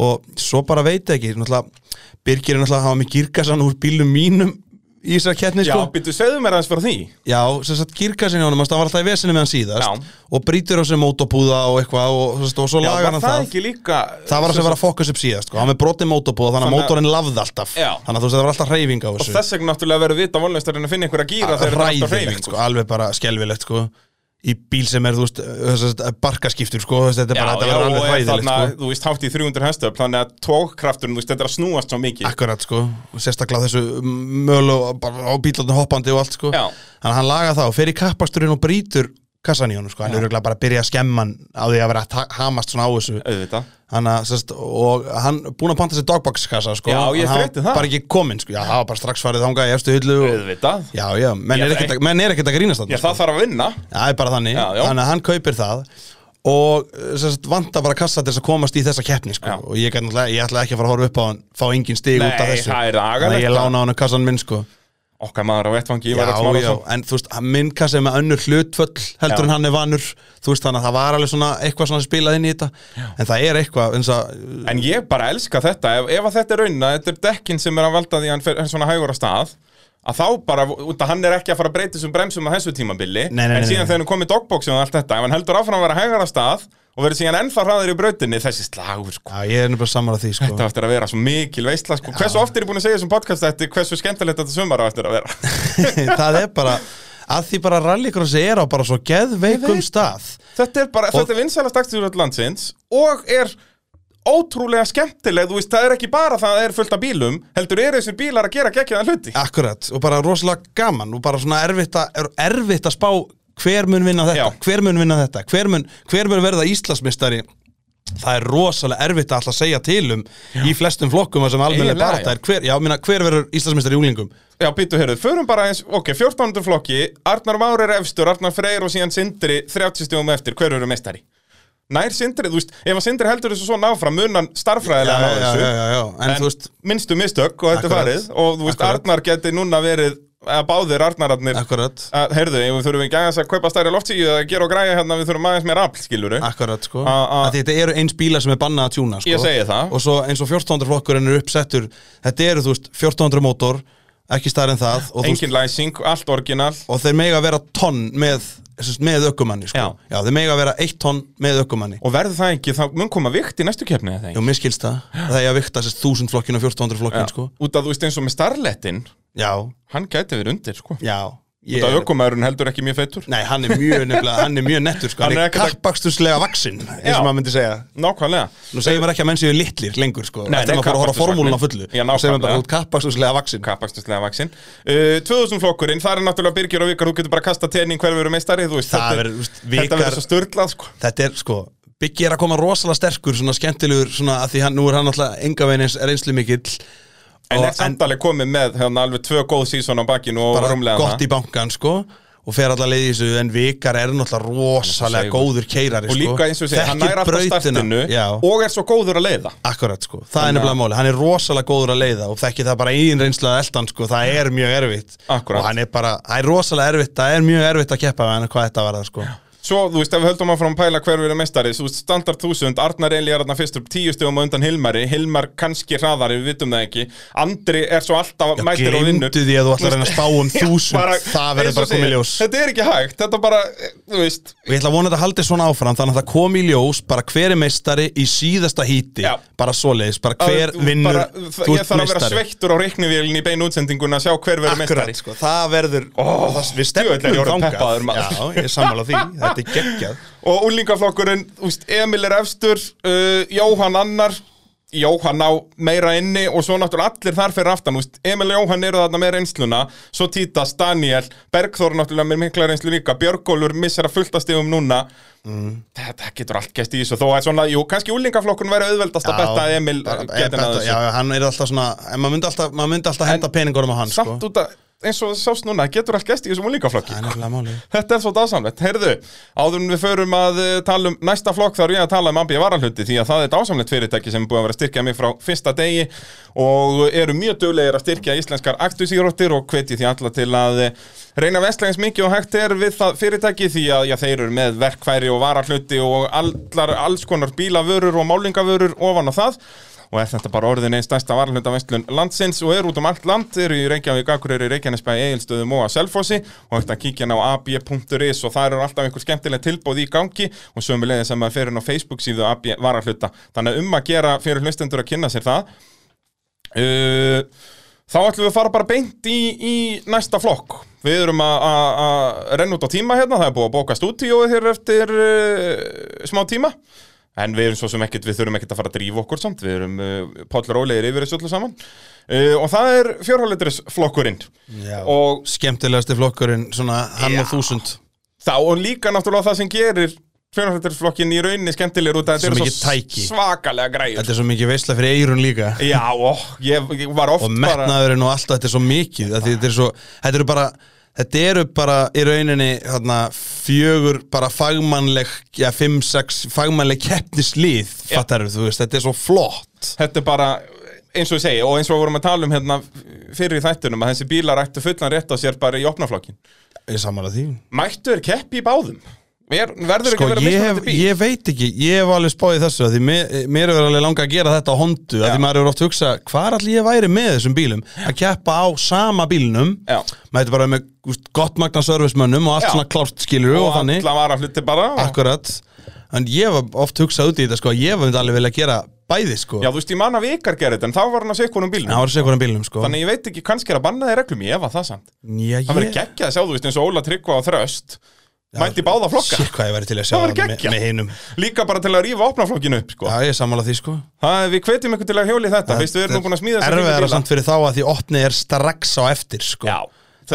B: og svo bara veit ég ekki, náttúrulega Birgir er náttúrulega að hafa mig girkasan úr bílum mínum í þessar kettni
A: Já,
B: sko
A: býttu, segðu mér aðeins frá því.
B: Já, sem sagt girkasan í honum, það var alltaf í vesinu með hann síðast
A: Já.
B: og brýtur á sig mótopúða og eitthvað og, sem sagt, og svo
A: Já,
B: lagar
A: var
B: hann
A: það,
B: það
A: ekki líka...
B: Það var að sem var að fókus upp síðast sko, hann með brotið mótopúða þannig að
A: Þannig að-
B: mótorinn lafði alltaf
A: Já.
B: þannig að þú veist það var alltaf hreyfing á
A: Og
B: þessu
A: þess vegna náttúrulega verður vita volnastarinn að finna einhverja gýra þegar þetta er alltaf
B: ræðilegt
A: hreyfingu.
B: sko, alveg bara skelvilegt sko í bíl sem er, þú veist, þessast, barkaskiptur sko, þess, þetta er bara, þetta
A: já,
B: verður
A: og
B: alveg
A: er
B: ræðilegt
A: þarna,
B: sko
A: þú veist, hátt í 300 hestöfl þannig að tókkrafturinn, þú veist, þetta er að snúast svo mikið
B: Akkurat sko, og sérstaklega á þessu mölu og bara á bílarnu hoppandi og allt sko
A: Já.
B: Þannig að hann laga það og fer í kappasturinn og brýtur kassan í honum sko, hann er örugglega bara að byrja að skemma hann á því að vera að ta- hamast svona á þessu
A: auðvitað
B: Hann að, sérst, og hann búin að panta sér dogboxkassa sko,
A: Já, ég
B: Hann hafa
A: frétti það.
B: bara ekki kominn sko, já, það var bara strax farið þangað í efstu hyllu og,
A: auðvitað,
B: Já, já, menn
A: Já,
B: er ekkert að- menn er ekkert að grínast þarna, sko.
A: já það þarf að vinna
B: Það er bara þannig,
A: Já, já.
B: þannig að hann kaupir það og eh, sem sagt, vantar bara kassa til þess að komast í þessa keppni sko.
A: Já.
B: og ég, gat náttúrulega- ég ætla ekki að fara að horfa upp á hann fá engin stig út af
A: Nei,
B: þessu
A: það er
B: Þannig að
A: agalegt
B: ég lána á hann kassan minn sko.
A: okkar maður á vettvangi,
B: já,
A: Ívar Örn
B: já,
A: Smárason.
B: en þú veist, hann- minn kassi er með önnur hlutföll heldur
A: Já.
B: en hann er vanur þú veist, þannig að það var alveg svona eitthvað svona spilað inn í þetta en það er eitthvað eins að
A: en ég bara elska þetta, ef, ef að þetta er raunna þetta er dekkin sem er að valda því að hann fer er svona hægur á stað að þá bara, út að hann er ekki að fara að breyta þessum bremsum á þessu tímabili,
B: Nei, nei,
A: en
B: nei,
A: síðan
B: nei.
A: þegar hann er komið dogboxið og allt þetta, ef hann heldur áfram að vera hægur á stað og verður síðan ennþá hraður í brautinni þessi slagur, sko.
B: já, ég er nefnilega samar að því sko.
A: þetta á eftir að vera svo mikil veistla, sko. hversu oft er ég búin að segja þessum podcast hversu skemmtilegt þetta sumar á eftir að vera
B: það er bara að því bara rallycrossi er á bara svo geðveikum stað
A: Þetta er bara,
B: Og-
A: þetta er vinsælast aktífuröld landsins og er ótrúlega skemmtileg, þú veist, það er ekki bara það að það er fullt af bílum, heldur eru þessir bílar að gera geggjaðan hluti.
B: Akkurat, og bara rosalega gaman og bara svona erfitt, a, er erfitt að spá hver mun vinna þetta,
A: Já.
B: hver mun vinna þetta hver mun, hver mun verða Íslandsmistari það er rosalega erfitt að alltaf segja til um í flestum flokkum þar sem almennileg
A: Eiginlega,
B: barata er hver, já, minna, hver verður Íslandsmeistar í úlingum
A: Já, býttu, heyrðu, förum bara eins, ok, 14. flokki, Arnar Már er efstur, Arnar Freyr og síðan Sindri 30 stjóðum eftir, hver eru meistari? Nær Sindri, þú veist, ef að Sindri heldur þessu svona áfram, munan starffræðilega ná þessu,
B: en, þú veist
A: minnstu mistök og þetta er
B: Akkurat.
A: farið og þú veist,
B: Akkurat.
A: Arnar geti núna verið, að báðir Arnararnir,
B: akkurat,
A: að, heyrðu, ef við þurfum ekki aðeins að kaupa stærri loftsíu eða gera og græja hérna, við þurfum aðeins meira afl, skiluru.
B: akkurat sko
A: A- a-
B: að þetta eru eins bílar sem er bannað að tjúna sko.
A: Ég segi það.
B: og svo eins og 1400 flokkurinn er uppsettur þetta eru þú veist 1400 mótor ekki stærri en það og, þú veist,
A: Engin læsing, allt orginal.
B: og þeir mega vera tonn með, sem sagt, með ökumanni sko.
A: Já.
B: þeir mega vera eitt tonn með ökumanni
A: Og verður það ekki, þá mun koma vikt í næstu keppni, eða
B: Jú,
A: ekki?
B: mér skilst það, það er að vikta sérst 1000 flokkin og 1400
A: Já.
B: flokkin, sko
A: Út að þú veist eins og með starlettin,
B: Já,
A: hann gæti verið undir, sko.
B: já ég
A: Út af
B: er-
A: aukumæðurinn heldur ekki mjög feittur
B: Nei, hann er mjög nefnilega, hann er mjög nettur, sko
A: Hann er
B: Hann er
A: ekkert að-
B: kappakstuslega vaksinn, eins
A: Já.
B: og maður myndi segja
A: Nákvæmlega
B: Nú segir maður ekki að menn séu litlir lengur, sko
A: Nei,
B: Þetta
A: nei,
B: maður fór að horfa á formúluna á fullu
A: Já,
B: Nú segir maður bara,
A: nákvæmlega.
B: þú ert kappakstuslega vaksinn
A: Kapakstuslega vaksinn uh, 2000 flokkurinn, það er náttúrulega Birgir og Vikar Þú getur bara kasta tenning hver verður meistari Þú veist,
B: Það
A: þetta er-
B: verður, þú veist,
A: Þetta
B: Vikar-
A: verður svo störlað sko.
B: Þetta er, sko, Biggi er að koma rosalega sterkur, svona skemmtilegur, svona að því hann, nú er hann alltaf engavegin eins reynslu mikill
A: En er samtalið komið með hérna, alveg tvö góð sísón á bakkinu og
B: bara
A: rúmlega
B: gott í bankan, sko og fer allar leið í þessu, en vikar er náttúrulega
A: Hann er
B: rosalega
A: svo
B: góður keirari sko.
A: Og líka eins og ég segi, hann nær alltaf startinu
B: Já,
A: Og er svo góður að leiða
B: Akkurat sko, það er nefnilega máli, hann er rosalega góður að leiða og þekki það bara einn reynsla að eldan sko, það er mjög erfitt
A: Akkúrat.
B: og hann er bara, það er rosalega erfitt, það er mjög erfitt að keppa við hann hvað þetta var það sko
A: Svo, þú veist, ef við höldum áfram að pæla hver verður meistari Þú veist, standard 1000, Arnar Eli er þarna fyrstur Tíu stugum á undan Hilmari, Hilmar kannski hraðari Við vitum það ekki, Andri er svo alltaf
B: Já,
A: mætir og vinnur
B: gleymdu því að þú ætlar að reyna að spá um þúsund,
A: bara-
B: það
A: eins og
B: verður bara að koma í
A: segir,
B: ljós
A: Þetta er ekki hægt, þetta bara, eh, þú veist
B: og ég ætla að vona að þetta haldi svona áfram þannig að það kom í ljós bara hver er meistari í síðasta híti,
A: Já.
B: bara svoleiðis, bara
A: að
B: hver
A: þú
B: vinnur,
A: bara,
B: þú
A: Ég þarf
B: ert
A: að vera
B: meistari
A: sveittur á reiknivílinn í beinu útsendingun að sjá hver verður meistari
B: Akkurat, sko, það verður,
A: Ó,
B: það, við
A: djöfull er ég
B: stefnum
A: orðinn
B: þangað
A: peppaður, maður.
B: Já, ég er sammála því, þetta er geggjað
A: Og úlingaflokkurinn, úst, Emil er efstur uh, Jóhann annar Jóhann á meira inni og svo náttúrulega allir þar fyrir aftan, úst, Emil og Jóhann eru þarna með reynsluna, svo Títas, Daniel Bergþór náttúrulega með mikla reynslu líka Björgólfur missir að fulltast yfum núna
B: Mm.
A: þetta getur allt gæst í þessu þó að svona, jú, kannski úlingaflokkurinn væri auðveldast að
B: Já,
A: betta að Emil
B: bara-
A: getur
B: betta-
A: náðu þessu
B: Já, já, hann er alltaf svona en maður myndi alltaf, maður myndi alltaf henda peningunum á hann sko.
A: samt út að eins og það sást núna, getur allt gæst í þessum úlingaflokki
B: Það er nefnilega máli
A: Þetta er svo dásamlegt, heyrðu, áður en við förum að eh, tala um næsta flokk þá er ég að tala um Ambi Varalhundi því að það er dásamlegt fyrirtæki sem er búið að vera að styrkja mig frá fyrsta degi og eru mjög duglegir að styrkja íslenskar aktusýróttir og hveti því alla til að eh, reyna vestlægins mikið og hægt er við það fyrirtæki því að já, þeir eru með verkfæri og varalhundi og allar, alls konar bílavörur og málingavörur ofan á það og er þetta bara orðin einn stærsta varalhundavestlun landsins og er út um allt land, eru í Reykjavík, Akureyri, Reykjanesbæ, Egilstöðum og að Selfossi og hægt að kíkja inn á ab.is og það eru alltaf einhver skemmtileg tilbóð í gangi og sömulegið sem að fyrir inn á Facebook síðu ab varalhuta, þannig að um að gera fyrir hlustendur að kynna sér það uh, Þá ætlum við að fara bara beint í, í næsta flokk Við erum að- að að renna út á tíma hérna, það er búið að bóka stúdíóið hér eftir uh, smá tíma En við erum svo sem ekkert, við þurfum ekkert að fara að drífa okkur samt Við erum uh, pollrólegir yfir þessu öllu saman uh, Og það er fjórhálendrisflokkurinn Og
B: Skemmtilegasti flokkurinn, svona hann
A: Já.
B: og þúsund
A: þá og líka náttúrulega það sem gerir fjórhálendrisflokkinn í rauninni skemmtilegur út að
B: Svo
A: þetta eru
B: mikið
A: svo
B: tæki.
A: svakalega græður
B: Þetta er svo mikið veisla fyrir eirun líka
A: Já, ó, ég, ég var oft
B: Og metnaðurinn og alltaf, þetta er svo mikið af því Þetta er svo, þetta eru bara Þetta eru bara í rauninni þarna, fjögur bara fagmannleg já, fimm, sex fagmannleg keppnislið fattar þú veist, þetta er svo flott
A: þetta er bara eins og ég segi og eins og við vorum að tala um hérna fyrir í þættunum að þessi bílar ættu fullan rétt á sér bara í opnaflokkin
B: Ég samanlega því
A: mættu er keppi í báðum Ver, verður
B: Sko,
A: ekki að vera
B: ég,
A: mismunandi
B: hef,
A: bíl
B: ég veit ekki, ég hef alveg spáðið þessu að því mér, mér er alveg langa að gera þetta á hondu að
A: Já.
B: því maður er ofta að hugsa hvar allir ég væri með þessum bílum að keppa á sama bílnum
A: Já.
B: maður er bara með úst, gott magna servicemönnum og
A: Já.
B: allt svona klárt skilur og,
A: og
B: þannig,
A: alla var að hluti bara og...
B: akkurat en ég hef ofta hugsað út í þetta sko að ég hef alveg vilja gera bæði sko
A: já þú veist ég man að vikar gerði þetta en þá var hann að segja hvernig
B: það
A: bílum
B: var að segja hvernig bílnum sko
A: þannig ég veit ekki kannski er að banna þeir reglum ég efa það samt
B: Já, ég...
A: það verður geggjað að sjá þú veist eins og Óla Tryggva og Þröst mætti í báða flokka
B: Sér hvað ég væri til að sjá
A: Það væri
B: þarna með,
A: geggjað.
B: með hinum
A: líka bara til að rífa opnaflokkinu upp sko.
B: Já, ég er sammála því sko
A: það, við hvetjum ykkur til að hjóli þetta, veistu við erum nú búin að smíða þessa fínu
B: Erfiðara
A: bíla.
B: samt fyrir þá að því opni er strax á eftir sko
A: Já,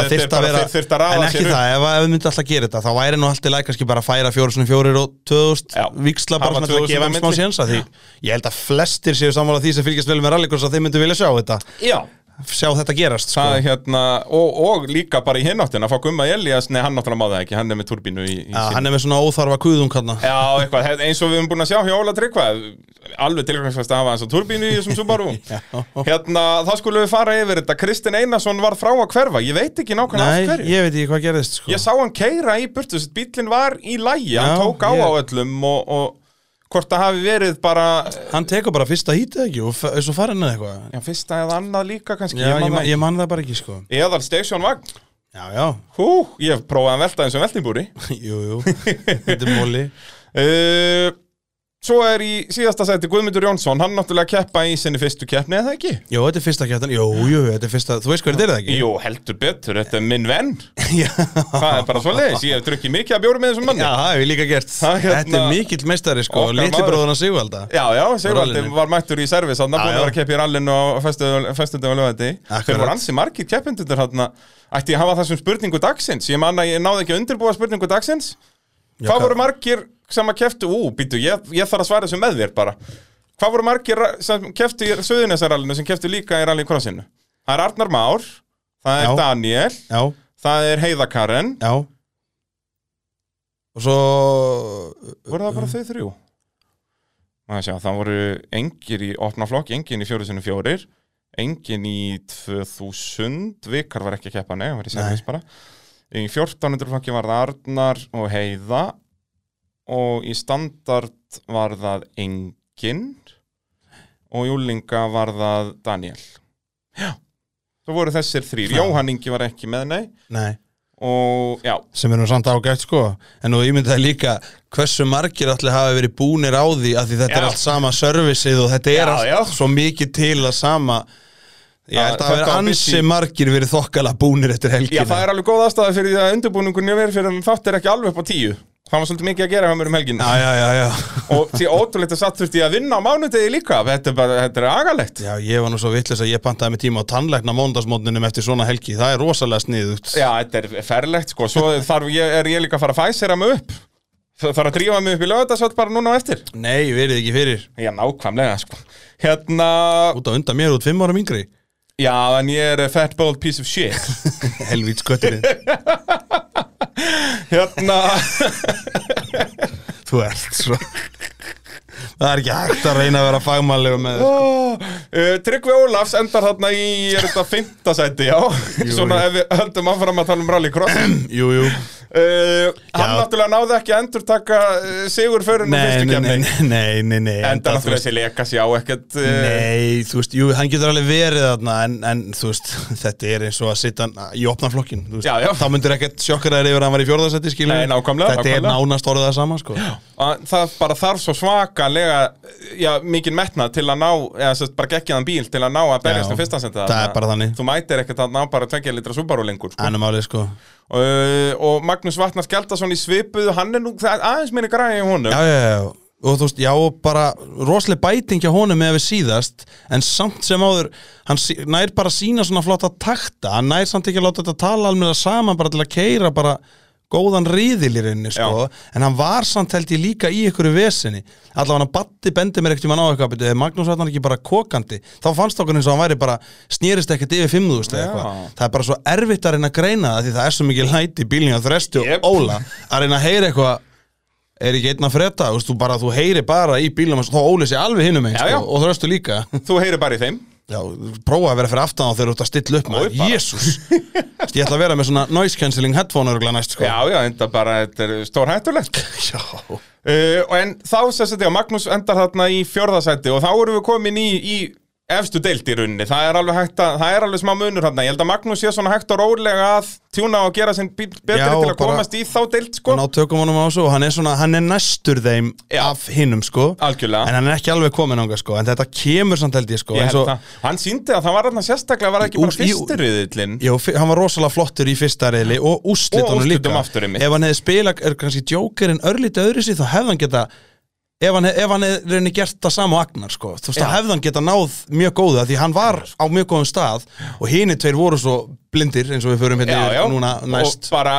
A: Þeir-
B: það
A: þeir
B: þyrfti að
A: bara-
B: vera
A: þeir þyrftu að raða
B: en ekki
A: sér upp.
B: það, ef ef við myndum alltaf að gera þetta þá væri nú alltaf læk kannski bara að færa fjóru svona fjórir og
A: Já.
B: 2000 viksla bara
A: Hafa
B: svona til
A: 2000
B: að gefa
A: á
B: þeim smá
A: milli.
B: sénsa því ég held að flestir séu sammála því sem fylgjast vel með rallycross að þeir myndu vilja sjá þetta
A: Já
B: sjá þetta gerast sko.
A: Það er hérna, og, og líka bara í hinnáttin að fá Gumma Elías, nei hann náttúrulega má það ekki, hann er með turbínu í, í
B: Já, hann er með svona óþarfa kuðung hann
A: Já, eitthvað, he- eins og við höfum búin að sjá hjá Óla Tryggva Alveg tilgangsvæmst að hafa hans á turbínu í þessum Subaru Hérna, þá skulum við fara yfir þetta Kristinn Einarsson var frá að hverfa, ég veit ekki nákvæmlega
B: Nei,
A: af hverju
B: ég veit ekki hvað gerðist sko.
A: Ég sá hann keira í burtu, þess að bíllinn var í lægi, hann
B: Já,
A: tók á
B: ég-
A: á öllum og, og hvort það hafi verið bara
B: Hann tekur bara fyrsta hítið ekki og f- er svo farin eða eitthvað
A: já, fyrsta eða annað líka kannski
B: Já, ég,
A: man
B: man,
A: það
B: ég man það bara ekki sko
A: ekki. Eðal Station Vagn,
B: Já, já,
A: hú, ég hef prófað að velta eins og veltinbúri
B: jú, jú Þetta er móli
A: uh, Svo er í síðasta seti Guðmundur Jónsson, hann náttúrulega keppa í sinni fyrstu keppni, eða ekki?
B: Jú, þetta er fyrsta kjartan, jú, jú, þetta er fyrsta Þú veist hvað þetta er það ekki?
A: Jú, heldur betur, þetta er minn venn
B: Já,
A: Það er bara svo leiðis, ég hef drukkið mikið að bjóra með þessum manni
B: Já,
A: Já,
B: það hefur líka gert
A: Það er hérna-
B: Þetta er mikill meistari sko,
A: Okkar
B: litli
A: maður.
B: bróðurna Sigvalda
A: já, Sigvaldi
B: Rallinu.
A: var mættur í servis hann búin
B: já.
A: að vera að keppa í rallinu á festundum og lögandi
B: Akkurat.
A: Þeir voru ansi margir keppindundur hann Ætti ég að hafa þessum spurningu dagsins Ég man að ég náði ekki að undirbúa spurningu dagsins Hvað
B: Já, hvað-
A: voru margir sem að kepptu Ú, býtu, ég, ég þarf að svara þessu með þér bara Hvað voru margir ra- sem kepptu í Suðunesarallinu sem kepptu líka í rallycrossinu? Það er Arnar Már, það er
B: Já.
A: Daniel
B: Já,
A: Það er Heiða Karen
B: já Og svo
A: Voru það bara þau þrjú? Má ég sjá, það voru engir í opna flokk, engin í fjóru sinni fjórir engin í 2000 vikar var ekki að keppa, nei, hann var í servis bara í 1400 flokki var það Arnar og Heiða og í standard var það engin og í júlinga var það Daniel Já, það voru þessir þrýr,
B: Já.
A: Jóhann Ingi var ekki með, nei
B: Nei,
A: og já,
B: sem er nú samt ágætt sko En nú ímyndaði líka hversu margir allir hafa verið búnir á því að því
A: Já.
B: þetta er allt sama servicið og þetta er
A: Já,
B: allt
A: já.
B: svo mikið til að sama Ég
A: Það-
B: held að það
A: þetta
B: vera
A: var
B: ansi
A: busy.
B: margir verið þokkala búnir eftir helgina
A: Já, það er alveg góð aðstæða fyrir því að undirbúningun ég verið fyrir en þátt er ekki alveg upp á tíu Það var svolítið mikið að gera hjá mér um helgin
B: Já, já, já, já.
A: Og því ótrúleitt að satt þurfti ég að vinna á mánudegi líka Þetta er bara, þetta er agalegt Já,
B: já, ég var nú svo vitlis að ég pantaði mig tíma á tannleikna móndagsmótninum eftir svona helgi Það er rosalega sniðugt
A: þetta er ferlegt sko Svo þarf ég, er ég líka að fara að fæsera mig upp Það þarf að drífa mig upp í lögðardagsvöld bara núna á eftir
B: Nei, verið ekki fyrir
A: Já, nákvæmlega sko Hérna,
B: Út á undan mér út fimm árum yngri
A: já, en ég er a fat bold piece of shit
B: Helvíts götturinn
A: Hérna
B: Þú ert svo Það er ekki hægt að reyna að vera fagmannlega með þér.
A: Oh, uh, Tryggvi Ólafs endar þarna í er þetta fymta sæti, já Svona ef við höldum áfram að tala um rallycross uh,
B: Jú, jú
A: Eh, Hann
B: Já.
A: náttúrulega náði ekki að endurtaka uh, sigur fyrir nú
B: Nei,
A: fyrstu
B: nei, nei,
A: kemni
B: nei, nei, nei, nei
A: Enda
B: þú
A: náttúrulega
B: veist-
A: þessi leka sjá ekkert uh,
B: Nei, þú veist, jú, hann getur alveg verið þarna en, en þú veist, þetta er eins og að sitja hann í opna flokkin þú veist.
A: Já, já.
B: Þá myndir ekkert sjokkar þær yfir að hann var í fjórðarsætti skilur
A: Nei, nákvæmlega,
B: Þetta er
A: nákvæmlega.
B: nánast orðið það sama sko.
A: að Það bara þarf svo svakalega já, mikinn metna til að ná eða sérst bara geggjaðan bíl til að ná að berjast
B: Já.
A: um fyrsta sæti
B: Það
A: þarna.
B: er bara þannig.
A: Þú mætir ekkert að ná bara tvekja litra Subaru lengur sko.
B: Annum álið sko
A: uh, Og Magnús Vatnar Skjaldason í svipuðu Hann er nú það er aðeins minni græði í honum
B: Já, já, já, já og þú veist, já, og bara rosaleg bæting hjá honum með við síðast en samt sem áður, hann sí- nær bara sína svona flotta takta, hann nær samt ekki að láta þetta tala alveg saman bara til að keira bara góðan riðil í rauninni sko, en hann var samt held ég líka í ykkur vesinni, allavega hann batti bendi mér ekkert um hann á eitthvað, betur, Magnús var hann ekki bara kokandi, þá fannst okkur eins og hann væri bara snýrist ekkert yfir 5000
A: Já.
B: eða eitthvað það er bara svo erfitt að reyna að greina það því það er svo mikið læti í bílinni á þresti
A: Jep.
B: og óla að reyna að heyra eitthvað er ekki einn að fretta, þú veist, þú bara, þú heyri bara í bílum og þá óli sér alveg hinum einn,
A: Já, já.
B: sko, og þröstu líka
A: Þú heyrir bara í þeim
B: já, prófa að vera fyrir aftan og þeir eru út að stilla upp
A: Oj,
B: maður,
A: bara.
B: jésús ég ætla að vera með svona noise cancelling headphone örgulega næst, sko
A: Já, já, enda bara, þetta er stór hættulegt
B: já,
A: uh, og En þá sem þetta, já, Magnús endar þarna í fjörðasæti og þá erum við komin í, í efstu deild í runni Það er alveg hægt að, það er alveg smá munur þarna Ég held að Magnús sé svona hægt og rólega að tjúna og gera sinn bíl betri
B: Já,
A: til að
B: og bara-
A: komast í þá deild, sko
B: og ná tökum honum á þessu og hann er svona, hann er næstur þeim
A: Já.
B: af hinum, sko
A: Algjörlega.
B: en hann er ekki alveg komin ánga, sko, en þetta kemur samt held ég, sko,
A: Ég
B: eins
A: held
B: og
A: það. Hann síndi að það var þarna sérstaklega var það ekki bara
B: Ús- í-
A: fyrstiriðillin
B: Jó, fi- hann var rosalega flottur í fyrsta reyli og
A: Og
B: úrslitunum
A: úrslitum
B: líka
A: aftur einmitt.
B: Ef hann hefði spilað, er kannski djókerinn örlítið öðru sér, þá hefði hann geta Ef hann, hef, ef hann hefði reyni gert það sama og Agnar sko, þú veist,
A: Já.
B: þá hefði hann geta náð mjög góða því hann var á mjög góðum stað og hini tveir voru svo blindir eins og við förum hérna
A: Já,
B: yfir
A: já,
B: núna næst
A: og bara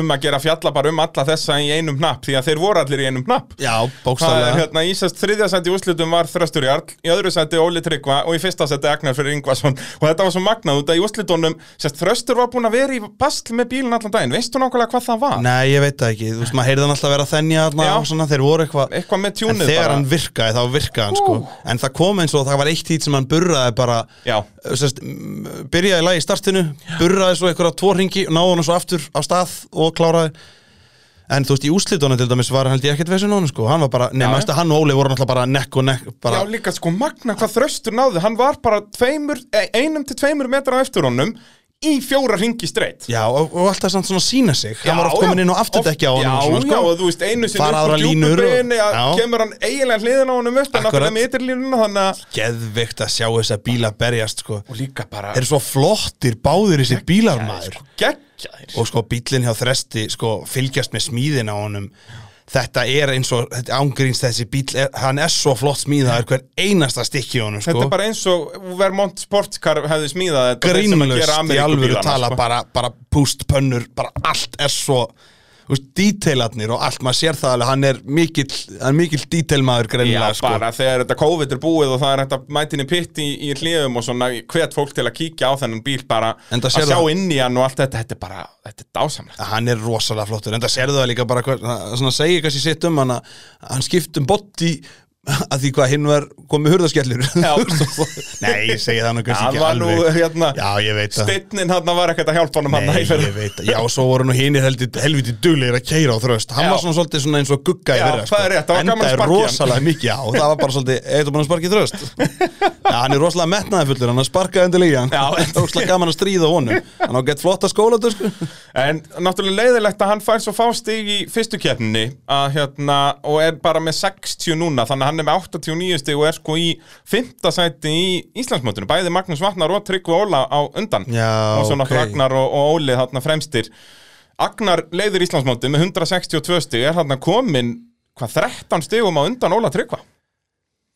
A: um að gera fjalla bara um alla þessa í einum hnapp því að þeir voru allir í einum hnapp
B: Já,
A: Það er
B: bókstaflega
A: hérna, í sest þriðja sæti í úrslutum var Þröstur Jarl, í öðru sæti Óli Tryggva og í fyrsta sæti Agnar fyrir Yngvason og þetta var svo magnað út að í úrslutunum sest Þröstur var búin að vera í basl með bílinn allan daginn, veistu nákvæmlega hvað það var?
B: Nei, ég veit það ekki, þú veist, maður heyrði hann alltaf vera að þennja þarna
A: Já.
B: og svona, þeir voru eitthvað
A: Eitthvað með
B: En
A: tjúnið
B: þegar
A: bara
B: hann virkaði, þá virkaði hann sko En það kom eins og það var eitt hít sem hann burraði bara
A: Já.
B: sest, m- Byrjaði lagi í startinu, burraði svo einhverja tvo ringi Náði hann svo aftur á stað og kláraði En þú veist, í úslitunum til dæmis var held ég ekkert vesinn á hann sko Hann var bara,
A: Já,
B: nema,
A: já.
B: hann og Óli voru náttúrulega bara nekk og nekk bara,
A: Já, líka sko magna hvað Þröstur náði, hann var bara tveimur, eh, einum til tveimur metra á eftir honum í fjóra ringi streitt
B: Já, og, og alltaf samt svona sína sig Hann var oft komin inn og afturdekki á
A: honum Já,
B: hann svona,
A: já,
B: sko.
A: og þú veist, einu sinni
B: Fara
A: upp úr
B: aðra línur og-
A: djúpubreyni
B: Já.
A: kemur hann eiginlega hliðin á honum upp en
B: Akkurat.
A: náttúrulega með ytterlínuna þannig að
B: Geðveikt að sjá þess að bíla berjast sko
A: og líka bara
B: Eru svo flottir báðir þessi bílar maður
A: geggjaðir
B: og sko bílinn hjá Þresti sko fylgjast með smíðin á honum þetta er eins og, þetta er ángríns þessi bíl, er, hann er svo flott smíðaður hver einasta stykki á honum sko
A: Þetta er bara eins og Vermont Sportscar hefði smíðað þetta þeir sem að gera
B: grínlaust
A: Ameríkubílana,
B: í alvöru tala
A: sko.
B: bara, bara púst, pönnur, bara allt er svo þú veist, detailarnir og allt maður sér það alveg, hann er mikill hann er mikill detailmaður
A: Já,
B: greinlega sko.
A: bara þegar þetta COVID er búið og það er þetta mætin í pitt í, í hlíðum og svona hvet fólk til að kíkja á þennan bíl bara
B: Enda
A: að
B: sér
A: sjá
B: það.
A: inn í hann og allt þetta, þetta er bara, þetta er dásamlegt
B: hann er rosalega flottur en það serðu það líka bara hver, svona segir kannski sitt um hann að hann skipt um botti að því hvað hinn var komið hurðaskellur
A: Já.
B: nei, ég segi það nú
A: Það
B: kannski ekki
A: var nú
B: alveg
A: hérna,
B: já, ég veit það
A: steinnin hann var ekkert að hjálpa honum hann
B: Nei, ég veit það. Já, svo voru nú hinir heldur helviti duglegir að keira á þröst Hann
A: Já.
B: var svona svolítið svona eins og gugga í
A: Já,
B: verða
A: það er rétt, það var gaman að sparka í hann.
B: rosalega mikið, já, það var bara svolítið Eitthvað búin að sparka í þröst Já, hann er rosalega metnaðifullur, hann sparkaði undir líka
A: Já.
B: Það er rosalega gaman að stríða honum Hann á gett flotta skóladösku
A: En náttúrulega leiðilegt að hann fær svo fástig í fyrstu keppninni að, hérna, og er bara með 60 núna þannig að hann er með 89 stig og er sko í fymta sæti í Íslandsmótinu bæði Magnús Vatnar og Tryggvi Óla á undan
B: Já,
A: og svo náttúrulega
B: ok.
A: Agnar og, og Óli þarna fremstir Agnar leiðir Íslandsmótið með 162 stig er þarna komin hvað 13 stigum á undan Óla Tryggva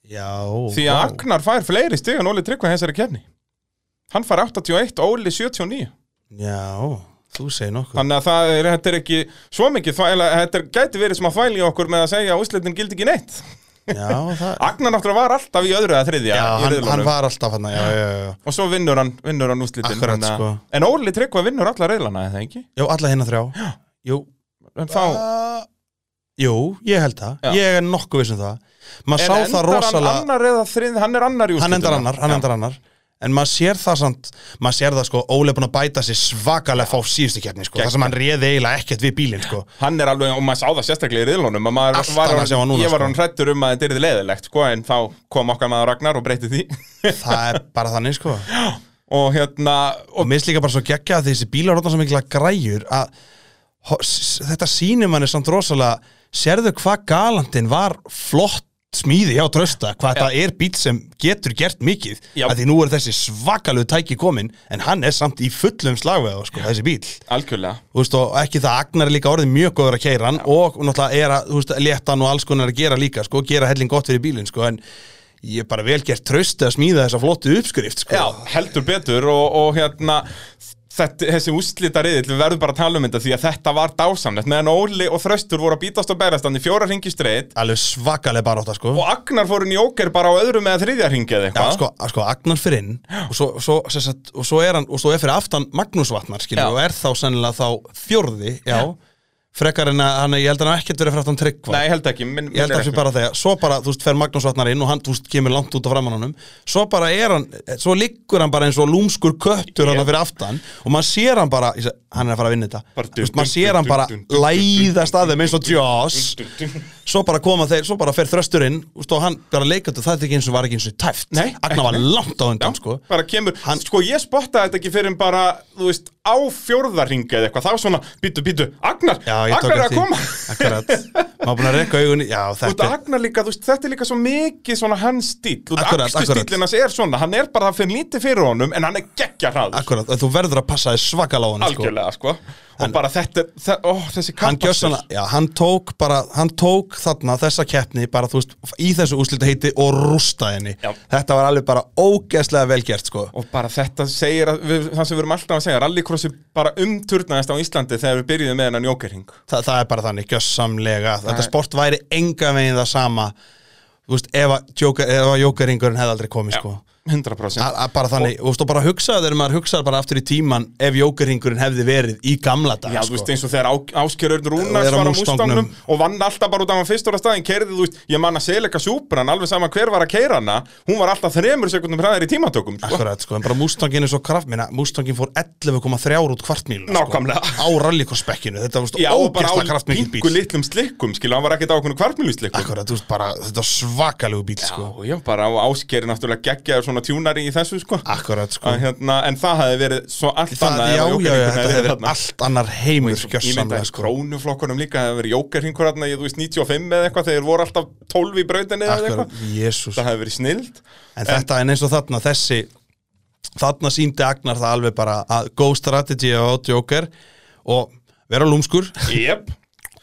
B: Já,
A: því að
B: vá.
A: Agnar fær fleiri stig en Óli Tryggva í þessari keppni hann fær 81, Óli 79
B: Já, þú segir nokkuð
A: Sko. Þannig að það er, þetta er ekki svo mikið þvæla, þetta er, gæti verið sem að þvæli okkur með að segja að úslitin gildi ekki neitt.
B: Já, það
A: Agnar náttúrulega var alltaf í öðru eða þriðja í
B: Já, hann, hann
A: riðlunum
B: var alltaf hann, já, já, já, já.
A: og svo vinnur hann, vinnur hann úslitin.
B: Akkurat,
A: þannig að-
B: sko.
A: En Óli Tryggva vinnur alla reyðlana, eða ekki?
B: Jú, alla hérna þrjá Jú,
A: En þá
B: uh, jú, ég held það
A: Já.
B: Ég er nokkuð viss um það
A: en
B: Maður sá það rosalega
A: hann annar eða þrið, hann er annar í úslitinu.
B: Hann endar annar, hann endar annar En maður sér það samt, maður sér það sko Óli er búin að bæta sér svakalega fá síðustu keppni sko,
A: Gegn-
B: Það sem hann réði eiginlega ekkert við bílinn sko.
A: Hann er alveg, og maður sá það sérstaklega í riðlunum, að maður
B: Allt annað sem var núna,
A: ég var
B: sko.
A: hann hrættur um að þetta er leiðilegt, sko, en þá kom okkar maður Ragnar og breyti því.
B: Það er bara þannig sko Og
A: og hérna, og
B: mér er líka bara svo geggja að þessi bílar Róttan sem mikla græjur að, ho, s- Þetta sýnir manni samt rosalega Sérðu hvað galandinn var flott smíði hjá trösta Hvað þetta er bíl sem getur gert mikið
A: Já.
B: að Því nú er þessi svakalegu tæki komin En hann er samt í fullum slagveða sko, þessi bíl
A: algjörlega,
B: Þú veist, og ekki það, Agnar er líka orðið mjög góður að keira hann og náttúrulega er að, þú veist, létta hann og alls konar að gera líka, sko, gera helling gott fyrir bílinn, sko, en ég er bara vel gert trösti að smíða þessa flottu uppskrift, sko.
A: Já, heldur betur og, og hérna þetta, þessi úslitariðil, við verðum bara að tala um þetta því að þetta var dásamlegt meðan Óli og Þröstur voru að bítast og berjast hann í fjóra ringi streitt
B: Alveg svakalega bara átta, sko.
A: og Agnar fór inn í óker bara á öðrum eða þriðja ringi eða
B: Já,
A: eitthvað
B: sko, að- sko, Agnar fyrir inn og svo, svo, sem sagt, og svo er hann, og svo er fyrir aftan Magnús Vatnar, skilur,
A: Já.
B: og er þá sennilega þá fjórði, já, frekar en að hann, ég held að hann hafi ekkert verið fyrir aftan tryggva.
A: Nei, ég held ekki, minn,
B: Ég held að það sé bara þegar, svo bara, þú veist, fer Magnús Vatnar inn og hann, þú veist, kemur langt út á framannanum Svo bara er hann, svo liggur hann bara eins og lúmskur köttur hann fyrir aftan Og maður sér hann bara, ég seg, hann er að fara að vinna þetta
A: Bara
B: Þú veist, maður sér hann bara
A: dun, dun, dun, dun,
B: læðast að þeim eins og Joss
A: bara
B: Svo bara koma þeir, svo bara fer þröstur inn þú veist, Og hann bara leikandu, það er ekki eins og var ekki eins og tæft
A: Nei,
B: Agnar var langt á undan, sko
A: bara kemur,
B: Hann-
A: sko ég spottaði þetta ekki fyrir en bara, þú veist, á fjórðarringa eða eitthvað, þá svona, býtu, býtu, Agnar,
B: Já, ég tók
A: Agnar er að
B: eftir
A: koma
B: Akkurat, maður búin að reka augun í- Já,
A: Þú veit að
B: þetta er
A: Agnar líka, þú veist, þetta er líka svo mikið svona hans stíl, þú veit,
B: Akkurat,
A: akstu
B: akkurat.
A: stílinn hans er svona, hann er bara að finna lítið fyrir honum, en hann er geggja hraður,
B: Akkurat, þú verður að passa þér svakalega á hann, sko
A: algjörlega, sko. og bara þetta, þe ó, þessi
B: hann,
A: kappastur.
B: gjössanlega- já, hann tók bara hann tók þarna þessa keppni bara þú veist í þessu úslita heiti og rústa henni
A: Já.
B: þetta var alveg bara ógeðslega velgert sko
A: og bara þetta segir að, við, það sem við erum alltaf að segja rallycrossi bara umturnaðist á Íslandi þegar við byrjuðum með hennan jókerhing
B: Þa, það er bara þannig gjössamlega þetta sport væri enga veginn það sama þú veist ef að Joker- ef að jókeringurinn hefði aldrei komið sko
A: 100%
B: A, a, bara þannig, og, og bara hugsaðu þegar maður hugsaður bara aftur í tíman ef jókeringurinn hefði verið í gamla sko. dag
A: Já, þú veist, eins og þegar Áskjörurn Rúnars
B: Þegar á
A: var á
B: Mustangnum.
A: Mustangnum og vann alltaf bara út af hann fyrstur að staðin keirði, þú veist, ég manna Seleka Súpran alveg sama hver var að keira hana hún var alltaf þremur sekundum hraðir í tímatökum sko.
B: Akkurat, sko, en bara Mustangin er svo kraft minna, Mustangin fór 11,3 út kvartmíl
A: Nákvæmlega.
B: sko, Á rallycrossbekkinu, þetta var
A: Já,
B: stóð
A: og bara á
B: ógeðslega kraftmikil
A: pingu
B: bíl
A: litlum slikkum, skilja, hann var ekkert á okkur kvartmjöluslikkum
B: Akkurat, þú veist bara, þetta var svakalegu bíl sko.
A: Já, já, bara á Áskeri náttúrulega geggjaður svona tjúnari í þessu, sko
B: Akkurat, sko
A: að, hérna, En það hefði verið svo allt
B: Það,
A: annað ef að
B: já, já, já,
A: jókerhringurinn
B: þetta
A: hefði
B: hefur
A: verið
B: verið
A: þarna.
B: allt annar heimur
A: Ég myndi
B: gjörsamlega,
A: að
B: sko
A: krónuflokkunum líka hefði verið jókerhingur hérna, ég þú veist 95 eða eitthvað, þeir voru alltaf 12 í brautinni eða
B: Akkurat,
A: eitthvað,
B: jésús
A: það hefði verið snild
B: En þetta en eins og þarna, þessi þarna síndi Agnar það alveg bara að go strategy á Joker og vera lúmskur
A: Jep,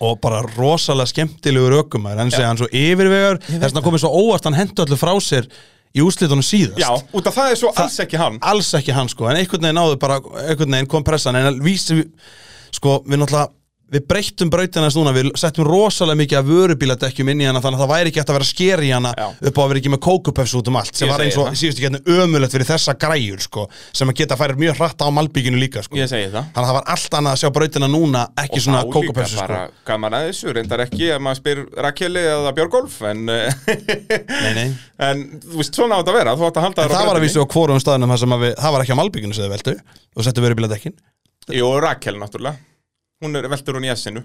B: og bara rosalega skemmtilegur ökumæður hann segja hann svo yfirvegar þess að hann komið svo óvart hann hendu allir frá sér í úrslitunum síðast
A: Já, út af það er svo alls ekki hann
B: alls ekki hann sko en einhvern veginn náðu bara einhvern veginn kom pressan en að vísi sko við náttúrulega við breyttum brautina hans núna við settum rosalega mikið af vörubíladekkjum inn í hana þannig að það væri ekki hægt að vera að sker í hana
A: Já.
B: upp á að vera ekki með kókupefs út um allt sem
A: Ég
B: var eins
A: segi
B: og
A: það.
B: síðustu getni ömulegt fyrir þessa græjur sko sem að geta færir mjög hratt á malbygginu líka sko
A: Ég segi það
B: þannig að það var allt annað að sjá brautina núna ekki svona
A: þá líka
B: kókupefs sko
A: bara gaman að þessu, reyndar ekki ef maður spyr Rakeli eða Björgolf en, eh,
B: nei, nei.
A: en þú veist, svona átt að vera, þú átt að halda þér
B: En
A: á
B: það var að
A: brautinni.
B: vísu á hvorum staðinum þar sem að við, það var ekki á malbygginu sem þið veldu og settu verið bíladekkin
A: Jú, Rakel náttúrulega Hún er veldur hún í essinu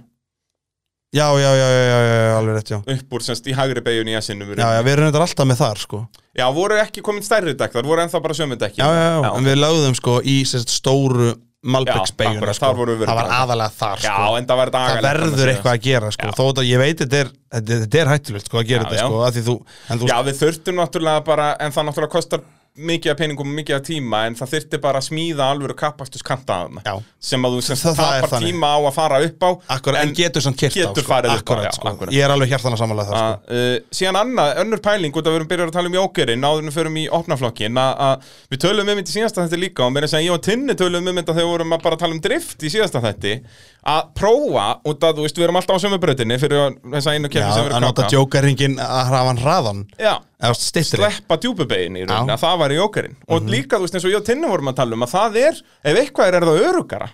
B: já, já, já, já, já, já, alveg rétt, já
A: upp úr semst í hægri beigun í essinu
B: Já, já, við erum þetta alltaf með þar, sko
A: já,
B: Já,
A: voru ekki komin stærri dekk þar, voru ennþá bara sömu dekki
B: já, já, en við lögðum, sko, í sérst stóru
A: Já,
B: Malbyggsbegjuna,
A: akkurat,
B: sko
A: þar vorum við
B: Það var
A: bara.
B: aðalega þar,
A: já,
B: sko
A: en það var
B: Það
A: dagalegt
B: verður
A: annars
B: eitthvað að gera, sko Þó þetta, ég veit, þetta er, þetta, þetta er hættulegt, sko, að gera
A: Já,
B: þetta,
A: já.
B: sko að því þú, En þú,
A: Já, við þurftum náttúrulega bara, en það náttúrulega kostar mikið af peningum og mikið af tíma, en það þurfti bara að smíða alvöru kappastus kantaðan
B: Já.
A: sem að þú sem
B: Það-
A: það,
B: það er
A: tapar
B: þannig.
A: tíma á að fara upp á
B: akkur, en, getur samt kert á,
A: getur
B: sko
A: farið upp á,
B: Akkurat,
A: já,
B: sko,
A: akkurat.
B: ég er alveg hjartan að samanlega það, sko
A: Að, uh, síðan annað, önnur pæling út að við erum byrjar að tala um jókerinn áður en við förum í opnaflokkin að að við töluðum um þetta í síðasta þetta líka og meira að segja ég og Tinni töluðum um þetta þegar við vorum að bara tala um drift í síðasta þetta að prófa, út að þú veist við erum alltaf á sömu brautinni fyrir þess að einu
B: Já,
A: kemur sem við
B: að
A: erum
B: nota
A: kaka
B: jókaringin að hafa hann hraðan
A: Já,
B: Eða stittri
A: sleppa djúpubegin í rauninni
B: Já. Mhm.
A: að það var í jókerinn og líka þú veist eins og ég og Tinni vorum að tala um að það er, ef eitthvað er, er það örugara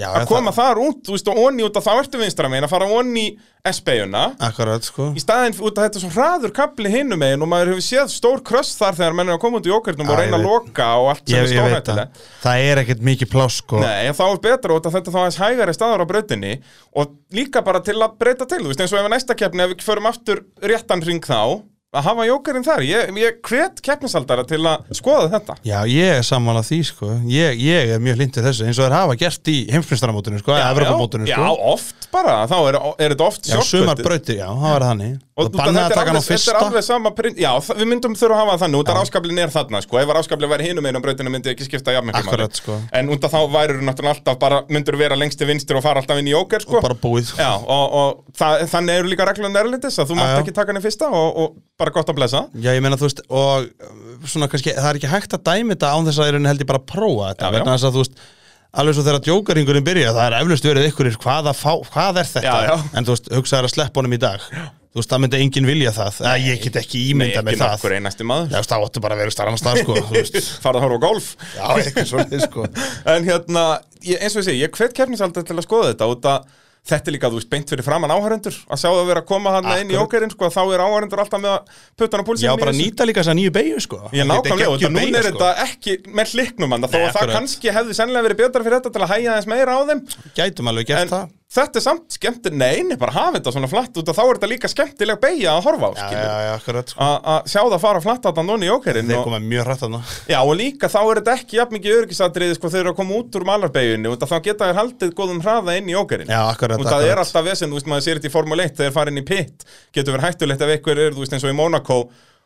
B: Já,
A: að koma þar út, þú veist, og onni út að það ertu vinstra megin að fara onni S-beiguna
B: Akkurat, sko
A: í staðin út að þetta er svo hraður kapli hinum megin og maður hefur séð stór kröss þar þegar menn er að koma út í okkurinn og
B: Já,
A: reyna
B: ég
A: að
B: veit.
A: loka og allt sem er
B: Ég, ég veit
A: stórhættilega
B: það, það er ekkert mikið pláss sko
A: Nei, þá er betra út að þetta þá aðeins hægari staðar á brautinni og líka bara til að breyta til, þú veist, eins og ef við næsta keppni ef við förum aftur réttan ring þá að hafa jókarinn þar, ég, ég hvet keppnisaldara til að skoða þetta
B: Já, ég er sammála því, sko Ég, ég er mjög hlindið þessu, eins og þeir hafa gert í heimsfinstramótinu, sko, eða Evropamótinu,
A: já,
B: sko
A: já, oft bara, þá er, er þetta oft
B: Já, sumar
A: sjálfbrautir.
B: brautir, já, það var þannig
A: Og
B: Það
A: þú veist,
B: bannaði að
A: þetta er
B: taka hann á
A: alveg-
B: fyrsta
A: Þetta er alveg sama prinn, já, það- við myndum þurfa að hafa það nú, út af áskablin er þarna, sko, ef áskablin væri hinum einu breytinu myndi ég ekki skipta jafn mikið
B: Akkurat, sko.
A: En út af þá væri náttúrulega alltaf bara, myndur vera lengst til vinstir og fara alltaf inn í jóker, sko.
B: Bara búið, sko
A: Já, og, og það, þannig eru líka reglun erlindis að þú mátt
B: já.
A: ekki taka henni fyrsta og, og bara gott að blessa.
B: Já, ég meina, þú veist, og uh, svona kannski, það er ekki hægt að dæmi þetta án þess að ég held ég bara að prófa
A: Já,
B: þetta
A: já.
B: vegna þess að, þú veist, alveg svo þegar djókaringurinn byrja, það er eflaust verið ykkurir, hvað, að fá, hvað er þetta?
A: Já, já.
B: En þú veist, hugsaður að sleppa honum í dag Þú veist, það myndi enginn vilja það Nei, Ég get ekki ímynda
A: ekki
B: með það
A: nokkur einasti maður.
B: Já, þú veist, það áttu bara að vera starf annars starf, sko þú veist.
A: Farað að horfa á golf.
B: Já, eitthvað svolítið, sko
A: En hérna, ég, eins og ég segi, ég hvet keppnisaldar til að skoða þetta út að þetta er líka, þú veist, beint fyrir framann áhærendur að sjá það vera að koma hann inn í
B: Akkurat.
A: ókerinn, sko, þá er áhærendur alltaf með að puttan á púlsinu.
B: Já, bara nýta líka þess að nýju beigju, sko
A: Ég nákvæmlega, og þetta núna er
B: þetta
A: þetta ekki með hliknum hann, þó
B: Nei,
A: að það
B: sko. akkurat.
A: kannski hefði sennilega verið betra fyrir þetta til að hæja aðeins meira á þeim,
B: Gætum alveg
A: en
B: gert það
A: þetta er samt skemmt, neini, bara hafa þetta svona flatt út að þá er þetta líka skemmtileg beigja að horfa á,
B: Já,
A: skilur.
B: já, já, akkurat, sko
A: A- Að sjá það fara flatt að það núna í ókerinn
B: Þeir
A: og,
B: koma mjög hrætt þarna
A: já, og líka þá er þetta ekki jafn mikið örgisatriði sko þeir eru að koma út úr malarbeginni og þá geta þér haldið góðum hraða inn í ókerinn.
B: Já, akkurat,
A: Og það er
B: akkurat
A: alltaf vesend, þú veist, maður sér þetta í Formule 1 þegar farin í pit, getur verið hættulegt ef einhver er, þú veist, eins og í Monaco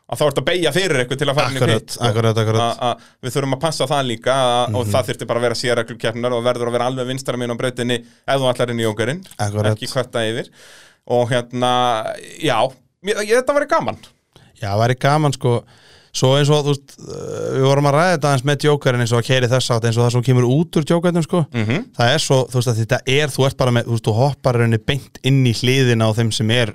A: að þá ert að beigja fyrir eitthvað til að fara inn í
B: Akkurat,
A: hitt, sko.
B: akkurat, Mhm. akkurat
A: A- a- við þurfum að passa það líka a, og það þurfti bara að vera sérreglumkeppnar og verður að vera alveg vinstara mín á breytinni ef þú allar inn í jókarinn,
B: Akkurat.
A: ekki kvarta yfir og hérna, já mér, ég, þetta væri gaman
B: Já, það væri gaman sko Svo eins og, þú veist, uh, við vorum að ræða þetta aðeins með djókarinn eins og að keiri þess átt eins og það sem kemur út úr djókarnum sko -hmm. Það er svo, þú veist, að þetta er, þú ert bara með, þú veist, þú hoppar rauninni beint inn í hliðina á þeim sem er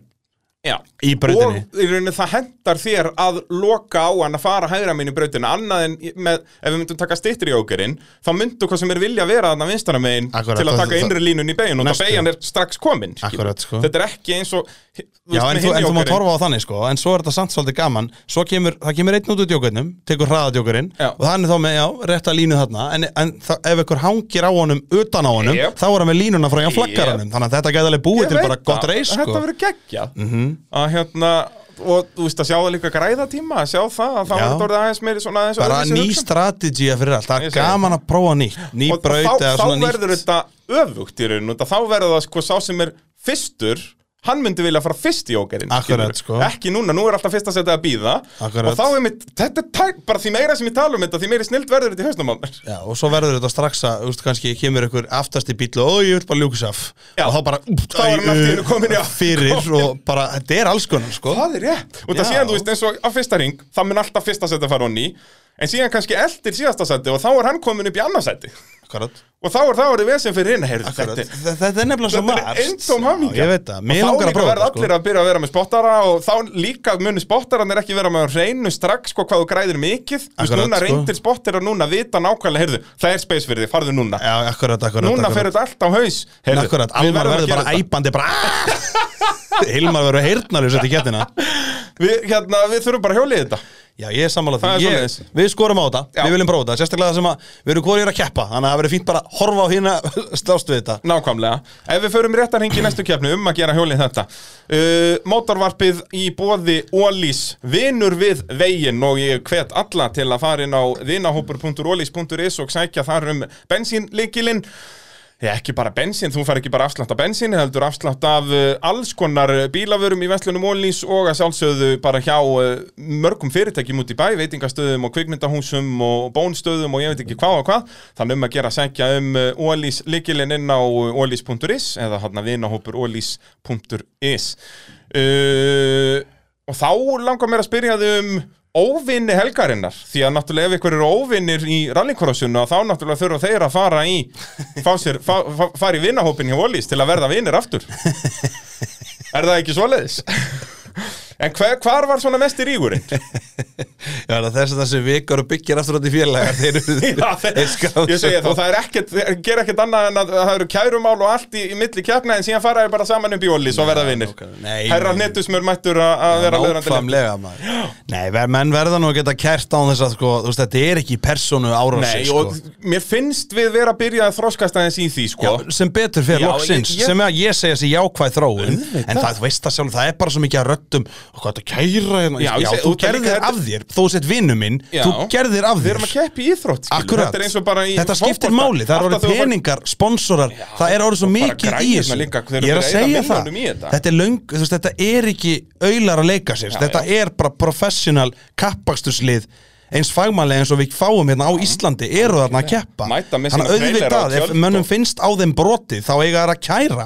A: já.
B: Í brautinni.
A: og í rauninni það hendar þér að loka á hann að fara hægra mín í breytinni annað en í- með, ef við myndum taka stittir í jókarinn þá myndu hvað sem er vilja vera þarna vinstara megin
B: Akkurat,
A: til að
B: það-
A: taka
B: það-
A: innri línun í begin og það
B: Næstu.
A: begin er strax komin skilur.
B: Akkurat, sko.
A: þetta er ekki eins og þú
B: Já,
A: veist,
B: en
A: með
B: þú,
A: hinni
B: en þú mátt
A: jókerinn.
B: horfa á þannig sko En svo er þetta samt svolítið gaman Svo kemur, það kemur einn út úr djókarnum, tekur hraða djókarinn
A: Já.
B: Og hann er þá með, já, rétta línu þarna En, en það, ef ykkur hangir á honum, utan á honum
A: Yep.
B: Þá er hann með línuna frá
A: Yep.
B: hann flaggaranum Þannig að þetta gæði alveg búið
A: Ég
B: til
A: veit
B: bara
A: það.
B: gott reis sko Mhm.
A: Þetta verður geggja að hérna og þú veist að sjá það líka græða tíma að sjá það að þá
B: Já.
A: er þetta orðið aðeins meiri svona aðeins
B: bara
A: öðruvísi
B: ný
A: hugsun.
B: strategía fyrir allt það
A: sko. Ég
B: er
A: segi
B: gaman að prófa nýtt ný
A: Og- og
B: braut
A: þá,
B: eða
A: þá
B: svona nýtt
A: verður þetta öfugt í raun og þá verður það sko sá sem er fyrstur hann myndi vilja fara fyrst í ógerinn
B: Akkurat, sko.
A: ekki núna, nú er alltaf fyrst að setja að býða
B: Akkurat.
A: og þá er mitt, þetta er tæk, bara því meira sem ég tala um þetta því meiri snild verður þetta í hausnum á mér
B: Já, og svo verður þetta strax að, þú veist, kannski kemur ykkur aftast í bíl og "Ó, ég vil bara ljúkis af
A: Já.
B: og þá bara, úff,
A: Þá er hann allt í einu
B: æ,
A: kominn, já.
B: fyrir og bara, þetta er alls konar, sko
A: Það er rétt Og það
B: Já.
A: síðan, þú veist, eins og á fyrsta ring Það mun alltaf fyrsta seti að fara honni En síðan kannski eldir síðasta seti Og þá er hann komin upp í annað seti
B: Akkurat,
A: Og þá er það orðið vesen fyrir hinn Heyrðu,
B: akkurat.
A: þetta er-
B: Þetta, þetta er nefnilega svo
A: þetta er
B: margt
A: eintóm hamingja.
B: Já, Ég veit það, mér
A: Og þá
B: langar að
A: líka verða
B: prófa, sko.
A: allir að byrja að vera með spottara og þá líka munu spottaranir ekki vera með á hreinu strax sko hvað þú græðir mikið Þú veist,
B: Akkurat,
A: núna
B: sko.
A: reyndir spottarar núna vita nákvæmlega, heyrðu, það er space fyrir þig, farðu núna
B: Já, akkurat, akkurat
A: núna
B: akkurat.
A: fer þetta allt á haus heyrðu,
B: Akkurat,
A: við
B: Almar
A: verðum að
B: verður
A: gera
B: bara
A: þetta.
B: æpandi bara "Ah!" Hilmar verður heyrnarljus eftir kettina
A: við, hérna, við þurfum bara að hjólið þetta
B: Já, ég er sammála
A: Það er
B: því ég,
A: svoleiðis.
B: Við skorum á þetta,
A: Já.
B: við viljum prófa þetta Sérstaklega það sem að við erum hvorið að keppa Þannig að það verður fínt bara að horfa á hérna Slást við þetta
A: Nákvæmlega. Ef við förum réttar hengi í næstu keppni um að gera hjólið þetta. Uh, mótorvarpið í bóði Ólís, vinur við veginn og ég hvet alla til að fara inn á vinahópur.ólís.is og sækja þar um bensínleikilinn. Já, ekki bara bensín, þú fær ekki bara afslátt af bensín, heldur afslátt af uh, alls konar bílaverum í Vestlunum Ólís og að sjálfsögðu bara hjá uh, mörgum fyrirtækjum út í bæ, veitingastöðum og kvikmyndahúsum og bónstöðum og ég veit ekki hvað og hvað. Þannig um að gera að sækja um uh, Ólís likilinn inn á eh, ólís.is eða hann að vinahópur ólís.is. Uh, og þá langar mér að spyrja þau um óvinni helgarinnar því að náttúrulega ef ykkur eru óvinnir í rallycrossinu þá náttúrulega þurfa þeir að fara í fá sér, fá, fá, fara í vinahópin hjá Ólís til að verða vinnir aftur er það ekki svoleiðis? en hver, hvar var svona mest í rígurinn?
B: Já, það er þess að þessi vikar og byggir aftur átt í félagar Þeir eru
A: ég segi þá, það er ekkert þeir gera ekkert annað en að það eru kærumál og allt í, í milli kjapna en síðan fara þeir bara saman upp í Ólís og verða vinnir
B: ok. Nei,
A: herrar
B: nei.
A: nettusmör mættur að að vera löðrandi
B: Nákvæmlega maður Nei, ver, menn verða nú að geta kært án þess að sko, þú veist, Þetta er ekki persónu
A: Nei,
B: árási sko.
A: og mér finnst við vera að byrja að þroskast aðeins í því, sko.
B: Já, sem betur fyrir
A: Já,
B: loksins
A: ég- ég-
B: sem að ég segja sér jákvæð þróun en það, þú veist það sjálf, það er bara svo mikið að röddum og hvað þetta kæra hérna
A: Já,
B: já,
A: ég segi-
B: þú
A: og það er líka
B: gerðir
A: þetta-
B: af þér, þú sett vinnu minn
A: Já.
B: þú gerðir af
A: Við
B: þér
A: erum að keppi í íþrótt, skilur.
B: Akkurat,
A: Þetta er eins og bara í
B: Þetta skiptir
A: fótbolta.
B: máli, það er
A: Alltaf
B: orðið
A: þú fær-
B: peningar, sponsorar það er orðið svo
A: og bara
B: mikið í
A: græjurnar
B: þessu
A: líka, þeir eru
B: Ég er
A: að
B: að
A: eyða
B: segja það,
A: milljónum í þetta.
B: þetta er löng þú veist, þetta er ekki auðlar að leika sér þetta er bara professional kappakstuslið eins fagmannlega eins og við fáum hérna á Íslandi eru þarna að keppa
A: Mæta með
B: Þannig
A: sína trailera og
B: auðvitað, ef
A: tjöld
B: mönnum
A: og-
B: finnst á þeim brotið þá eiga þær að kæra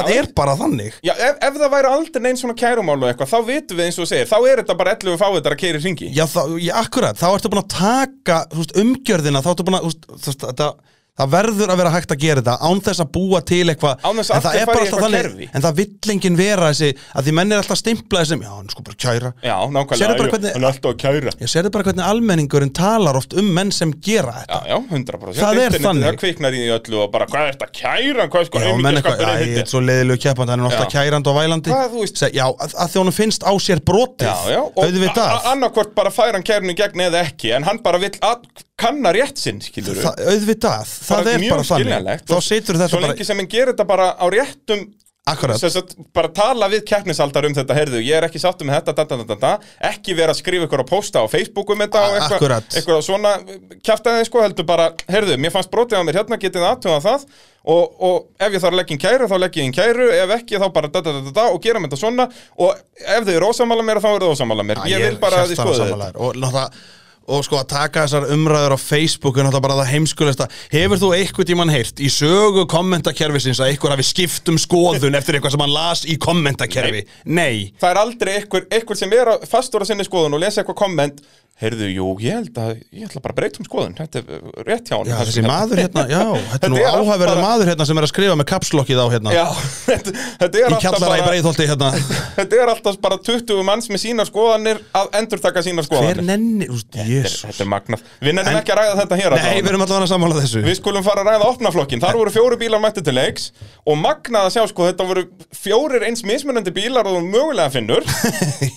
A: sko. Já,
B: er bara þannig
A: Já, ef, ef það væri aldrei neins svona kærumál og eitthvað, þá vitum við eins og þú segir, þá er þetta bara 11 fávitar að keiri hringi.
B: Já, þá, já, akkurat, þá ertu búin að taka þú veist, umgjörðina, þá ertu búin að þú veist, þú veist, það, það verður að vera hægt að gera þetta án þess að búa til eitthvað
A: Án þess að
B: en það
A: allir
B: er
A: fari í
B: bara alltaf
A: eitthvað
B: þannig,
A: kerfi.
B: en það vill enginn vera þessi, að því menn er alltaf stimplað þessum, já, hann er sko bara að kæra
A: Já, nákvæmlega.
B: Sérðu bara
A: jú,
B: hvernig-
A: Hann er alltaf að kæra.
B: ég serðu bara hvernig almenningurinn talar oft um menn sem gera þetta
A: Já, já, 100%.
B: Það er
A: Internetið,
B: þannig.
A: Það kviknar í því öllu og bara, hvað er þetta að kæra? Hvað er sko
B: Já, menn eitthvað,
A: heimildaskapur
B: já,
A: er
B: ég er
A: þetta?
B: svo leiðilegu keppand, hann er alltaf
A: Já.
B: kærandi og vælandi
A: Hvað, þú veist-
B: Se, Já, að, að því honum finnst á sér brotið
A: Já, já, og
B: auðvitað
A: a- a- annarkvort bara fær hann kærinu í gegn eða ekki, en hann bara vill að kanna rétt sinn, skilur
B: Þa, auðvitað, það er
A: mjög
B: bara þannig
A: skiljanlegt.
B: þá situr þetta
A: Svo
B: bara
A: lengi sem hann gerir þetta bara á réttum
B: akkurat,
A: Sem sagt, bara tala við keppnisaldar um þetta heyrðu, ég er ekki sáttum með þetta, da, da, da, da, da. ekki vera að skrifa ykkur á posta á Facebook um þetta og
B: A-
A: eitthvað,
B: akkurat.
A: eitthvað svona kjaftaði sko, heldur bara, heyrðu, mér fannst brotið á mér hérna, getið aðtuga það og, og ef ég þarf að leggja inn kæru, þá leggja ég inn kæru ef ekki, þá bara da, da, da, da, da, og gera mér þetta svona og ef þau eru ósamála mér, þá eru þau ósamála mér
B: Já,
A: ég,
B: er
A: vil bara að þið
B: hjartanlega
A: skoðu
B: sammála þér. og, náttúrulega- og sko að taka þessar umræður á Facebook er náttúrulega bara það heimskulegsta hefur þú eitthvað tímann heyrt í sögu kommentakerfisins að eitthvað hafi skipt um skoðun eftir eitthvað sem hann las í kommentakerfi nei,
A: það er aldrei einhver, einhver sem er að fastur á sinni skoðun og lesa eitthvað komment heyrðu, jú, ég held að, ég ætla bara að breyta um skoðun þetta er uh, rétt hjá hann
B: já, þessi maður hérna já, þetta er
A: Þetta
B: nú
A: er allt
B: áhæverða
A: bara-
B: maður hérna sem er að skrifa með kapslokkið á hérna
A: Já, þetta, þetta, er
B: í
A: alltaf
B: kjallara í
A: bara,
B: breiðholti hérna
A: þetta er alltaf bara 20 manns með sínar skoðanir að endurtaka sínar
B: hver
A: skoðanir
B: nenni, úst,
A: Þetta
B: jésus
A: er magnað Við nefnum
B: En-
A: ekki að ræða þetta hér
B: nei, við
A: allavega.
B: erum allavega að sammála þessu
A: Við skulum fara að ræða opnaflokkin Þar voru fjóri bílar mætti til leiks Og magnað að sjá sko Þetta voru fjórir eins mismunandi bílar Og þú mögulega finnur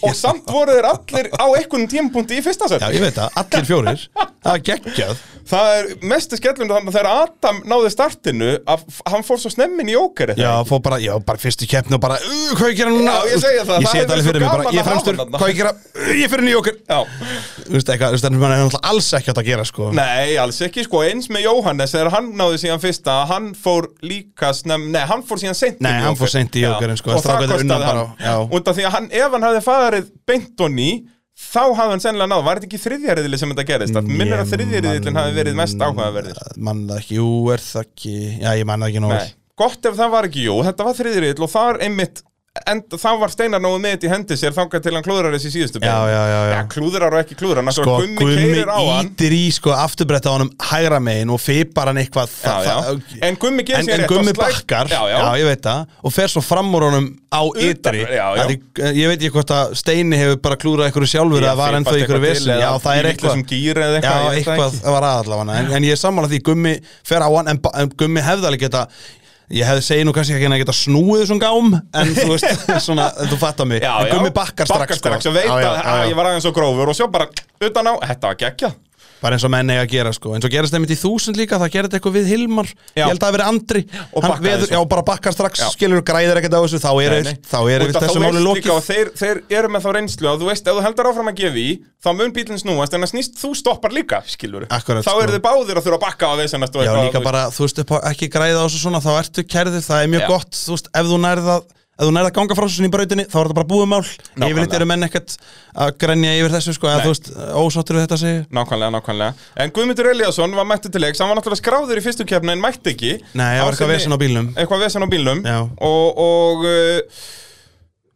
A: Og samt voru þeir allir á einhvern tímapunkti í fyrsta set
B: já, ég veit það, allir fjórir það er geggjað
A: Það er mestu skellum þannig að þegar Adam náði startinu að f- hann fór svo snemmin í ókerið
B: Já, fór bara, já, bara fyrstu keppni og bara uh, Hvað ég gera núna?
A: Já, ég segi það,
B: Ég
A: það
B: sé
A: hefur
B: þetta alveg
A: svo
B: fyrir mig bara,
A: gaman að
B: ég
A: hafa
B: fremstur,
A: hann þarna.
B: hvað ég gera Uh, Ég fyrir nýjókur
A: Já.
B: Þú veist eitthvað, þú veist, en mann er náttúrulega alls ekki að það gera, sko
A: Nei, alls ekki, sko, eins með Jóhannes þegar hann náði síðan fyrsta, hann fór líka snem, nei, hann fór síðan seint
B: Nei,
A: inn í
B: hann
A: Joker.
B: fór seint í
A: Já,
B: Jokerinn, sko,
A: og það
B: strákarnir unnu
A: kostaði
B: bara, já.
A: hann út af því að hann, ef hann hafði farið beint og ný, þá hafði hann sennilega náð, var þetta ekki þriðjariðli sem þetta gerist, það minnir að þriðjariðlin hafi verið mest áhugaverðir
B: Uh, Mann það ekki, jú, er það ekki Já, ég mann það ekki nú vel
A: Nei, gott ef það var ekki, jú, þetta var þriðjariðl og þar einmitt En þá var Steinar náðu með þetta í hendi sér þangað til hann klúðrar þessi síðustu
B: Já,
A: beygju.
B: já, já, já.
A: ja, klúðrar og ekki klúðrar,
B: Sko,
A: náttúrulega Gummi
B: Gummi
A: keirir á hann
B: ítir í, sko, afturbretta á honum hægra megin og fipar hann eitthvað
A: Já,
B: það-
A: já.
B: það-
A: En Gummi gerir
B: En,
A: sér
B: en
A: rétt og
B: gummi
A: slær-
B: bakkar,
A: Já, já.
B: ég veit það Og fer svo fram úr honum á
A: Utan-
B: ytri
A: já, já.
B: Að Ég, ég veit ekki hvort að Steini hefur bara klúrað einhverju sjálfur
A: Já,
B: eða var ennþá
A: fipast
B: einhverju
A: eitthvað til
B: vesen
A: eða
B: Já, það er
A: í vitlausum
B: eitthvað
A: gír eða eitthvað,
B: Já,
A: ég veit það
B: eitthvað
A: ekki.
B: var aðallafana en, en ég er sammála því, Gummi fer á hann en, ba- en Gummi hefði alveg geta Ég hefði segið nú kannski ekki að geta snúið þessum gám En þú veist, svona, þú fattar mig
A: já,
B: En
A: já,
B: Gummi bakkar strax, sko.
A: og veit
B: Já, já,
A: að
B: já, já.
A: að ég var aðeins og grófur og sjá bara utan á, þetta var gekkja
B: Bara eins og menn eiga að gera sko eins og gerist þeim í þúsund líka, það gerði eitthvað við Hilmar
A: Já.
B: Ég held að það hafi verið Andri
A: Og
B: Hann
A: bakkaði
B: veður,
A: svo.
B: Já, bara bakkar strax,
A: Já.
B: skilur græðir ekkert á þessu Þá er,
A: Nei, nei.
B: þá er
A: Út
B: við
A: af þá
B: þessu
A: veist
B: máli
A: líka
B: lokið
A: og þeir, þeir eru með þá reynslu að þú veist, ef þú heldur áfram að gefa í þá mun bílinn snúast, en að snýst þú stoppar líka skilur,
B: Akkurat,
A: þá
B: sko.
A: eru þið báðir að þurfa að bakka á vesenast og
B: Já,
A: eitthvað, þú
B: líka
A: veist.
B: bara, þú veist, upp á ekki græða á þessu svona Þá ertu kærðir, það er mjög
A: Já.
B: gott Þú veist, ef þú nærða Ef þú nærða ganga frá þessu sinni í brautinni, þá er þetta bara búið mál
A: Nákvæmlega.
B: Yfirleitt eru menn ekkert að grenja yfir þessu sko Eða
A: Nei.
B: þú veist, ósáttur við þetta segi
A: Nákvæmlega, nákvæmlega. En Guðmundur Eliasson var mættu til leiks, hann var náttúrulega skráður í fyrstu kefni en mætti ekki.
B: Nei, það var
A: Á
B: eitthvað
A: sinni-
B: vesen á bílnum.
A: Eitthvað vesen á bílnum.
B: Já.
A: Og, og uh,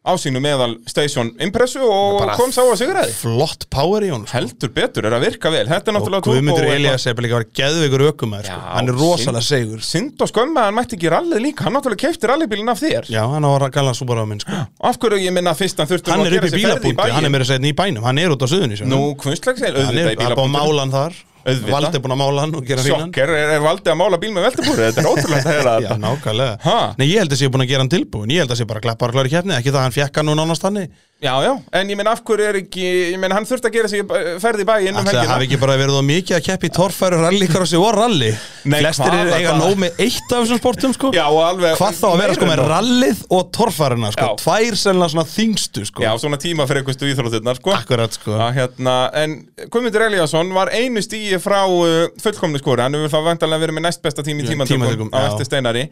A: á sínu meðal station impressu og
B: Bara
A: kom sá að sigraði.
B: Flott power í honum sko.
A: Heldur betur, er að virka vel. Þetta er
B: Og
A: náttúrulega
B: Guðmundur
A: turbo-
B: Elías er bara líka að vera geðveikur ökumæður sko.
A: Já,
B: Hann er rosalega segur
A: synd og skömma að hann mætti ekki rallið líka hann náttúrulega keipti rallybílinn af þér
B: Já, hann á að gala Subaru á minn sko.
A: af hverju ég minna fyrst hann þurfti
B: Hann
A: nú að
B: er
A: gera
B: upp í
A: sér ferð
B: bílabúndi,
A: bæinn?
B: hann er meira að segja hérna í bænum Hann er út á suðunni
A: nú kvunstlagsel,
B: Hann
A: auðvitað í
B: er hann er búið að
A: bílabúndum
B: mála hann þar
A: Auðvitað.
B: Valdi er búin að mála hann og gera fínan
A: sjokker, er, er valdið að mála bíl með veltibúri þetta er ótrúlega að heyra
B: Já,
A: þetta
B: nákvæmlega
A: Ha?
B: Nei, ég held að sé búin að gera hann tilbúin Ég held að sé bara klappar og klári keppni Ekki það að hann fjekka nú nánast hann
A: já, já, en ég minna af hverju er ekki ég minna hann þurfti að gera sér ferði í bæinn um
B: Það hafi
A: helgina
B: ekki bara verið þá mikið að keppi torfæru rallykrossi og rally
A: Nei,
B: Flestir
A: hvað
B: eru
A: var
B: eiga
A: það?
B: nóg með eitt af þessum sportum sko
A: já, og alveg
B: Hvað þá að vera sko
A: meira
B: með
A: en það.
B: rallið og torfæruna sko
A: Já.
B: Tvær sennilega svona þingstu sko
A: já, svona tíma fyrir eitthvað íþróttirnar sko.
B: Akkurat sko
A: að hérna, en Guðmundur Eliasson var einu stíi frá uh, fullkomni skori, hann hefur þá vantarlega verið með næst besta tími í
B: Já,
A: tímatökum
B: tímatökum,
A: á
B: já.
A: eftir Steinari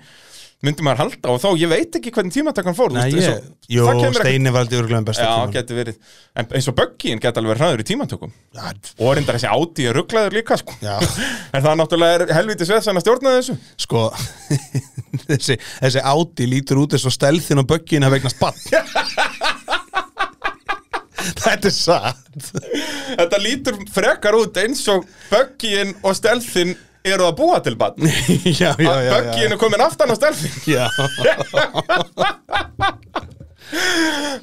A: myndi maður halda og þá, ég veit ekki hvernig tímatökan fór
B: Nei,
A: þú veist,
B: ég,
A: eins og-
B: jú,
A: það kemur ekki-
B: Steini valdi örgulega um besta
A: Já,
B: tímann.
A: geti verið, en eins og Böggin geti alveg verið hraður í tímantökum
B: Já,
A: og reyndar þessi áti er rugglaður líka sko.
B: Já.
A: en það náttúrulega er helviti sveðsan að stjórna þessu
B: sko þessi, þessi áti lítur út eins og stelðin og böggin að vegnast bann Þetta er satt
A: þetta lítur frekar út eins og Böggin og Stelfin eru að búa til bann
B: Já, já, já,
A: Böggin
B: já.
A: er komin aftan á Stelfin
B: já.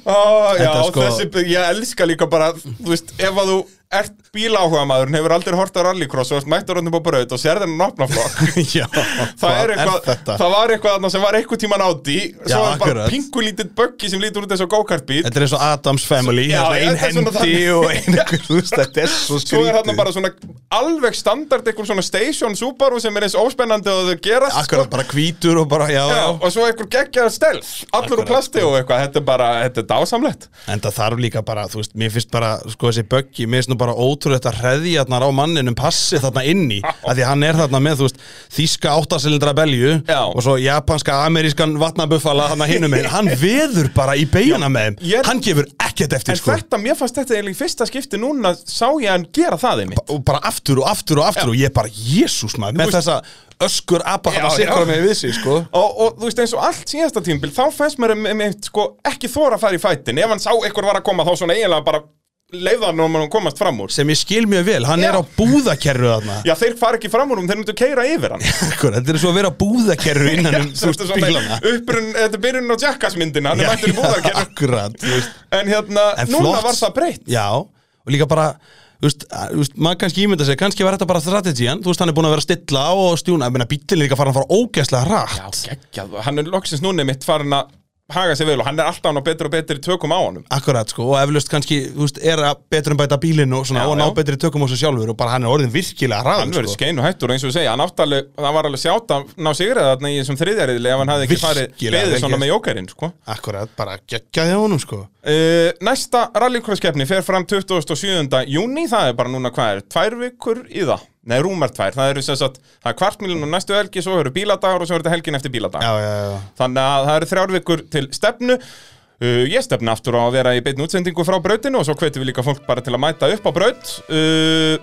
A: Ó, já,
B: Þetta sko-
A: þessi, ég elska líka bara, þú veist, ef að þú ert bíláhuga maðurinn, hefur aldrei hort á rallycross og ert mættur hann upp á braut og sér þennan opnaflokk
B: Já,
A: Það,
B: hvað
A: er eitthvað,
B: þetta?
A: það var eitthvað þarna sem var eitthvað tíman á því Svo
B: Já,
A: var bara
B: akkurat.
A: pingulítið böggi sem lítur út eins og go-kartbíl
B: Þetta er eins og Adams Family,
A: Já,
B: þetta er ein
A: þetta er svona
B: hendi
A: þannig.
B: og ein einhver, þú veist, þetta er svo
A: Svo er þarna
B: skrítið.
A: bara svona alveg standard eitthvað svona station Subaru sem er eins óspennandi og þau gerast sko.
B: Akkurat, bara hvítur og bara, já,
A: Já,
B: já.
A: og svo eitthvað geggjaðar stelf Allur úr
B: Akkurat, sko.
A: plasti og eitthvað, þetta er bara, þetta er dásamlegt
B: En það þarf líka bara, þú veist, mér finnst bara, sko, þessi böggi, mér finnst nú bara ótrúlegt að hreðjarnar á manninum passi þarna inni, af því að hann er þarna með, þú veist, þíska áttasylindra belju
A: Já.
B: og svo japanska, amerískan vatnabuffala þarna hinum meginn, hann veður bara í beina með þeim,
A: ég er-
B: hann gefur ekkert eftir,
A: En
B: sko,
A: þetta, mér fannst þetta eiginlega í fyrsta skipti núna sá ég hann gera það einmitt
B: og bara aftur og aftur og aftur og ég bara, jésús maður, með
A: veist-
B: þessa öskur apa
A: Já,
B: hann að
A: já.
B: sikra með við sig, sko.
A: og, og þú veist eins og allt síðasta tímbil þá fannst mér um, um, sko, ekki þóra að fara í fætin ef hann sá eitthvað var að koma þá svona eiginlega bara leiða hann um að komast fram úr
B: sem ég skil mjög vel, hann
A: Já.
B: er á búðakerru þarna
A: já þeir fara ekki fram úr um þeir myndu keira yfir hann
B: Akkur, þetta er svo að vera á búðakerru innan um þú
A: Svo
B: veist
A: þetta er
B: bílana
A: svona upprunn- þetta er byrjun á Jackass myndina hann er mættur í búðarkerfi
B: akkurat þú veist.
A: en hérna,
B: En
A: núna
B: flott.
A: var það breytt
B: já, og líka bara þú veist, að- þú veist, maður kannski ímynda sig, kannski var þetta bara strategian, þú veist, hann er búin að vera að stilla á og stjúna, ég meina bíllinn er líka farin að fara ógeðslega
A: já,
B: rætt,
A: geggjað, hann er loksins núna mitt farin að haga sig vel og hann er alltaf hann á betur og betur í tökum á honum
B: akkurat sko, og eflaust kannski, þú veist, er að betur en bæta bílinn og svona,
A: Já,
B: og ná
A: já.
B: betri tökum á sig sjálfur og bara hann er orðin virkilega sko.
A: hann
B: ræð
A: verður skein og hættur eins og við segja hann átti alveg, það var alveg sjátt að ná sigraði þarna í þessum þriðjariðli ef hann hafði ekki farið
B: Virkilega
A: beðið
B: vel
A: svona
B: gert.
A: með jókerinn sko.
B: akkurat, bara geggjaði á honum sko
A: Uh, næsta rallycrosskeppni fer fram 27. júni, það er bara núna hvað er, tvær vikur í það, nei rúmar tvær, það eru sem sagt, það er kvartmílun og næstu helgi, svo eru bíladagur og svo eru þetta helgin eftir bíladag.
B: já, já, já,
A: Þannig að það eru þrjár vikur til stefnu, uh, ég stefna aftur á að vera í beinu útsendingu frá brautinu og svo hvetum við líka fólk bara til að mæta upp á braut. Uh,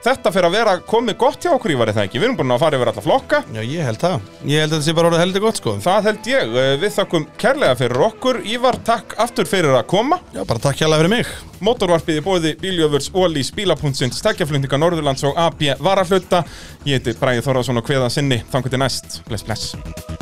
A: þetta fer að vera komið gott hjá okkur í varðið það ekki, við erum búin að fara yfir alla flokka.
B: já, ég held það ég held að þetta sé bara orðið heldur gott sko
A: Það held ég, Uh, við þakkum kærlega fyrir okkur, Ívar, takk aftur fyrir að koma.
B: Já, bara takk hérlega fyrir mig
A: Mótorvarpið í bóði Bíljöfurs, Ólís, Bílapuntsins, Stækjaflundinga Norðurlands og AB Varahluta. Ég heiti Bræði Þorðarsson og Kveða Sinni. Þangu til næst. Bless, bless.